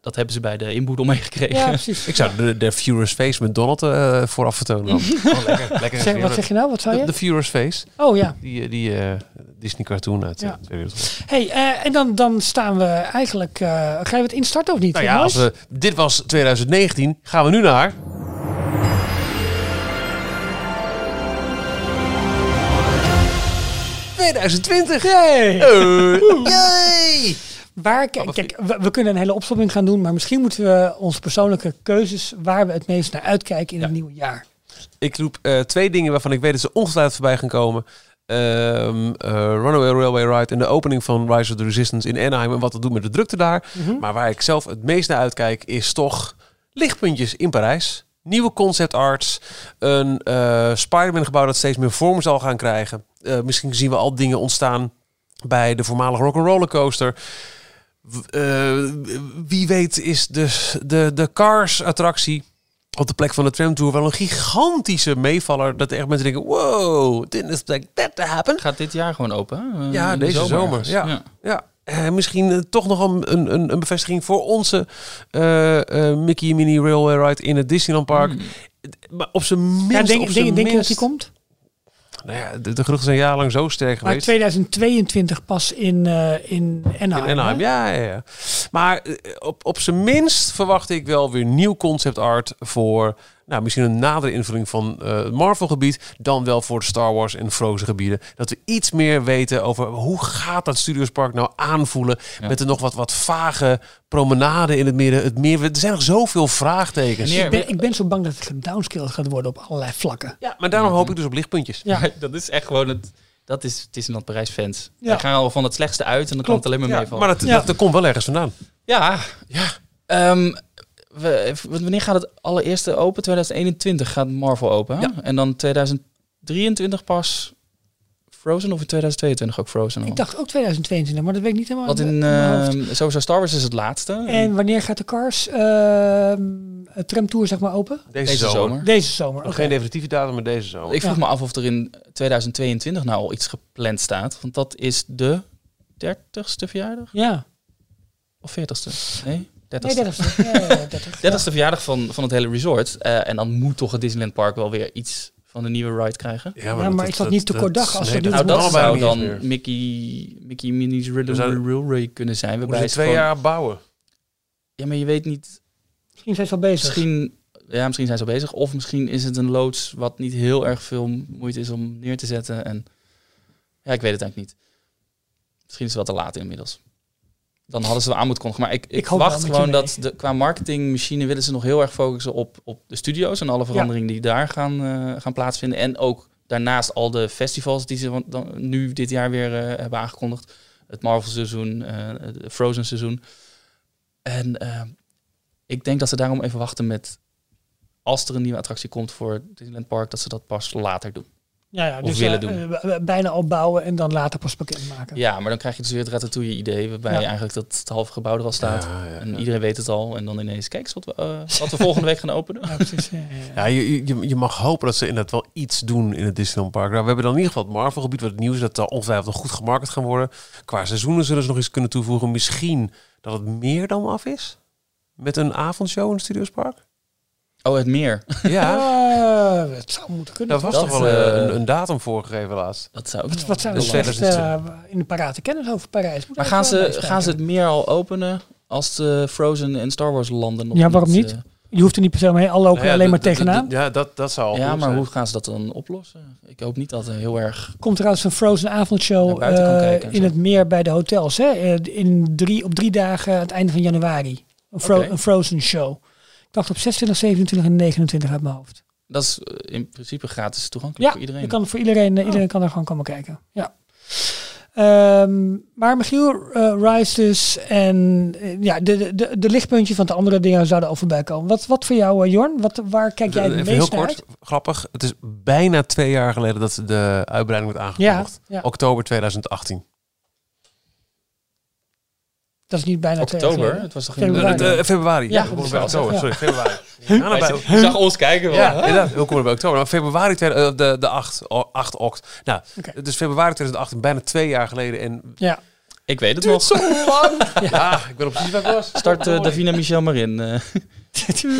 Speaker 2: dat hebben ze bij de inboedel [LAUGHS] meegekregen.
Speaker 3: Ja, precies.
Speaker 1: Ik zou de, de Furious Face met Donald eh, vooraf
Speaker 3: [LAUGHS]
Speaker 1: vertonen. dan. Oh, lekker, lekker.
Speaker 3: Zeg, wat zeg je nou? Wat zei
Speaker 1: de,
Speaker 3: je?
Speaker 1: de Furious Face,
Speaker 3: Oh ja.
Speaker 1: die, eh, die eh, Disney-cartoon uit eh,
Speaker 3: Ja.
Speaker 1: Tweede Wereldoorlog.
Speaker 3: Hey, eh, en dan, dan staan we eigenlijk... eh gaan we het instarten of niet?
Speaker 1: Nou ja, als we, dit was 2019. Gaan we nu naar... ...2020!
Speaker 3: Hey!
Speaker 1: Eh, yay!
Speaker 3: Waar, kijk, kijk, we, we kunnen een hele opsomming gaan doen, maar misschien moeten we onze persoonlijke keuzes waar we het meest naar uitkijken in het nieuwe jaar.
Speaker 1: Ik roep eh, twee dingen waarvan ik weet dat ze ongetwijfeld voorbij gaan komen. Ehm, eh, Runaway Railway Ride en de opening van Rise of the Resistance in Anaheim en wat dat doet met de drukte daar. Maar waar ik zelf het meest naar uitkijk is toch lichtpuntjes in Parijs. Nieuwe concept arts, een eh Spider-Man gebouw dat steeds meer vorm zal gaan krijgen. Eh, misschien zien we al dingen ontstaan bij de voormalige Rock'n'Roller Coaster. W- eh, wie weet is de, de, de Cars attractie op de plek van de tramtour wel een gigantische meevaller. Dat echt mensen denken, wow, didn't expect that to happen.
Speaker 2: Gaat dit jaar gewoon open? hè? Eh,
Speaker 1: Ja,
Speaker 2: in de
Speaker 1: deze zomer,
Speaker 2: ergens.
Speaker 1: ja.
Speaker 2: [LAUGHS]
Speaker 1: Ja, eh, misschien eh, toch nog een, een- een, een bevestiging voor onze eh, eh, Mickey en Minnie Railway Ride in het Disneyland Park.
Speaker 2: Hmm.
Speaker 1: Maar op zijn minst...
Speaker 3: Ja,
Speaker 1: op
Speaker 3: denk,
Speaker 1: zijn
Speaker 3: denk, denk je dat die
Speaker 1: minst-
Speaker 3: komt?
Speaker 1: Nou ja, de, de geruchten zijn jarenlang zo sterk
Speaker 3: Maar
Speaker 1: geweest.
Speaker 3: 2022 pas in, eh, in Anaheim.
Speaker 1: In Anaheim,
Speaker 3: hè?
Speaker 1: ja, ja, ja. Maar eh, op, op zijn minst verwacht ik wel weer nieuw concept art voor... Nou, misschien een nadere invulling van eh, het Marvel-gebied... dan wel voor de Star Wars en Frozen-gebieden. Dat we iets meer weten over hoe gaat dat Studiospark nou aanvoelen...
Speaker 2: Ja.
Speaker 1: met de nog wat, wat vage promenade in het midden. Het meer, er zijn nog zoveel vraagtekens.
Speaker 2: Wanneer-
Speaker 3: Dus Ik ben, ik ben zo bang dat het gedownscaled gaat worden op allerlei vlakken.
Speaker 1: Ja, maar daarom
Speaker 2: Mhm.
Speaker 1: hoop ik dus op lichtpuntjes.
Speaker 3: Ja.
Speaker 2: Maar dat is echt gewoon het... Dat is Disneyland Parijs fans.
Speaker 3: Ja.
Speaker 2: Die gaan al van het slechtste uit en dan kan
Speaker 1: Klopt,
Speaker 2: het alleen maar
Speaker 1: Ja,
Speaker 2: meevallen.
Speaker 1: maar dat,
Speaker 3: Ja.
Speaker 1: dat, dat komt wel ergens vandaan.
Speaker 2: Ja.
Speaker 1: Ja.
Speaker 2: Ehm, we, w- wanneer gaat het allereerste open? 2021 gaat Marvel open. hè? En dan 2023 pas Frozen of in 2022 ook Frozen? al?
Speaker 3: Ik dacht ook 2022, maar dat weet ik niet helemaal.
Speaker 2: Want in,
Speaker 3: uit mijn hoofd.
Speaker 2: ehm, sowieso Star Wars is het laatste.
Speaker 3: en wanneer gaat de Cars ehm tramtour zeg maar open?
Speaker 1: Deze,
Speaker 2: deze
Speaker 1: zomer.
Speaker 2: zomer.
Speaker 3: Deze zomer.
Speaker 1: Nog
Speaker 3: Oké.
Speaker 1: geen definitieve datum, maar deze zomer.
Speaker 2: Ik vroeg
Speaker 3: Ja.
Speaker 2: me af of er in 2022 nou al iets gepland staat. Want dat is de 30ste verjaardag?
Speaker 3: Ja.
Speaker 2: Of 40ste? Nee, 30ste.
Speaker 3: Nee, 30. Ja, ja, ja,
Speaker 2: [LAUGHS]
Speaker 3: 30.
Speaker 2: 30ste verjaardag van, van het hele resort. Eh, en dan moet toch het Disneyland Park wel weer iets van de nieuwe ride krijgen.
Speaker 3: Ja, maar is dat niet te kort dag als we dit
Speaker 2: Nou, dat
Speaker 3: allemaal
Speaker 2: zou
Speaker 1: allebei
Speaker 2: dan
Speaker 1: niet eens meer.
Speaker 2: Mickey, Mickey Minnie's
Speaker 1: We zouden-
Speaker 2: Riddle Railway kunnen zijn.
Speaker 1: We
Speaker 2: Waarbij
Speaker 1: moeten
Speaker 2: ze
Speaker 1: twee
Speaker 2: gewoon-
Speaker 1: jaar bouwen.
Speaker 2: Ja, maar je weet niet.
Speaker 3: Misschien zijn ze al bezig.
Speaker 2: Misschien, ja, misschien zijn ze al bezig. Of misschien is het een loods wat niet heel erg veel moeite is om neer te zetten. En ja, ik weet het eigenlijk niet. Misschien is het wel te laat inmiddels. Dan hadden ze wel aan moeten kondigen. Maar ik, ik,
Speaker 3: Ik hoop wel
Speaker 2: verwacht
Speaker 3: met je
Speaker 2: gewoon
Speaker 3: mee.
Speaker 2: dat de, qua marketingmachine willen ze nog heel erg focussen op, op de studio's en alle veranderingen die daar gaan, eh, gaan plaatsvinden. En ook daarnaast al de festivals die ze van- dan, nu dit jaar weer eh, hebben aangekondigd. Het Marvel seizoen, eh, het Frozen seizoen. En eh, ik denk dat ze daarom even wachten met... Als er een nieuwe attractie komt voor Disneyland Park, dat ze dat pas later doen.
Speaker 3: Ja, ja,
Speaker 2: Of
Speaker 3: dus
Speaker 2: willen
Speaker 3: eh,
Speaker 2: doen.
Speaker 3: eh, b- b- bijna opbouwen en dan later pas bekendmaken.
Speaker 2: Ja, maar dan krijg je dus weer het ratatouille-idee, waarbij
Speaker 3: Ja.
Speaker 2: eigenlijk dat het halve gebouw er al staat.
Speaker 1: Ja, ja,
Speaker 2: en iedereen weet het al. En dan ineens, kijk eens wat we, eh, wat we volgende week gaan openen.
Speaker 3: Ja, precies. ja, ja,
Speaker 1: Ja,
Speaker 3: ja.
Speaker 1: je, je, je mag hopen dat ze inderdaad wel iets doen in het Disneyland Park. Nou, we hebben dan in ieder geval het Marvel-gebied, wat het nieuws is dat daar ongetwijfeld nog goed gemarket gaan worden. Qua seizoenen zullen ze nog iets kunnen toevoegen. Misschien dat het meer dan af is? Met een avondshow in het Studios Park?
Speaker 2: [LAUGHS] Oh, het meer.
Speaker 1: Ja,
Speaker 3: Eh, het zou moeten kunnen.
Speaker 1: daar was
Speaker 2: Dat,
Speaker 1: toch wel eh,
Speaker 2: eh,
Speaker 1: een, een datum voor gegeven laatst.
Speaker 2: Dat zou
Speaker 3: Wat, wat zijn
Speaker 1: Dus
Speaker 3: we echt,
Speaker 1: 2020.
Speaker 3: eh, in de parate kennis over Parijs? Moet
Speaker 2: Maar
Speaker 3: er
Speaker 2: gaan
Speaker 3: even bij
Speaker 2: ze,
Speaker 3: staan.
Speaker 2: gaan ze het meer al openen als de Frozen en Star Wars landen? nog
Speaker 3: Ja, waarom niet?
Speaker 2: eh,
Speaker 3: Je hoeft er niet per se mee, al lopen
Speaker 1: Nou ja,
Speaker 3: alleen maar
Speaker 1: dat- dat-
Speaker 3: tegenaan.
Speaker 1: dat- Ja, dat, dat zou al
Speaker 2: ja,
Speaker 1: goed
Speaker 2: maar
Speaker 1: zijn.
Speaker 2: hoe gaan ze dat dan oplossen? Ik hoop niet dat er heel erg...
Speaker 3: Komt trouwens een Frozen avondshow
Speaker 2: Naar buiten kan
Speaker 3: eh,
Speaker 2: kijken en
Speaker 3: in
Speaker 2: zo.
Speaker 3: het meer bij de hotels. Hè? Eh, In drie, op drie dagen aan het einde van januari. Een, Fro-
Speaker 2: Oké.
Speaker 3: een Frozen show. Ik dacht op 26, 27 en 29 uit mijn hoofd.
Speaker 2: Dat is eh, in principe gratis toegankelijk
Speaker 3: Ja,
Speaker 2: voor iedereen. Oh.
Speaker 3: je kan voor iedereen, eh, iedereen kan er gewoon komen kijken. Ja. Ehm, maar Michiel, eh Rise dus en eh, ja, de, de, de, de lichtpuntje van de andere dingen zouden al voorbij komen. Wat, wat voor jou, eh, Jorn? Wat, waar kijk jij het
Speaker 1: Even
Speaker 3: meest
Speaker 1: heel
Speaker 3: naar
Speaker 1: kort,
Speaker 3: uit?
Speaker 1: grappig. Het is bijna twee jaar geleden dat de uitbreiding werd
Speaker 3: Ja,
Speaker 1: aangekondigd.
Speaker 3: ja,
Speaker 1: Oktober 2018.
Speaker 3: dat is niet bijna twee jaar
Speaker 2: Oktober?
Speaker 3: geleden.
Speaker 2: Het was toch
Speaker 1: Eh,
Speaker 3: Februari.
Speaker 2: in...
Speaker 1: het, eh, februari.
Speaker 2: Ja,
Speaker 1: we
Speaker 2: dat
Speaker 1: komen
Speaker 2: is
Speaker 1: bij
Speaker 2: wel
Speaker 1: oktober.
Speaker 3: zo,
Speaker 1: Sorry, februari. Ja,
Speaker 2: Hij
Speaker 1: nou, bij-
Speaker 2: zag- hij zag ons kijken. wel.
Speaker 1: Ja, inderdaad. Heel cool bij oktober. Maar februari, twee- eh, de, de 8, 8 okt. Nou,
Speaker 3: Oké.
Speaker 1: het is februari 2018, bijna twee jaar geleden. En
Speaker 3: Ja.
Speaker 2: Ik weet het nog.
Speaker 1: ja. ik ben op precies waar ik was.
Speaker 2: [LAUGHS] Start eh, Davina Michel Marin. eh.
Speaker 3: [LAUGHS]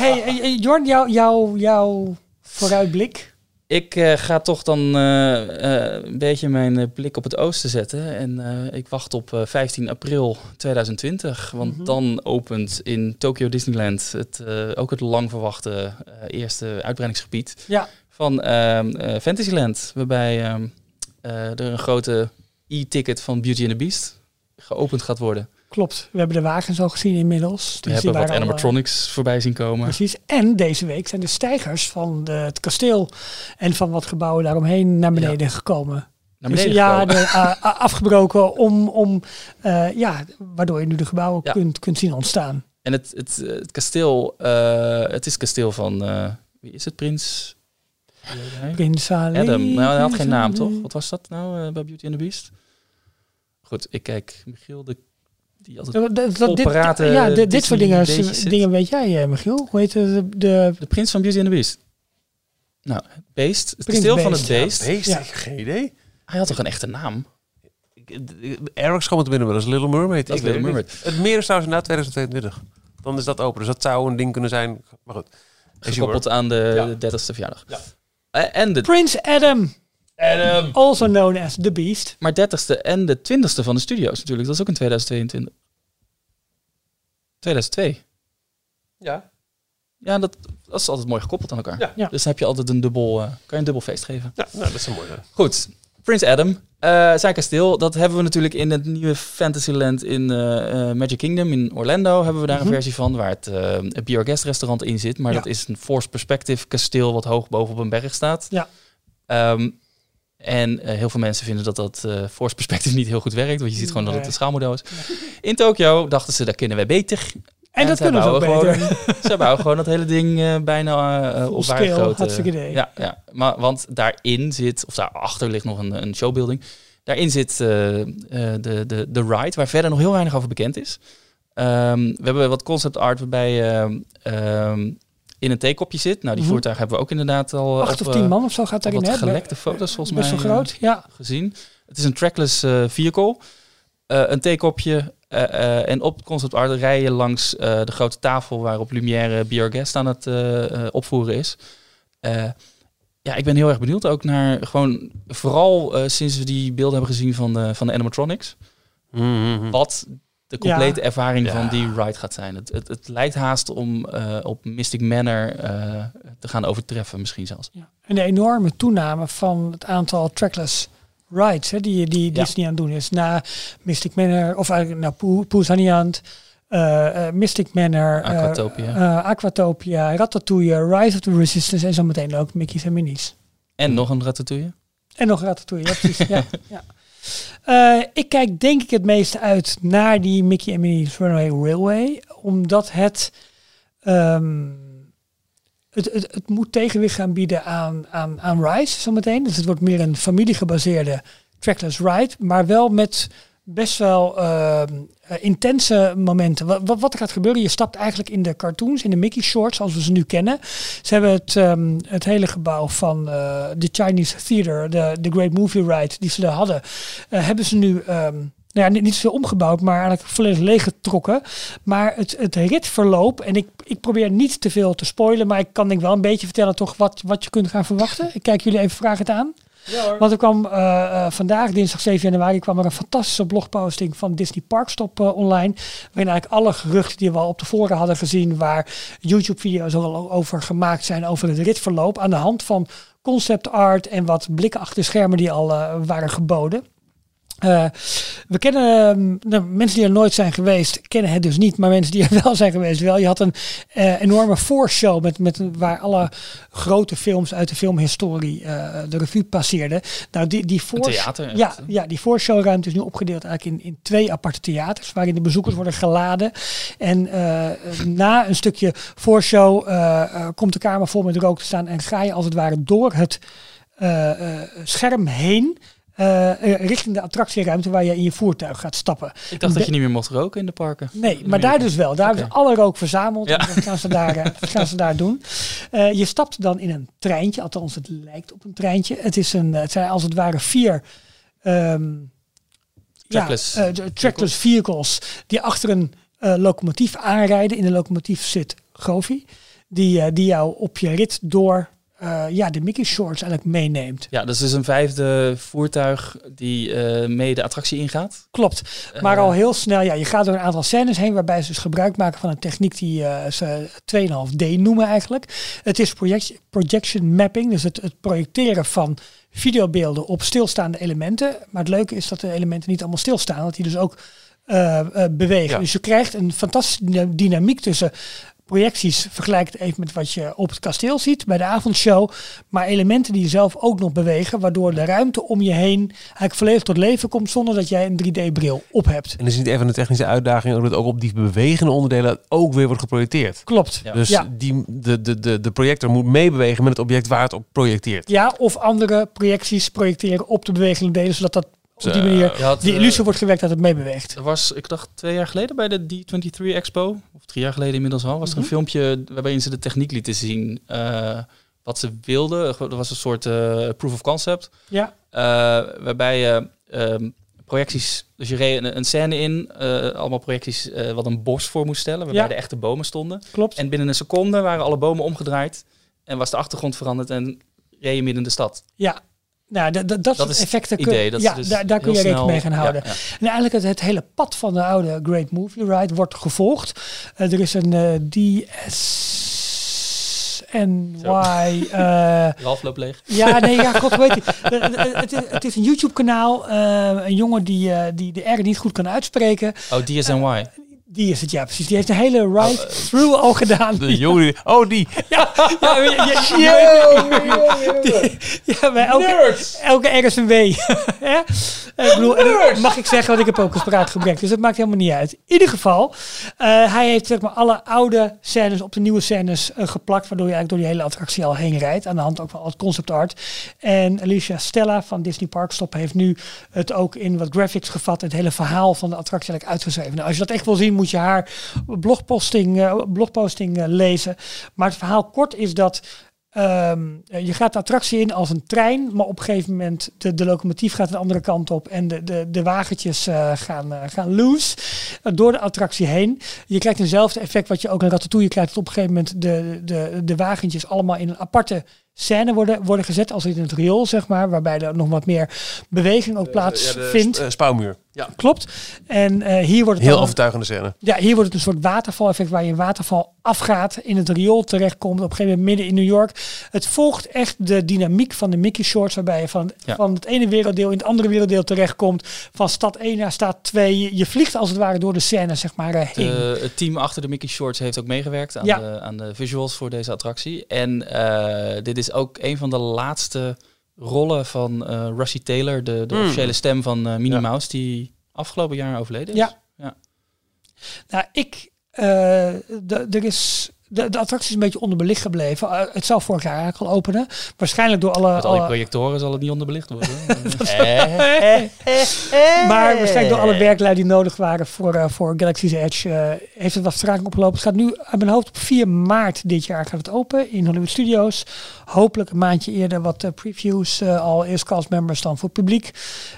Speaker 3: hey, eh, eh, Jorn, jouw jou, jou vooruitblik.
Speaker 2: Ik eh, ga toch dan eh, eh, een beetje mijn eh, blik op het oosten zetten. En eh, ik wacht op eh, 15 april 2020. Want
Speaker 3: Mhm.
Speaker 2: dan opent in Tokyo Disneyland het, eh, ook het lang verwachte eh, eerste uitbreidingsgebied
Speaker 3: Ja.
Speaker 2: van ehm, eh, Fantasyland. Waarbij ehm, eh, er een grote e-ticket van Beauty and the Beast geopend gaat worden.
Speaker 3: Klopt, we hebben de wagens al gezien inmiddels. Dus
Speaker 2: We
Speaker 3: die
Speaker 2: hebben wat
Speaker 3: waren al, eh,
Speaker 2: animatronics voorbij zien komen.
Speaker 3: Precies. En deze week zijn de stijgers van de, het kasteel en van wat gebouwen daaromheen naar beneden gekomen.
Speaker 2: Naar
Speaker 3: Dus
Speaker 2: beneden
Speaker 3: ja,
Speaker 2: gekomen.
Speaker 3: de, a- a- afgebroken om, om eh, ja, waardoor je nu de gebouwen
Speaker 2: Ja.
Speaker 3: kunt, kunt zien ontstaan.
Speaker 2: En het, het, eh, het kasteel, eh, het is het kasteel van, eh, wie is het, prins? Wie heet hij?
Speaker 3: Prins Ali.
Speaker 2: Adam, nou, hij had geen naam
Speaker 3: Prins Ali.
Speaker 2: toch? Wat was dat nou eh, bij Beauty and the Beast? Goed, ik kijk, Michiel, de, die altijd...
Speaker 3: Dat, dat- dat- dit,
Speaker 2: Operaat, eh,
Speaker 3: ja, dit, dit
Speaker 2: Disney
Speaker 3: soort dingen,
Speaker 2: beestjes zit.
Speaker 3: dingen weet jij, eh, Michiel. Hoe heet de, de
Speaker 2: De prins van Beauty and the Beast. Nou, het beest, het
Speaker 3: Prins
Speaker 2: kasteel van
Speaker 3: Beest.
Speaker 2: het beest.
Speaker 1: Beest,
Speaker 3: Ja.
Speaker 1: ik heb geen idee.
Speaker 2: Hij had toch een echte naam?
Speaker 1: Ergens kwam het binnen wel eens Little Mermaid.
Speaker 2: Dat is
Speaker 1: Ik weet
Speaker 2: Little
Speaker 1: het niet. Het meer is trouwens na 2022. Dan is dat open. Dus dat zou een ding kunnen zijn. Maar goed. As you
Speaker 2: Gekoppeld aan de
Speaker 1: Ja.
Speaker 2: 30ste verjaardag.
Speaker 1: Ja.
Speaker 2: Eh, En de,
Speaker 3: Prins Adam,
Speaker 1: Adam.
Speaker 3: also known as The Beast.
Speaker 2: maar 30ste en de 20ste van de studio's natuurlijk. Dat is ook in 2022. 2002.
Speaker 1: Ja.
Speaker 2: Ja, dat, dat is altijd mooi gekoppeld aan elkaar.
Speaker 1: Ja.
Speaker 3: Ja.
Speaker 2: Dus dan heb je altijd een dubbel, eh, kan je een dubbel feest geven.
Speaker 1: ja, nou, dat is een mooie.
Speaker 2: Goed, Prins Adam, eh, zijn kasteel, dat hebben we natuurlijk in het nieuwe Fantasyland in eh, eh, Magic Kingdom in Orlando. Hebben we daar
Speaker 3: Mhm.
Speaker 2: een versie van waar het eh het Be Our Guest restaurant in zit. Maar
Speaker 3: Ja.
Speaker 2: dat is een Force Perspective kasteel wat hoog boven op een berg staat.
Speaker 3: Ja.
Speaker 2: Ehm, en eh, heel veel mensen vinden dat dat eh, Force Perspective niet heel goed werkt. Want je ziet gewoon dat het
Speaker 3: Nee.
Speaker 2: een schaalmodel is. In Tokio dachten ze, daar kunnen we beter.
Speaker 3: En,
Speaker 2: En
Speaker 3: dat
Speaker 2: zij
Speaker 3: kunnen ze ook
Speaker 2: bouwen
Speaker 3: beter.
Speaker 2: [LAUGHS] Ze bouwen gewoon dat hele ding eh, bijna eh, eh,
Speaker 3: Full
Speaker 2: op
Speaker 3: scale,
Speaker 2: waargrote...
Speaker 3: hartstikke idee.
Speaker 2: Ja, ja. Maar, want daarin zit, of daarachter ligt nog een, een showbuilding. Daarin zit eh, eh, de, de, de ride, waar verder nog heel weinig over bekend is. Ehm, we hebben wat concept art waarbij ehm, ehm, in een theekopje zit. Nou, die
Speaker 3: Mhm.
Speaker 2: voertuig hebben we ook inderdaad al...
Speaker 3: Acht
Speaker 2: op,
Speaker 3: of tien
Speaker 2: eh,
Speaker 3: man of zo gaat
Speaker 2: op
Speaker 3: daarin.
Speaker 2: wat
Speaker 3: hè?
Speaker 2: gelekte foto's volgens
Speaker 3: Best
Speaker 2: mij.
Speaker 3: wel
Speaker 2: eh,
Speaker 3: groot, ja.
Speaker 2: gezien. Het is een trackless eh, vehicle. Eh, een theekopje. eh, eh, en op concept art rij je langs eh, de grote tafel waarop Lumière Be Our Guest aan het eh, eh, opvoeren is. Eh, ja, ik ben heel erg benieuwd ook naar gewoon, vooral eh, sinds we die beelden hebben gezien van de, van de animatronics,
Speaker 1: Mm-hmm.
Speaker 2: wat de complete ervaring
Speaker 1: Ja.
Speaker 2: van die ride gaat zijn. Het, het, het lijkt haast om eh, op Mystic Manor eh, te gaan overtreffen misschien zelfs.
Speaker 3: Ja. En de enorme toename van het aantal trackless rides hè, die, die
Speaker 2: Ja.
Speaker 3: Disney aan het doen is. Na Mystic Manor, of eigenlijk naar Poo- Pooh's Honey Hunt, eh, eh, Mystic Manor, eh,
Speaker 2: Aquatopia.
Speaker 3: eh, Aquatopia, Ratatouille, Rise of the Resistance en zometeen ook Mickey's en Minnie's.
Speaker 2: En nog een ratatouille.
Speaker 3: En nog Ratatouille, ja precies. ja, ja. Eh, ik kijk denk ik het meest uit naar die Mickey en Minnie's Runaway Railway. Omdat het, ehm, het, het, het moet tegenwicht gaan bieden aan, aan, aan Rise zometeen. Dus het wordt meer een familiegebaseerde trackless ride. Maar wel met best wel ehm, eh, intense momenten. Wat, wat, wat er gaat gebeuren, je stapt eigenlijk in de cartoons, in de Mickey shorts, als we ze nu kennen. Ze hebben het, ehm, het hele gebouw van eh, de Chinese Theater, de, de Great Movie Ride die ze daar hadden, eh, hebben ze nu ehm, nou ja, niet, niet zoveel omgebouwd, maar eigenlijk volledig leeggetrokken. Maar het, het ritverloop, en ik, ik probeer niet te veel te spoilen, maar ik kan denk wel een beetje vertellen toch wat, wat je kunt gaan verwachten. Ik kijk jullie even vragen aan. Want er kwam eh, eh, vandaag, dinsdag 7 januari, kwam er een fantastische blogposting van Disney Parkstop eh, online. Waarin eigenlijk alle geruchten die we al op de voren hadden gezien, waar YouTube-video's al wel over gemaakt zijn, over het ritverloop, aan de hand van concept art en wat blikken achter de schermen die al eh, waren geboden. Eh, we kennen, ehm, nou, mensen die er nooit zijn geweest, kennen het dus niet. Maar mensen die er [LAUGHS] wel zijn geweest, wel. Je had een eh, enorme voorshow met, met, een- waar alle grote films uit de filmhistorie eh, de revue passeerden. Nou, die, die voor-
Speaker 2: theater echt,
Speaker 3: Ja,
Speaker 2: hè?
Speaker 3: ja, die voorshowruimte is nu opgedeeld eigenlijk in, in twee aparte theaters. Waarin de bezoekers worden geladen. En eh, na een stukje voorshow eh, eh, komt de kamer vol met rook te staan. En ga je als het ware door het eh, eh, scherm heen. eh, eh, richting de attractieruimte waar je in je voertuig gaat stappen.
Speaker 2: Ik dacht dat je niet meer mocht roken in de parken.
Speaker 3: Nee, maar daar dus wel. Daar hebben ze alle rook verzameld.
Speaker 2: Ja.
Speaker 3: En dat gaan ze daar, eh, dat gaan ze daar doen. Eh, je stapt dan in een treintje. Althans, het lijkt op een treintje. Het, is een, eh, het zijn als het ware vier... ehm,
Speaker 2: Trackless
Speaker 3: ja, eh, de- trackless vehicles. Die achter een eh, locomotief aanrijden. In de locomotief zit Govi. Die, eh, die jou op je rit door eh, ja, de Mickey Shorts eigenlijk meeneemt.
Speaker 2: Ja, dat is dus een vijfde voertuig die eh, mee de attractie ingaat.
Speaker 3: Klopt. Maar
Speaker 2: Eh,
Speaker 3: al heel snel, ja, je gaat door een aantal scènes heen waarbij ze dus gebruik maken van een techniek die eh, ze 2,5D noemen eigenlijk. Het is project- projection mapping, dus het, het projecteren van videobeelden op stilstaande elementen. Maar het leuke is dat de elementen niet allemaal stilstaan, dat die dus ook eh, eh, bewegen.
Speaker 1: Ja.
Speaker 3: Dus je krijgt een fantastische dyna- dynamiek tussen projecties. Vergelijk het even met wat je op het kasteel ziet bij de avondshow. Maar elementen die zelf ook nog bewegen, waardoor de ruimte om je heen eigenlijk volledig tot leven komt zonder dat jij een 3D-bril op hebt.
Speaker 1: En is niet even een technische uitdaging, omdat ook op die bewegende onderdelen ook weer wordt geprojecteerd.
Speaker 3: Klopt. Ja.
Speaker 1: Dus
Speaker 3: ja.
Speaker 1: die, de, de, de, de projector moet meebewegen met het object waar het op projecteert.
Speaker 3: of andere projecties projecteren op de bewegende delen, zodat dat op die manier
Speaker 2: Je had,
Speaker 3: die
Speaker 2: eh,
Speaker 3: illusie wordt gewekt dat het meebeweegt.
Speaker 2: Er was, ik dacht twee jaar geleden bij de D23 Expo, of drie jaar geleden inmiddels al, was er een filmpje waarbij ze de techniek lieten zien eh, wat ze wilden. Er was een soort eh, proof of concept,
Speaker 3: Ja,
Speaker 2: eh, waarbij je ehm, projecties, dus je reed een, een scène in, eh, allemaal projecties eh, wat een bos voor moest stellen, waarbij
Speaker 3: Ja.
Speaker 2: de echte bomen stonden.
Speaker 3: klopt.
Speaker 2: En binnen een seconde waren alle bomen omgedraaid en was de achtergrond veranderd en reed je midden in de stad.
Speaker 3: Ja. Nou, dat, dat, dat
Speaker 2: Dat
Speaker 3: soort
Speaker 2: is het
Speaker 3: effecten kun,
Speaker 2: idee. Dat
Speaker 3: ja,
Speaker 2: ze dus
Speaker 3: daar, daar kun
Speaker 2: heel
Speaker 3: je rekening
Speaker 2: snel-
Speaker 3: mee gaan
Speaker 2: Ja,
Speaker 3: houden.
Speaker 2: ja.
Speaker 3: En eigenlijk het, het hele pad van de oude Great Movie Ride wordt gevolgd. Eh, er is een eh, DSNY... eh [LAUGHS]
Speaker 2: Ralf loopt leeg.
Speaker 3: ja, nee, ja, god weet ik. Eh, eh, eh, Het, is- het is een YouTube-kanaal. eh, een jongen die, eh, die de R niet goed kan uitspreken.
Speaker 2: Oh, DSNY.
Speaker 3: Die is het, ja, precies. Die heeft een hele
Speaker 2: Oh, eh.
Speaker 3: ride-through al
Speaker 2: [LAUGHS]
Speaker 3: gedaan.
Speaker 1: De jongen, die- oh die.
Speaker 3: [LAUGHS] Ja, ja, ja, ja, die- ja, bij elke, elke RSMW. [LAUGHS] hè? ik bedoel, en dat mag ik zeggen, want ik heb ook een spraakgebrek. Dus dat maakt helemaal niet uit. In ieder geval, eh, hij heeft zeg maar, alle oude scènes op de nieuwe scènes eh, geplakt. Waardoor je eigenlijk door die hele attractie al heen rijdt. Aan de hand ook van al het concept art. En Alicia Stella van Disney Parkstop heeft nu het ook in wat graphics gevat. Het hele verhaal van de attractie eigenlijk uitgeschreven. Nou, als je dat echt wil zien, moet je haar blogposting, eh, blogposting eh, lezen. Maar het verhaal kort is dat ehm, je gaat de attractie in als een trein, maar op een gegeven moment de, de locomotief gaat de andere kant op en de, de, de wagentjes eh, gaan, eh, gaan loose eh, door de attractie heen. Je krijgt eenzelfde effect wat je ook in Ratatouille krijgt. Dat op een gegeven moment de, de, de wagentjes allemaal in een aparte scène worden, worden gezet als in het riool, zeg maar, waarbij er nog wat meer beweging ook plaatsvindt.
Speaker 1: Eh, spouwmuur. Ja.
Speaker 3: Klopt. En eh, hier wordt het
Speaker 1: Heel
Speaker 3: dan-
Speaker 1: overtuigende scène.
Speaker 3: ja, hier wordt het een soort watervaleffect waar je een waterval afgaat, in het riool terechtkomt, op een gegeven moment midden in New York. Het volgt echt de dynamiek van de Mickey Shorts, waarbij je van,
Speaker 2: Ja.
Speaker 3: van het ene werelddeel in het andere werelddeel terechtkomt. Van stad 1 naar stad 2. Je, je vliegt als het ware door de scène, zeg maar, eh, heen.
Speaker 2: De- het team achter de Mickey Shorts heeft ook meegewerkt aan,
Speaker 3: Ja.
Speaker 2: de, aan de visuals voor deze attractie. En eh, dit is ook een van de laatste rollen van eh Russie Taylor, de, de
Speaker 1: Hmm.
Speaker 2: officiële stem van eh Minnie
Speaker 1: Ja.
Speaker 2: Mouse, die afgelopen jaar overleden is.
Speaker 3: Ja.
Speaker 2: Ja.
Speaker 3: Nou, ik, eh, de, er is, de, de attractie is een beetje onderbelicht gebleven. Eh, het zou vorig jaar eigenlijk al openen. Waarschijnlijk door alle... eh,
Speaker 2: Met al die
Speaker 3: alle-
Speaker 2: projectoren zal het niet onderbelicht
Speaker 3: [LAUGHS]
Speaker 2: worden.
Speaker 3: maar waarschijnlijk door alle werklui die nodig waren voor, eh, voor Galaxy's Edge eh, heeft het wat vertraging opgelopen. Het gaat nu uit mijn hoofd op 4 maart dit jaar gaat het open in Hollywood Studios. Hopelijk een maandje eerder wat eh, previews eh, al eerst cast members dan voor het publiek.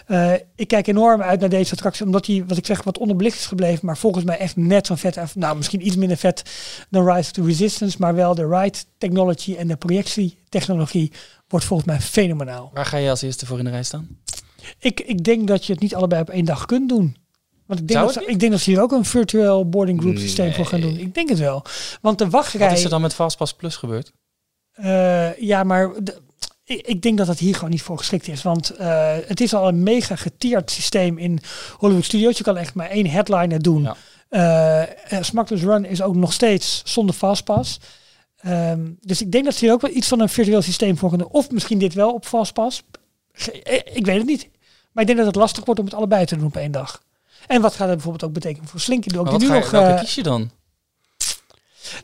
Speaker 3: Eh, ik kijk enorm uit naar deze attractie omdat die wat ik zeg wat onderbelicht is gebleven. Maar volgens mij echt net zo'n vet. Nou misschien iets minder vet dan Rise of the Resistance. Maar wel de ride technology en de projectietechnologie wordt volgens mij fenomenaal.
Speaker 2: Waar ga je als eerste voor in de rij staan?
Speaker 3: Ik, ik denk dat je het niet allebei op één dag kunt doen. Want ik denk,
Speaker 2: Zou
Speaker 3: dat
Speaker 2: het
Speaker 3: ze, ik denk dat ze hier ook een virtueel boarding group systeem voor gaan doen.
Speaker 2: Nee.
Speaker 3: Ik denk het wel. Want de wachtrij...
Speaker 2: Wat is er dan met Fastpass Plus gebeurd?
Speaker 3: eh, ja, maar de- ik, ik denk dat dat hier gewoon niet voor geschikt is. Want eh, het is al een mega geteerd systeem in Hollywood Studios. Je kan echt maar één headliner doen.
Speaker 2: Ja.
Speaker 3: Eh, en Smuggler's Run is ook nog steeds zonder Fastpass. Ehm, dus ik denk dat ze hier ook wel iets van een virtueel systeem voor gaan doen. Of misschien dit wel op Fastpass. Ge- eh, Ik weet het niet. Maar ik denk dat het lastig wordt om het allebei te doen op één dag. En wat gaat dat bijvoorbeeld ook betekenen voor Slinky Dog?
Speaker 2: Maar wat
Speaker 3: die nu
Speaker 2: ga je,
Speaker 3: nog,
Speaker 2: welke
Speaker 3: eh,
Speaker 2: kies je dan?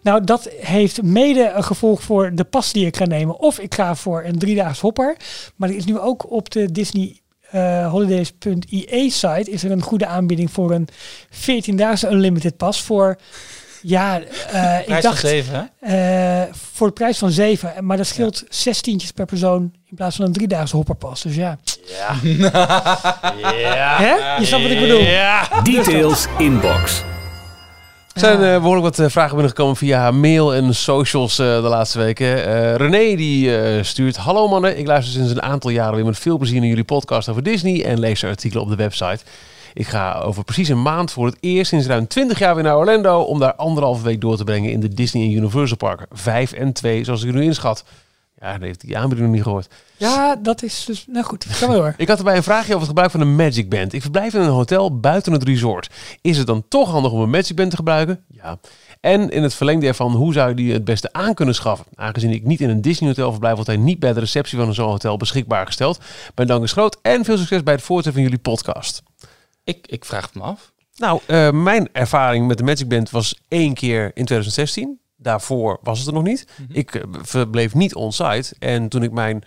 Speaker 3: nou, dat heeft mede een gevolg voor de pas die ik ga nemen. Of ik ga voor een driedaags hopper. Maar er is nu ook op de Disney eh, holidays.ie site is er een goede aanbieding voor een 14-daagse unlimited pas voor ja, eh, ik
Speaker 2: Prijs
Speaker 3: dacht
Speaker 2: van 7, hè?
Speaker 3: eh, voor de prijs van 7, maar dat scheelt 16 zestientjes per persoon in plaats van een driedaagse hopperpas. Dus ja.
Speaker 4: Ah,
Speaker 3: Ja. Hè? Je snapt wat ik bedoel.
Speaker 4: Details inbox.
Speaker 1: Er zijn eh, behoorlijk wat eh, vragen binnengekomen via mail en socials eh, de laatste weken. Eh, René die eh, stuurt... Hallo mannen, ik luister sinds een aantal jaren weer met veel plezier naar jullie podcast over Disney... en lees de artikelen op de website. Ik ga over precies een maand voor het eerst sinds ruim 20 jaar weer naar Orlando... om daar anderhalve week door te brengen in de Disney en Universal parken. Vijf en twee, zoals ik nu inschat. Ja, dat heeft die aanbieding nog niet gehoord.
Speaker 3: Ja, dat is dus. Nou goed, kan wel hoor.
Speaker 1: Ik had erbij een vraagje over het gebruik van een Magic Band. Ik verblijf in een hotel buiten het resort. Is het dan toch handig om een Magic Band te gebruiken? Ja. En in het verlengde ervan, hoe zou je die het beste aan kunnen schaffen? Aangezien ik niet in een Disney hotel verblijf, wordt hij niet bij de receptie van zo'n hotel beschikbaar gesteld. Mijn dank is groot en veel succes bij het voortzetten van jullie podcast.
Speaker 2: Ik, ik vraag het me af.
Speaker 1: Nou, eh, mijn ervaring met de Magic Band was één keer in 2016. Daarvoor was het er nog niet.
Speaker 2: Mhm.
Speaker 1: Ik eh, verbleef niet on-site. En toen ik mijn,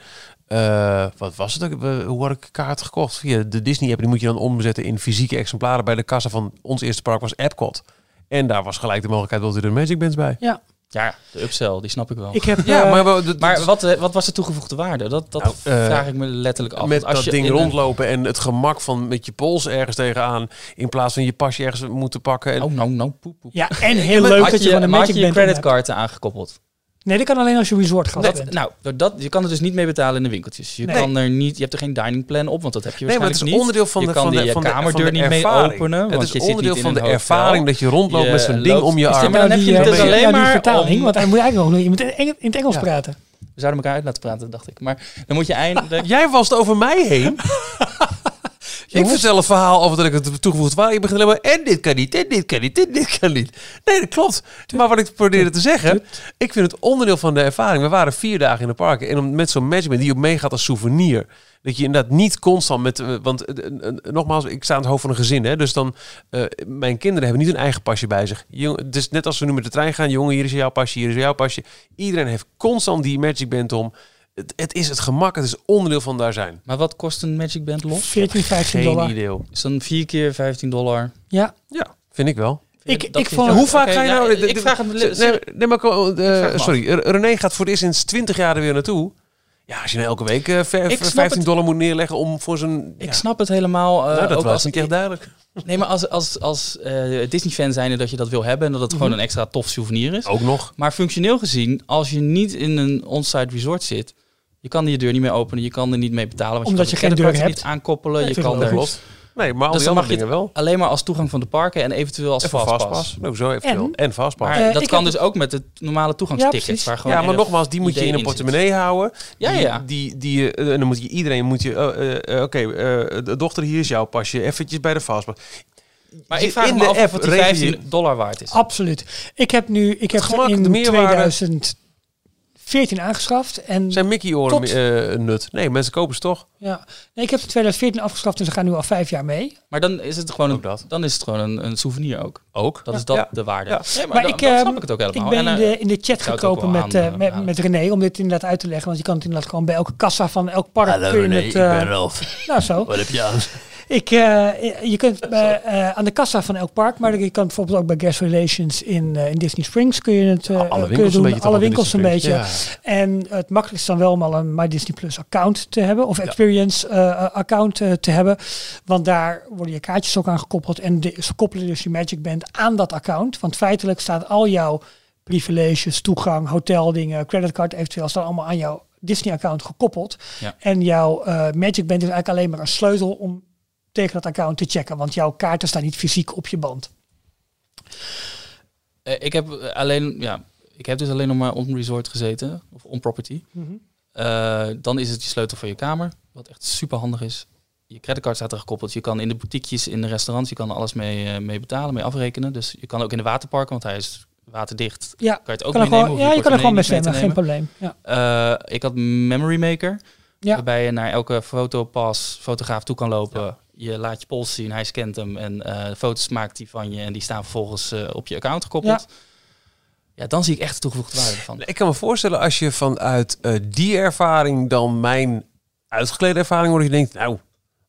Speaker 1: eh, wat was het? ook? Eh, Hoe had ik kaart gekocht? Via de Disney-app. Die moet je dan omzetten in fysieke exemplaren. Bij de kassa van ons eerste park was Epcot. En daar was gelijk de mogelijkheid dat er een Magic Band bij.
Speaker 3: Ja,
Speaker 2: Ja, de upsell, die snap ik wel.
Speaker 3: ik heb.
Speaker 1: Ja,
Speaker 3: eh,
Speaker 1: maar, we- dat-
Speaker 2: maar wat, eh, wat was de toegevoegde waarde? Dat, dat
Speaker 1: Nou, eh,
Speaker 2: vraag ik me letterlijk af.
Speaker 1: met
Speaker 2: Want als
Speaker 1: dat
Speaker 2: je
Speaker 1: ding
Speaker 2: in een-
Speaker 1: rondlopen en het gemak van met je pols ergens tegenaan. In plaats van je pasje ergens moeten pakken. En
Speaker 2: Oh, nou, nou, poep, poep.
Speaker 3: Ja, en heel leuk
Speaker 2: Had
Speaker 3: dat je
Speaker 2: je-
Speaker 3: van een
Speaker 2: maar
Speaker 3: Magic
Speaker 2: had je
Speaker 3: Band
Speaker 2: je
Speaker 3: om hebt.
Speaker 2: creditcard eraan aangekoppeld.
Speaker 3: Nee, dat kan alleen als je resort gaat.
Speaker 2: Dat, nou, door dat, je kan er dus niet mee betalen in de winkeltjes. Je,
Speaker 3: Nee.
Speaker 2: kan er niet, je hebt er geen dining plan op, want dat heb je
Speaker 1: Nee, maar het
Speaker 2: waarschijnlijk
Speaker 1: is onderdeel
Speaker 2: niet.
Speaker 1: van
Speaker 2: je
Speaker 1: de,
Speaker 2: kan
Speaker 1: van
Speaker 2: die
Speaker 1: de,
Speaker 2: je
Speaker 1: van de,
Speaker 2: kamerdeur
Speaker 1: van de
Speaker 2: niet mee
Speaker 1: ervaring.
Speaker 2: openen.
Speaker 1: Het
Speaker 2: want
Speaker 1: is
Speaker 2: je zit
Speaker 1: onderdeel
Speaker 2: niet in
Speaker 1: van de
Speaker 2: een hotel.
Speaker 1: ervaring dat je rondloopt
Speaker 2: Je
Speaker 1: met zo'n ding
Speaker 2: loopt-
Speaker 1: om je
Speaker 2: Is dit
Speaker 1: arm.
Speaker 2: maar dan heb je het dus
Speaker 1: ben je-
Speaker 2: alleen
Speaker 3: ja, die
Speaker 2: maar
Speaker 3: vertaling,
Speaker 2: om-
Speaker 3: want hij moet eigenlijk nog iemand in het Engels- in het Engels
Speaker 1: Ja.
Speaker 3: praten.
Speaker 2: We zouden elkaar uit laten praten, dacht ik. Maar dan moet je
Speaker 1: [LAUGHS]
Speaker 2: eindelijk...
Speaker 1: Eh, Jij was het over mij heen. ik
Speaker 3: Jongens.
Speaker 1: vertel het verhaal over dat ik het toegevoegd waar. Je begint alleen maar, en dit kan niet, en dit kan niet, en dit kan niet. Nee, dat klopt. Maar wat ik probeerde te zeggen, ik vind het onderdeel van de ervaring. We waren vier dagen in de parken en om- met zo'n management die op meegaat als souvenir. Dat je inderdaad niet constant met, eh, want eh, eh, eh, nogmaals, ik sta aan het hoofd van een gezin. Hè, dus dan, eh, mijn kinderen hebben niet hun eigen pasje bij zich. Jong, het is net als we nu met de trein gaan. Jongen, hier is jouw pasje, hier is jouw pasje. Iedereen heeft constant die magic band om. Het, het is het gemak, het is onderdeel van daar zijn.
Speaker 2: Maar wat kost een Magic Band los?
Speaker 3: 14, 15
Speaker 1: Geen
Speaker 3: dollar.
Speaker 1: idee.
Speaker 2: Is dan 4 keer 15 dollar.
Speaker 3: Ja,
Speaker 1: Ja, vind ik wel.
Speaker 3: Ik-
Speaker 2: Dat
Speaker 3: ik
Speaker 2: vind
Speaker 3: vond-
Speaker 2: wel-
Speaker 1: Hoe vaak
Speaker 2: Oké,
Speaker 1: ga je
Speaker 2: ja,
Speaker 1: nou...
Speaker 2: Ik vraag hem...
Speaker 1: Nee, nee, maar, eh,
Speaker 2: me af.
Speaker 1: sorry, R- René gaat voor het eerst sinds 20 jaar er weer naartoe. Ja, als je nou elke week eh, ver-
Speaker 2: Ik snap
Speaker 1: 15
Speaker 2: het.
Speaker 1: dollar moet neerleggen om voor zo'n...
Speaker 2: Ik
Speaker 1: ja.
Speaker 2: snap het helemaal. eh,
Speaker 1: Nou, dat
Speaker 2: ook
Speaker 1: was
Speaker 2: als
Speaker 1: niet echt duidelijk.
Speaker 2: Nee, maar als, als, als eh, Disney-fan zijnde dat je dat wil hebben en dat het
Speaker 1: Mhm.
Speaker 2: gewoon een extra tof souvenir is.
Speaker 1: Ook nog.
Speaker 2: Maar functioneel gezien, als je niet in een on-site resort zit, je kan die deur niet meer openen, je kan er niet mee betalen. Want
Speaker 3: Omdat
Speaker 2: kan
Speaker 3: je
Speaker 2: de
Speaker 3: geen deur
Speaker 2: creditcard
Speaker 3: hebt.
Speaker 2: Niet aankoppelen,
Speaker 3: Nee,
Speaker 2: je
Speaker 3: vind ik
Speaker 2: kan
Speaker 3: wel
Speaker 2: er
Speaker 3: goed.
Speaker 1: Nee, maar al
Speaker 2: Dus
Speaker 1: die
Speaker 2: dan
Speaker 1: andere
Speaker 2: mag je
Speaker 1: dingen
Speaker 2: het
Speaker 1: wel.
Speaker 2: alleen maar als toegang van de parken en eventueel als
Speaker 1: En voor
Speaker 2: fastpass.
Speaker 1: vastpas. Ook zo eventueel. En,
Speaker 3: En?
Speaker 1: vastpas.
Speaker 2: Maar
Speaker 3: Eh,
Speaker 2: dat
Speaker 3: ik
Speaker 2: kan
Speaker 3: heb-
Speaker 2: dus ook met het normale
Speaker 3: Ja,
Speaker 2: toegangsticket.
Speaker 3: precies.
Speaker 2: waar gewoon
Speaker 1: ja, maar
Speaker 2: enig
Speaker 1: nogmaals, die moet je
Speaker 2: idee
Speaker 1: in een
Speaker 2: zit.
Speaker 1: portemonnee houden.
Speaker 2: Ja,
Speaker 1: Die-
Speaker 2: ja.
Speaker 1: Die, die, eh, en dan moet je iedereen, moet je, eh, eh, eh, oké, eh, de dochter, hier is jouw pasje. Eventjes bij de fastpas.
Speaker 2: Maar
Speaker 1: Je-
Speaker 2: ik vraag
Speaker 1: in
Speaker 2: me
Speaker 1: de
Speaker 2: af
Speaker 1: app
Speaker 2: of het die
Speaker 1: regel je-
Speaker 2: 15 dollar waard is.
Speaker 3: absoluut. Ik heb nu, ik heb
Speaker 1: gemak,
Speaker 3: in
Speaker 1: de meerwaarde.
Speaker 3: 2014 14 aangeschaft. En
Speaker 1: Zijn Mickey-oren
Speaker 3: Tot-
Speaker 1: eh, een nut? Nee, mensen kopen ze toch?
Speaker 3: ja, nee, ik heb ze in 2014 afgeschaft en ze gaan nu al vijf jaar mee.
Speaker 2: Maar dan is het gewoon, een,
Speaker 1: Ook dat.
Speaker 2: Dan is het gewoon een, een souvenir ook.
Speaker 1: Ook.
Speaker 2: Dat is dat
Speaker 1: Ja.
Speaker 2: de waarde.
Speaker 1: Ja.
Speaker 2: Nee,
Speaker 3: Maar
Speaker 2: dan-
Speaker 3: ik,
Speaker 2: dan
Speaker 3: ehm,
Speaker 2: snap ik het ook helemaal.
Speaker 3: Ik ben in
Speaker 2: En, eh,
Speaker 3: de, in de chat
Speaker 2: zou het ook
Speaker 3: gekropen
Speaker 2: wel
Speaker 3: met,
Speaker 2: aan,
Speaker 3: eh,
Speaker 2: eh,
Speaker 3: met,
Speaker 2: aan-
Speaker 3: met René om dit inderdaad uit te leggen. Want je kan het inderdaad gewoon bij elke kassa van elk park. kun je het, eh,
Speaker 1: Ralf.
Speaker 3: Nou zo.
Speaker 1: Wat heb je aan?
Speaker 3: Ik, eh, je kunt bij, eh, aan de kassa van elk park, maar je kan bijvoorbeeld ook bij Guest Relations in, eh, in Disney Springs kun je het eh, kun
Speaker 1: alle
Speaker 3: je
Speaker 1: winkels een
Speaker 3: doen.
Speaker 1: beetje. toch?
Speaker 3: alle winkels een beetje.
Speaker 1: Ja.
Speaker 3: En het makkelijkste is dan wel om al een My Disney Plus account te hebben. Of Experience eh, account eh, te hebben. Want daar worden je kaartjes ook aan gekoppeld. En de, ze koppelen dus je Magic Band aan dat account. Want feitelijk staat al jouw privileges, toegang, hoteldingen, creditcard eventueel, staan allemaal aan jouw Disney-account gekoppeld.
Speaker 2: Ja.
Speaker 3: En jouw eh, Magic Band is eigenlijk alleen maar een sleutel om tegen dat account te checken. Want jouw kaarten staan niet fysiek op je band.
Speaker 2: eh, ik heb eh, alleen, ja, ik heb dus alleen nog maar on resort gezeten of on property.
Speaker 3: Mhm.
Speaker 2: Eh, dan is het je sleutel van je kamer, wat echt super handig is. Je creditcard staat er gekoppeld. Je kan in de boutiquejes, in de restaurants, je kan er alles mee, eh, mee betalen, mee afrekenen. Dus je kan ook in de waterparken, want hij is waterdicht. Kan
Speaker 3: Ja,
Speaker 2: je het ook
Speaker 3: kan er
Speaker 2: meenemen,
Speaker 3: gewoon,
Speaker 2: hoef
Speaker 3: ja, je kan er
Speaker 2: portemonnee
Speaker 3: gewoon mee
Speaker 2: niet mee te
Speaker 3: stemmen, geen
Speaker 2: nemen.
Speaker 3: probleem. Ja.
Speaker 2: Eh, ik had Memory Maker.
Speaker 3: Ja.
Speaker 2: Waarbij je naar elke fotopas fotograaf toe kan lopen. Je laat je pols zien, hij scant hem. En eh, de foto's maakt hij van je. En die staan vervolgens eh, op je account gekoppeld. Ja. dan zie ik echt de toegevoegde waarde van.
Speaker 1: Ik kan me voorstellen als je vanuit eh, die ervaring dan mijn uitgeklede ervaring wordt. Dat je denkt, nou,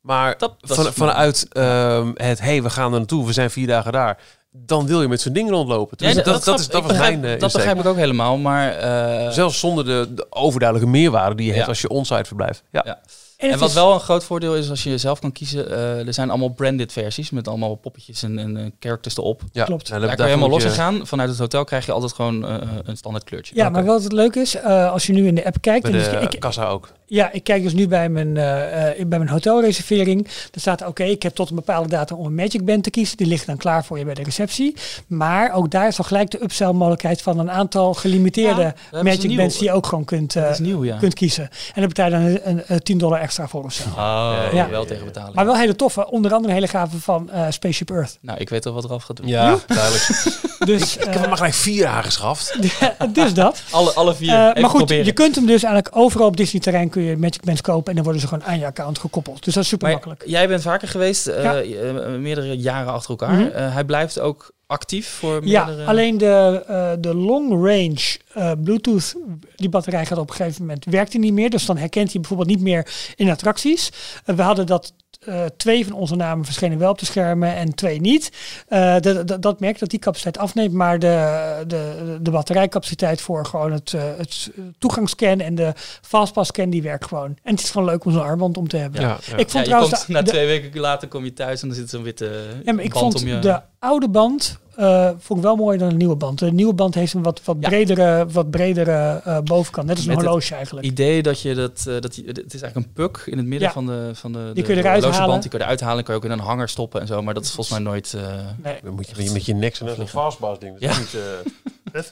Speaker 1: maar
Speaker 2: Dat- dat
Speaker 1: van-
Speaker 2: is-
Speaker 1: vanuit ehm, het, hé, hey, we gaan er naartoe, we zijn vier dagen daar. Dan wil je met zo'n ding rondlopen.
Speaker 2: Nee,
Speaker 1: Dus dat, dat, is, dat
Speaker 2: ik
Speaker 1: was
Speaker 2: begrijp,
Speaker 1: mijn eh,
Speaker 2: Dat
Speaker 1: insteek.
Speaker 2: begrijp ik ook helemaal. Maar eh,
Speaker 1: Zelfs zonder de, de overduidelijke meerwaarde die je hebt
Speaker 2: Ja.
Speaker 1: als je onsite verblijft. Ja.
Speaker 2: Ja.
Speaker 3: En,
Speaker 2: en
Speaker 3: het
Speaker 2: wat
Speaker 3: is-
Speaker 2: wel een groot voordeel is, als je zelf kan kiezen, eh, er zijn allemaal branded versies met allemaal poppetjes en, en eh, characters erop.
Speaker 1: Ja.
Speaker 3: Klopt.
Speaker 1: Nou, dat-
Speaker 2: Daar kan je
Speaker 1: daarvoor
Speaker 2: helemaal los
Speaker 1: moet
Speaker 2: in
Speaker 1: je-
Speaker 2: gaan. Vanuit het hotel krijg je altijd gewoon eh, een standaard kleurtje.
Speaker 3: Ja, maar wat het leuk is, eh, als je nu in de app kijkt.
Speaker 1: Bij
Speaker 3: En dus
Speaker 1: de
Speaker 3: ik,
Speaker 1: kassa ook.
Speaker 3: ja, ik kijk dus nu bij mijn, eh, eh, bij mijn hotelreservering. Daar staat, oké, ik heb tot een bepaalde datum om een Magic Band te kiezen. Die ligt dan klaar voor je bij de receptie. Maar ook daar is al gelijk de upsell mogelijkheid van een aantal
Speaker 2: Ja,
Speaker 3: gelimiteerde
Speaker 2: daar hebben ze een
Speaker 3: Magic
Speaker 2: nieuw.
Speaker 3: Bands die je ook gewoon kunt, eh,
Speaker 2: Dat is nieuw, ja.
Speaker 3: kunt kiezen. En daar betaal je dan een, een, eh, 10 dollar extra voor of zo.
Speaker 2: Oh,
Speaker 1: Ja.
Speaker 2: wel tegen betalen.
Speaker 3: Maar wel hele toffe, onder andere hele gave van eh, Spaceship Earth.
Speaker 2: Nou, ik weet al wat er af gaat doen.
Speaker 1: Ja, duidelijk.
Speaker 2: [LAUGHS]
Speaker 3: Dus,
Speaker 1: Ik heb er
Speaker 3: eh,
Speaker 1: maar gelijk vier aangeschaft.
Speaker 3: [LAUGHS] dus dat.
Speaker 2: Alle, alle vier.
Speaker 3: Eh,
Speaker 2: Even
Speaker 3: maar goed,
Speaker 2: proberen.
Speaker 3: je kunt hem dus eigenlijk overal op Disney terrein kun je Magic Bands kopen en dan worden ze gewoon aan je account gekoppeld. Dus dat is super
Speaker 2: Maar
Speaker 3: makkelijk.
Speaker 2: jij bent vaker geweest, eh,
Speaker 3: Ja.
Speaker 2: eh, meerdere jaren achter elkaar.
Speaker 3: Mhm.
Speaker 2: Eh, hij blijft ook actief voor
Speaker 3: Ja,
Speaker 2: meerdere...
Speaker 3: alleen de, eh, de long range eh, Bluetooth, die batterij gaat op een gegeven moment, werkt die niet meer. Dus dan herkent hij bijvoorbeeld niet meer in attracties. Eh, we hadden dat eh, twee van onze namen verschenen wel op de schermen en twee niet. Eh, dat- dat- dat merkt dat die capaciteit afneemt, maar de, de, de batterijcapaciteit voor gewoon het, eh, het toegangscan en de fastpass-scan, die werkt gewoon. En het is gewoon leuk om zo'n armband om te hebben.
Speaker 1: Ja, ja.
Speaker 3: Ik
Speaker 2: Ja,
Speaker 3: vond
Speaker 2: je
Speaker 3: trouwens
Speaker 2: komt,
Speaker 3: de-
Speaker 2: na
Speaker 3: de-
Speaker 2: twee weken later kom je thuis en dan zit zo'n witte
Speaker 3: Ja, maar ik
Speaker 2: band
Speaker 3: vond
Speaker 2: om je...
Speaker 3: de oude band eh, vond ik wel mooier dan de nieuwe band. De nieuwe band heeft een wat, wat
Speaker 2: Ja.
Speaker 3: bredere, wat bredere eh, bovenkant. Net als een
Speaker 2: Met het
Speaker 3: horloge eigenlijk.
Speaker 2: idee dat je dat, eh, dat je- het is eigenlijk een puk in het midden
Speaker 3: Ja.
Speaker 2: van de van de,
Speaker 3: kun
Speaker 2: de
Speaker 3: je eruit
Speaker 2: horlogeband.
Speaker 3: halen.
Speaker 2: die kun je eruit halen, kan je ook in een hanger stoppen en zo, maar dat is volgens mij nooit. eh,
Speaker 3: Nee.
Speaker 1: Dan moet je met je- met je nek zo'n een fastbas ding. Dat is
Speaker 2: Ja.
Speaker 1: niet, eh,
Speaker 3: Ja,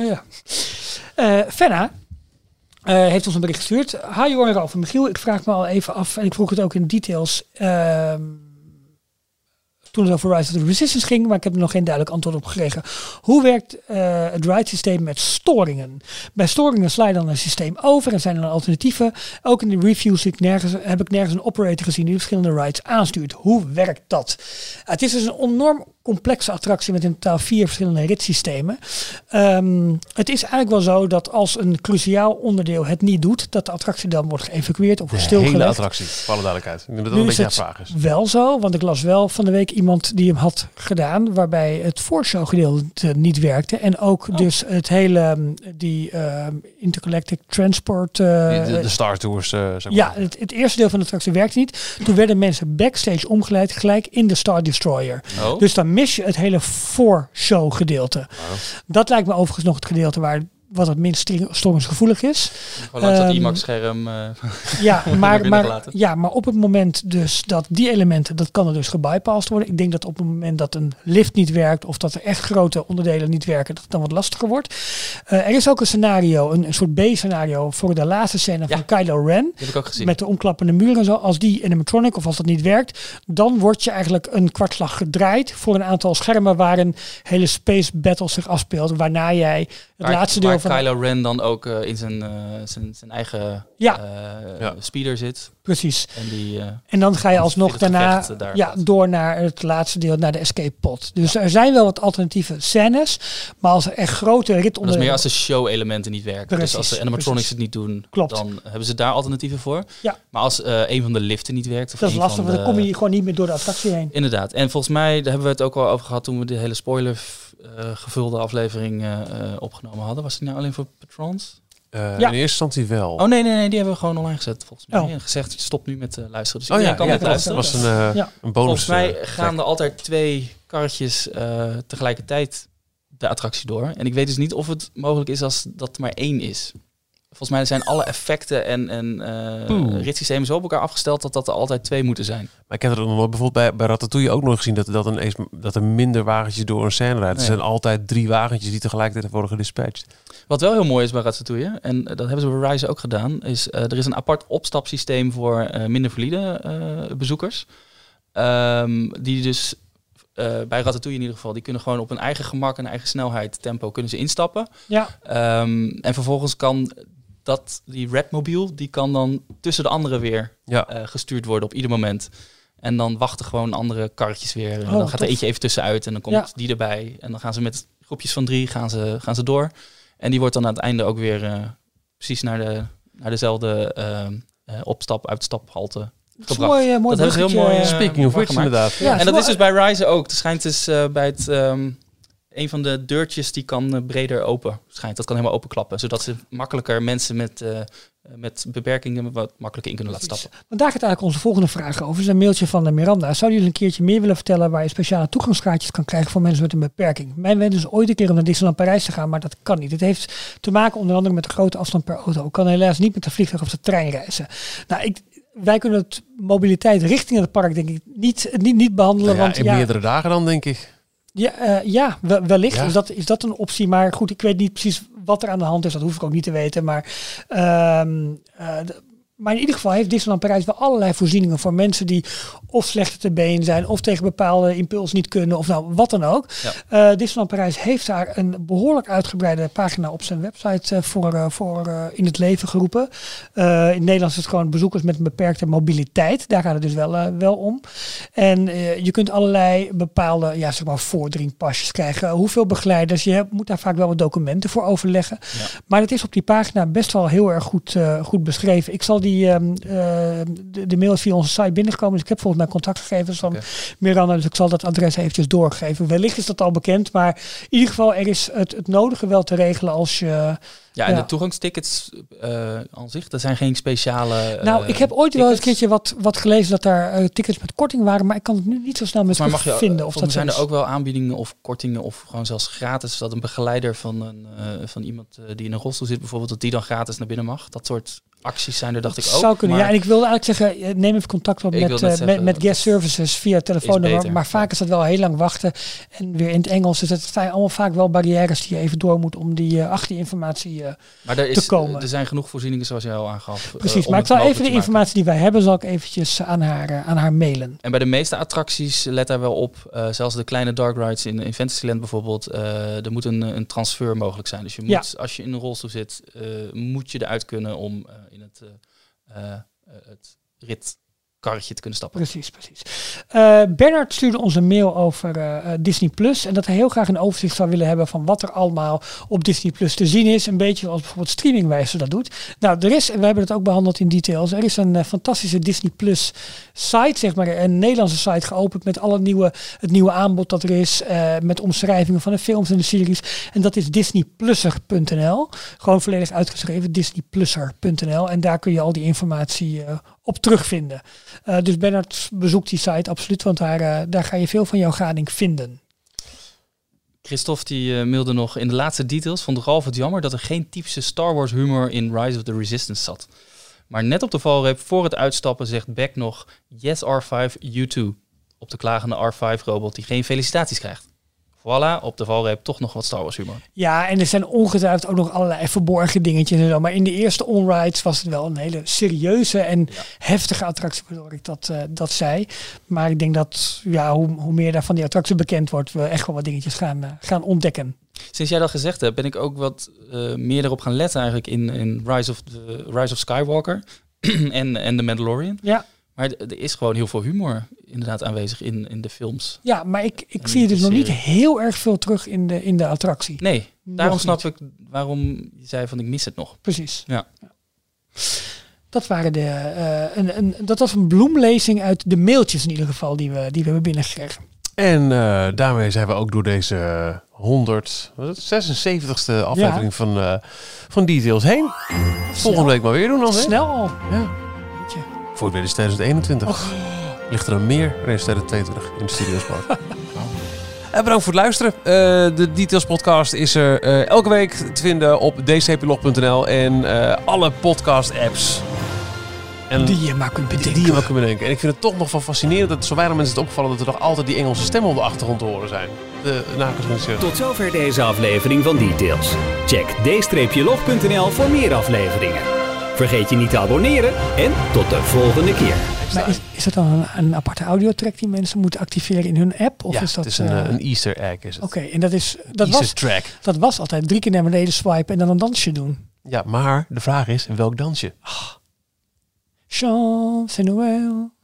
Speaker 3: Oh, ja. Eh, Fenna eh, heeft ons een bericht gestuurd. Hi Joran en Ralf en Michiel. Ik vraag me al even af, en ik vroeg het ook in details... ehm, toen het over Rise of the Resistance ging, maar ik heb er nog geen duidelijk antwoord op gekregen. Hoe werkt eh, het ride-systeem met storingen? Bij storingen sla je dan een systeem over en zijn er dan alternatieven. Ook in de reviews zie ik nergens, heb ik nergens een operator gezien die de verschillende rides aanstuurt. Hoe werkt dat? Het is dus een enorm complexe attractie met in totaal vier verschillende ritssystemen. Ehm, het is eigenlijk wel zo dat als een cruciaal onderdeel het niet doet, dat de attractie dan wordt geëvacueerd of wordt
Speaker 1: de hele
Speaker 3: stilgelegd.
Speaker 1: attractie, voor alle duidelijkheid. Ik denk dat dat
Speaker 3: Nu
Speaker 1: een
Speaker 3: is
Speaker 1: beetje haar
Speaker 3: het
Speaker 1: vraag is.
Speaker 3: wel zo, want ik las wel van de week iemand die hem had gedaan, waarbij het voorshowgedeelte niet werkte. En ook
Speaker 1: Oh.
Speaker 3: dus het hele, ehm, die ehm, intergalactic transport... eh,
Speaker 1: Die- de, de Star Tours, eh, zeg maar.
Speaker 3: ja, het, het eerste deel van de attractie werkte niet. Toen werden mensen backstage omgeleid gelijk in de Star Destroyer.
Speaker 2: oh.
Speaker 3: [LAUGHS] Dus dan mis je het hele voorshow gedeelte. Dat lijkt me overigens nog het gedeelte waar wat het minst string- storingsgevoelig is.
Speaker 2: Gewoon langs dat
Speaker 3: ehm,
Speaker 2: IMAX-scherm. eh, [LAUGHS]
Speaker 3: Ja, maar,
Speaker 2: binnen
Speaker 3: maar,
Speaker 2: gelaten.
Speaker 3: ja, maar op het moment dus dat die elementen, dat kan er dus gebypassed worden. Ik denk dat op het moment dat een lift niet werkt of dat er echt grote onderdelen niet werken, dat het dan wat lastiger wordt. Eh, er is ook een scenario, een, een soort B-scenario voor de laatste scène
Speaker 2: Ja.
Speaker 3: van Kylo Ren.
Speaker 2: die heb ik ook gezien.
Speaker 3: Met de omklappende muren en zo. Als die animatronic of als dat niet werkt, dan word je eigenlijk een kwartslag gedraaid voor een aantal schermen waar een hele space battle zich afspeelt. Waarna jij het
Speaker 2: Waar-
Speaker 3: laatste
Speaker 2: waar
Speaker 3: deel
Speaker 2: waar
Speaker 3: over.
Speaker 2: Kylo Ren dan ook eh, in zijn, eh, zijn, zijn eigen
Speaker 3: Ja.
Speaker 2: eh,
Speaker 1: Ja.
Speaker 2: speeder zit.
Speaker 3: Precies.
Speaker 2: En die, eh,
Speaker 3: En dan ga je alsnog
Speaker 2: Vind het
Speaker 3: daarna
Speaker 2: gevecht, eh, daar
Speaker 3: ja,
Speaker 2: gaat.
Speaker 3: door naar het laatste deel, naar de escape pod. Dus er zijn wel wat alternatieve scènes. Maar als er echt grote
Speaker 2: maar dat is meer
Speaker 3: ritonderdelen...
Speaker 2: als de show-elementen niet werken.
Speaker 3: Precies,
Speaker 2: dus als de animatronics
Speaker 3: precies.
Speaker 2: het niet doen,
Speaker 3: Klopt.
Speaker 2: dan hebben ze daar alternatieven voor.
Speaker 3: Ja.
Speaker 2: Maar als eh, een van de liften niet werkt... Of
Speaker 3: Dat is
Speaker 2: een
Speaker 3: lastig,
Speaker 2: van
Speaker 3: want dan kom je gewoon niet meer door de attractie heen.
Speaker 2: Inderdaad. En volgens mij, daar hebben we het ook al over gehad toen we de hele spoiler eh, gevulde aflevering eh, eh, opgenomen hadden. Was die nou alleen voor patrons?
Speaker 1: Eh, In
Speaker 3: Ja.
Speaker 1: eerste instantie wel.
Speaker 2: Oh nee, nee, nee, die hebben we gewoon online gezet volgens mij.
Speaker 3: Oh.
Speaker 2: En gezegd, stop nu met eh, luisteren. Dus
Speaker 1: Oh
Speaker 2: iedereen kan
Speaker 1: ja,
Speaker 2: met
Speaker 1: klopt. dat
Speaker 2: luisteren.
Speaker 1: was een, eh,
Speaker 3: Ja.
Speaker 1: een bonus.
Speaker 2: Volgens mij
Speaker 1: eh,
Speaker 2: gaan er altijd twee karretjes eh, tegelijkertijd de attractie door. En ik weet dus niet of het mogelijk is als dat er maar één is. Volgens mij zijn alle effecten en, en eh,
Speaker 1: Oeh.
Speaker 2: ritssystemen zo op elkaar afgesteld dat dat er altijd twee moeten zijn.
Speaker 1: Maar ik heb er nog nooit bijvoorbeeld bij, bij Ratatouille ook nog gezien dat, dat, ineens, dat er minder wagentjes door een scène rijden.
Speaker 2: Nee.
Speaker 1: Er zijn altijd drie wagentjes die tegelijkertijd worden gedispatcht.
Speaker 2: Wat wel heel mooi is bij Ratatouille, en eh, dat hebben ze bij Rise ook gedaan, is eh, er is een apart opstapsysteem voor eh, minder valide eh, bezoekers. Ehm, die dus eh, bij Ratatouille in ieder geval, die kunnen gewoon op hun eigen gemak en eigen snelheid, tempo, kunnen ze instappen.
Speaker 3: Ja,
Speaker 2: Ehm, en vervolgens kan dat, die Redmobile, die kan dan tussen de anderen weer
Speaker 1: Ja.
Speaker 2: eh, gestuurd worden op ieder moment. En dan wachten gewoon andere karretjes weer. En
Speaker 3: Oh,
Speaker 2: dan gaat er
Speaker 3: tof.
Speaker 2: eentje even tussenuit en dan komt
Speaker 3: Ja.
Speaker 2: die erbij. En dan gaan ze met groepjes van drie gaan ze, gaan ze door. En die wordt dan aan het einde ook weer eh, precies naar, de, naar dezelfde ehm, eh, opstap, uitstaphalte
Speaker 3: dat is
Speaker 2: gebracht.
Speaker 3: mooi, eh, mooi
Speaker 2: Dat hebben ze heel
Speaker 3: bruggetje.
Speaker 2: mooi, eh,
Speaker 1: Speaking of
Speaker 2: mooi
Speaker 1: which,
Speaker 2: gemaakt.
Speaker 1: inderdaad.
Speaker 3: Ja,
Speaker 2: en dat
Speaker 3: wel-
Speaker 2: is dus bij Rise ook. Het schijnt dus eh, bij het, ehm, een van de deurtjes die kan eh, breder open. Schijnt dat kan helemaal openklappen, zodat ze makkelijker mensen met, eh, met beperkingen wat makkelijker in kunnen laten stappen.
Speaker 3: Want daar gaat eigenlijk onze volgende vraag over. Het is een mailtje van eh, Miranda. Zou jullie een keertje meer willen vertellen waar je speciale toegangskaartjes kan krijgen voor mensen met een beperking? Mijn wens is ooit een keer om naar Disneyland Parijs te gaan, maar dat kan niet. Het heeft te maken onder andere met de grote afstand per auto. Ik kan helaas niet met de vliegtuig of de trein reizen. Nou, ik, wij kunnen het mobiliteit richting het park denk ik niet, niet, niet behandelen.
Speaker 1: Nou ja,
Speaker 3: want,
Speaker 1: in
Speaker 3: ja,
Speaker 1: meerdere dagen dan, denk ik.
Speaker 3: ja, eh, ja, we- wellicht
Speaker 1: Ja.
Speaker 3: Is, dat, is dat een optie. Maar goed, ik weet niet precies wat er aan de hand is. Dat hoef ik ook niet te weten. Maar, ehm, eh, d- maar in ieder geval heeft Disneyland Parijs wel allerlei voorzieningen voor mensen die of slechter te been zijn of tegen bepaalde impuls niet kunnen of nou wat dan ook. Eh, Disneyland Parijs heeft daar een behoorlijk uitgebreide pagina op zijn website eh, voor, eh, voor eh, in het leven geroepen. Eh, in Nederland is het gewoon bezoekers met een beperkte mobiliteit. Daar gaat het dus wel, eh, wel om. En eh, je kunt allerlei bepaalde ja, zeg maar voordringpasjes krijgen. Hoeveel begeleiders je hebt, moet daar vaak wel wat documenten voor overleggen. Maar het is op die pagina best wel heel erg goed, eh, goed beschreven. Ik zal die, ehm, eh, de, de mail is via onze site binnengekomen. Dus ik heb volgens mij contactgegevens van
Speaker 2: Oké.
Speaker 3: Miranda. Dus ik zal dat adres eventjes doorgeven. Wellicht is dat al bekend. Maar in ieder geval, er is het, het nodige wel te regelen als je...
Speaker 2: Ja, en
Speaker 3: Ja.
Speaker 2: de toegangstickets eh, aan zich, dat zijn geen speciale.
Speaker 3: nou,
Speaker 2: eh,
Speaker 3: ik heb ooit wel eens
Speaker 2: tickets.
Speaker 3: een keertje wat, wat gelezen dat daar eh, tickets met korting waren. Maar ik kan het nu niet zo snel met
Speaker 2: Maar mag je, eh,
Speaker 3: vinden. Of dat
Speaker 2: zijn
Speaker 3: zo
Speaker 2: er
Speaker 3: is.
Speaker 2: ook wel aanbiedingen of kortingen of gewoon zelfs gratis dat een begeleider van, een, eh, van iemand eh, die in een rolstoel zit bijvoorbeeld, dat die dan gratis naar binnen mag. Dat soort acties zijn er, dacht ik ook.
Speaker 3: zou kunnen.
Speaker 2: maar-
Speaker 3: Ja, en ik wilde eigenlijk zeggen, eh, neem even contact op
Speaker 2: Ik
Speaker 3: met,
Speaker 2: wil net
Speaker 3: eh, met,
Speaker 2: zeggen,
Speaker 3: met
Speaker 2: dat
Speaker 3: guest services via
Speaker 2: is
Speaker 3: telefoonnummer.
Speaker 2: beter.
Speaker 3: Maar vaak is dat wel heel lang wachten. En weer in het Engels. Dus dat zijn allemaal vaak wel barrières die je even door moet om die eh achterinformatie. eh,
Speaker 2: Maar er, is,
Speaker 3: te komen.
Speaker 2: er zijn genoeg voorzieningen zoals jij al aangaf. eh,
Speaker 3: precies.
Speaker 2: om
Speaker 3: maar ik
Speaker 2: het
Speaker 3: zal even
Speaker 2: mogelijk
Speaker 3: de
Speaker 2: te maken.
Speaker 3: informatie die wij hebben, zal ik eventjes aan haar, eh, aan haar mailen.
Speaker 2: En bij de meeste attracties, let daar wel op, eh, zelfs de kleine dark rides in, in Fantasyland bijvoorbeeld, eh, er moet een, een transfer mogelijk zijn. Dus je
Speaker 3: Ja.
Speaker 2: moet, als je in een rolstoel zit, eh, moet je eruit kunnen om eh, in het, eh, eh, het ritkarretje te kunnen stappen.
Speaker 3: Precies, precies. Eh, Bernard stuurde ons een mail over eh, eh, Disney Plus. En dat hij heel graag een overzicht zou willen hebben van wat er allemaal op Disney Plus te zien is. Een beetje zoals bijvoorbeeld streamingwijzer dat doet. Nou, er is, en we hebben het ook behandeld in details. Er is een eh, fantastische Disney Plus site, zeg maar, een Nederlandse site geopend met alle nieuwe, het nieuwe aanbod dat er is. eh, met omschrijvingen van de films en de series. En dat is disneyplusser.nl. Gewoon volledig uitgeschreven, disneyplusser.nl. En daar kun je al die informatie eh, op terugvinden. Eh, dus Bernard bezoekt die site absoluut, want daar, eh, daar ga je veel van jouw gading vinden.
Speaker 2: Christophe die eh, mailde nog in de laatste details vond Ralf het jammer dat er geen typische Star Wars humor in Rise of the Resistance zat. Maar net op de valreep voor het uitstappen zegt Beck nog Yes R5 U2 op de klagende R5 robot die geen felicitaties krijgt. Voor voilà, op de valreep toch nog wat Star Wars humor.
Speaker 3: Ja, en er zijn ongetwijfeld ook nog allerlei verborgen dingetjes en zo. Maar in de eerste onrides was het wel een hele serieuze en heftige attractie, waardoor ik dat, eh, dat zei. Maar ik denk dat ja, hoe, hoe meer daar van die attractie bekend wordt, we echt wel wat dingetjes gaan, eh, gaan ontdekken.
Speaker 2: Sinds jij dat gezegd hebt, ben ik ook wat eh, meer erop gaan letten eigenlijk in, in Rise, of the, Rise of Skywalker [CLEARS THROAT] en, en The Mandalorian.
Speaker 3: Ja.
Speaker 2: Maar d- er is gewoon heel veel humor inderdaad aanwezig in, in de films.
Speaker 3: Ja, maar ik, ik
Speaker 2: En
Speaker 3: zie dus nog niet
Speaker 2: serie.
Speaker 3: heel erg veel terug in de, in de attractie.
Speaker 2: Nee, daarom
Speaker 3: Nog
Speaker 2: snap
Speaker 3: niet.
Speaker 2: ik waarom je zei van ik mis het nog.
Speaker 3: Precies.
Speaker 2: Ja.
Speaker 3: Dat, waren de, eh, een, een, dat was een bloemlezing uit de mailtjes in ieder geval die we, die we hebben binnengekregen.
Speaker 1: En eh, daarmee zijn we ook door deze 100, wat is het, 76e aflevering van, eh, van Details heen. Volgende week maar weer doen dan, hè?
Speaker 3: Snel al.
Speaker 1: Ja.
Speaker 3: Weet je.
Speaker 1: Voor het weer is 2021. Ligt er een meer race 2022 in de Studios
Speaker 3: [LAUGHS]
Speaker 1: Park. En bedankt voor het luisteren. Eh, de Details podcast is er eh, elke week te vinden op dcplog.nl en eh, alle podcast apps. En
Speaker 3: Die je maar kunt bedenken.
Speaker 1: die je wel kunnen bedenken. En ik vind het toch nog wel fascinerend dat zo weinig mensen het opvallen dat er nog altijd die Engelse stemmen op de achtergrond te horen zijn. De nakers mensen.
Speaker 4: Tot zover deze aflevering van Details. Check d-log.nl voor meer afleveringen. Vergeet je niet te abonneren en tot de volgende keer.
Speaker 3: maar is, is dat dan een, een aparte audiotrack die mensen moeten activeren in hun app? Of
Speaker 1: ja,
Speaker 3: is dat,
Speaker 1: het is een,
Speaker 3: eh,
Speaker 1: eh, een Easter egg is het.
Speaker 3: Oké, en dat, is, dat,
Speaker 1: Easter
Speaker 3: was,
Speaker 1: track.
Speaker 3: dat was altijd drie keer naar beneden swipen en dan een dansje doen.
Speaker 1: Ja, maar de vraag is welk dansje?
Speaker 3: Chance Noël.